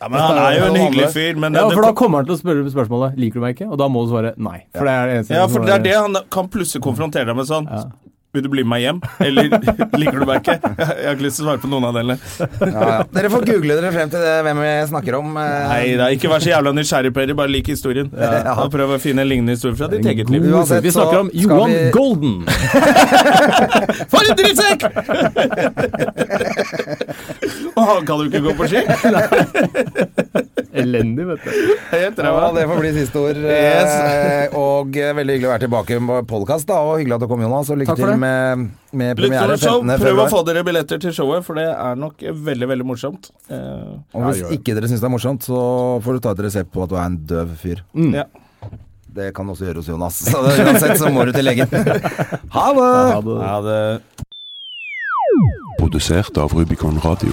Speaker 1: ja, men han er jo en hyggelig fyr, men
Speaker 3: ikke. Ja,
Speaker 1: det-
Speaker 3: for da kommer han til å spørre spørsmålet Liker du meg ikke? Og da må du svare nei. For det er det eneste
Speaker 1: Ja,
Speaker 3: som
Speaker 1: for det
Speaker 3: er-
Speaker 1: er det han kan plutselig konfrontere deg med sånn. Vil du bli med meg hjem, eller [laughs] liker du meg ikke? [laughs] Jeg har ikke lyst til å svare på noen av delene.
Speaker 2: ja, ja. Dere får google dere frem til det, hvem vi snakker om. eh.
Speaker 1: Nei da, ikke vær så jævla nysgjerrig, Peder. Bare lik historien.
Speaker 2: Ja.
Speaker 1: Og prøv å finne en lignende historie fra ditt eget liv.
Speaker 3: God-
Speaker 2: Uansett,
Speaker 3: vi snakker om
Speaker 2: så skal
Speaker 3: Johan
Speaker 2: vi-
Speaker 3: Golden.
Speaker 2: [laughs]
Speaker 1: For en drittsekk! Og han kan jo ikke gå på ski.
Speaker 3: Elendig, vet du.
Speaker 1: Helt
Speaker 2: Ja,
Speaker 1: ræva.
Speaker 2: det får bli siste ord. eh, [laughs] Og eh, veldig hyggelig å være tilbake på podkast, da. Og hyggelig at du kom, Jonas. Og lykke
Speaker 3: Takk for
Speaker 2: til
Speaker 3: det.
Speaker 2: med, med premiere
Speaker 1: Lykke til show.
Speaker 2: 15.
Speaker 1: Prøv å
Speaker 2: februar.
Speaker 1: få dere billetter til showet, for det er nok veldig, veldig morsomt. Eh,
Speaker 2: Og hvis ikke dere syns det er morsomt, så får du ta et resept på at du er en døv fyr.
Speaker 3: Mm.
Speaker 1: ja.
Speaker 2: Det kan også gjøre hos Jonas. Så det, uansett så må du til legen. [laughs] Ha det!
Speaker 3: Ha det.
Speaker 1: Ja, det
Speaker 4: Produsert av Rubicon Radio.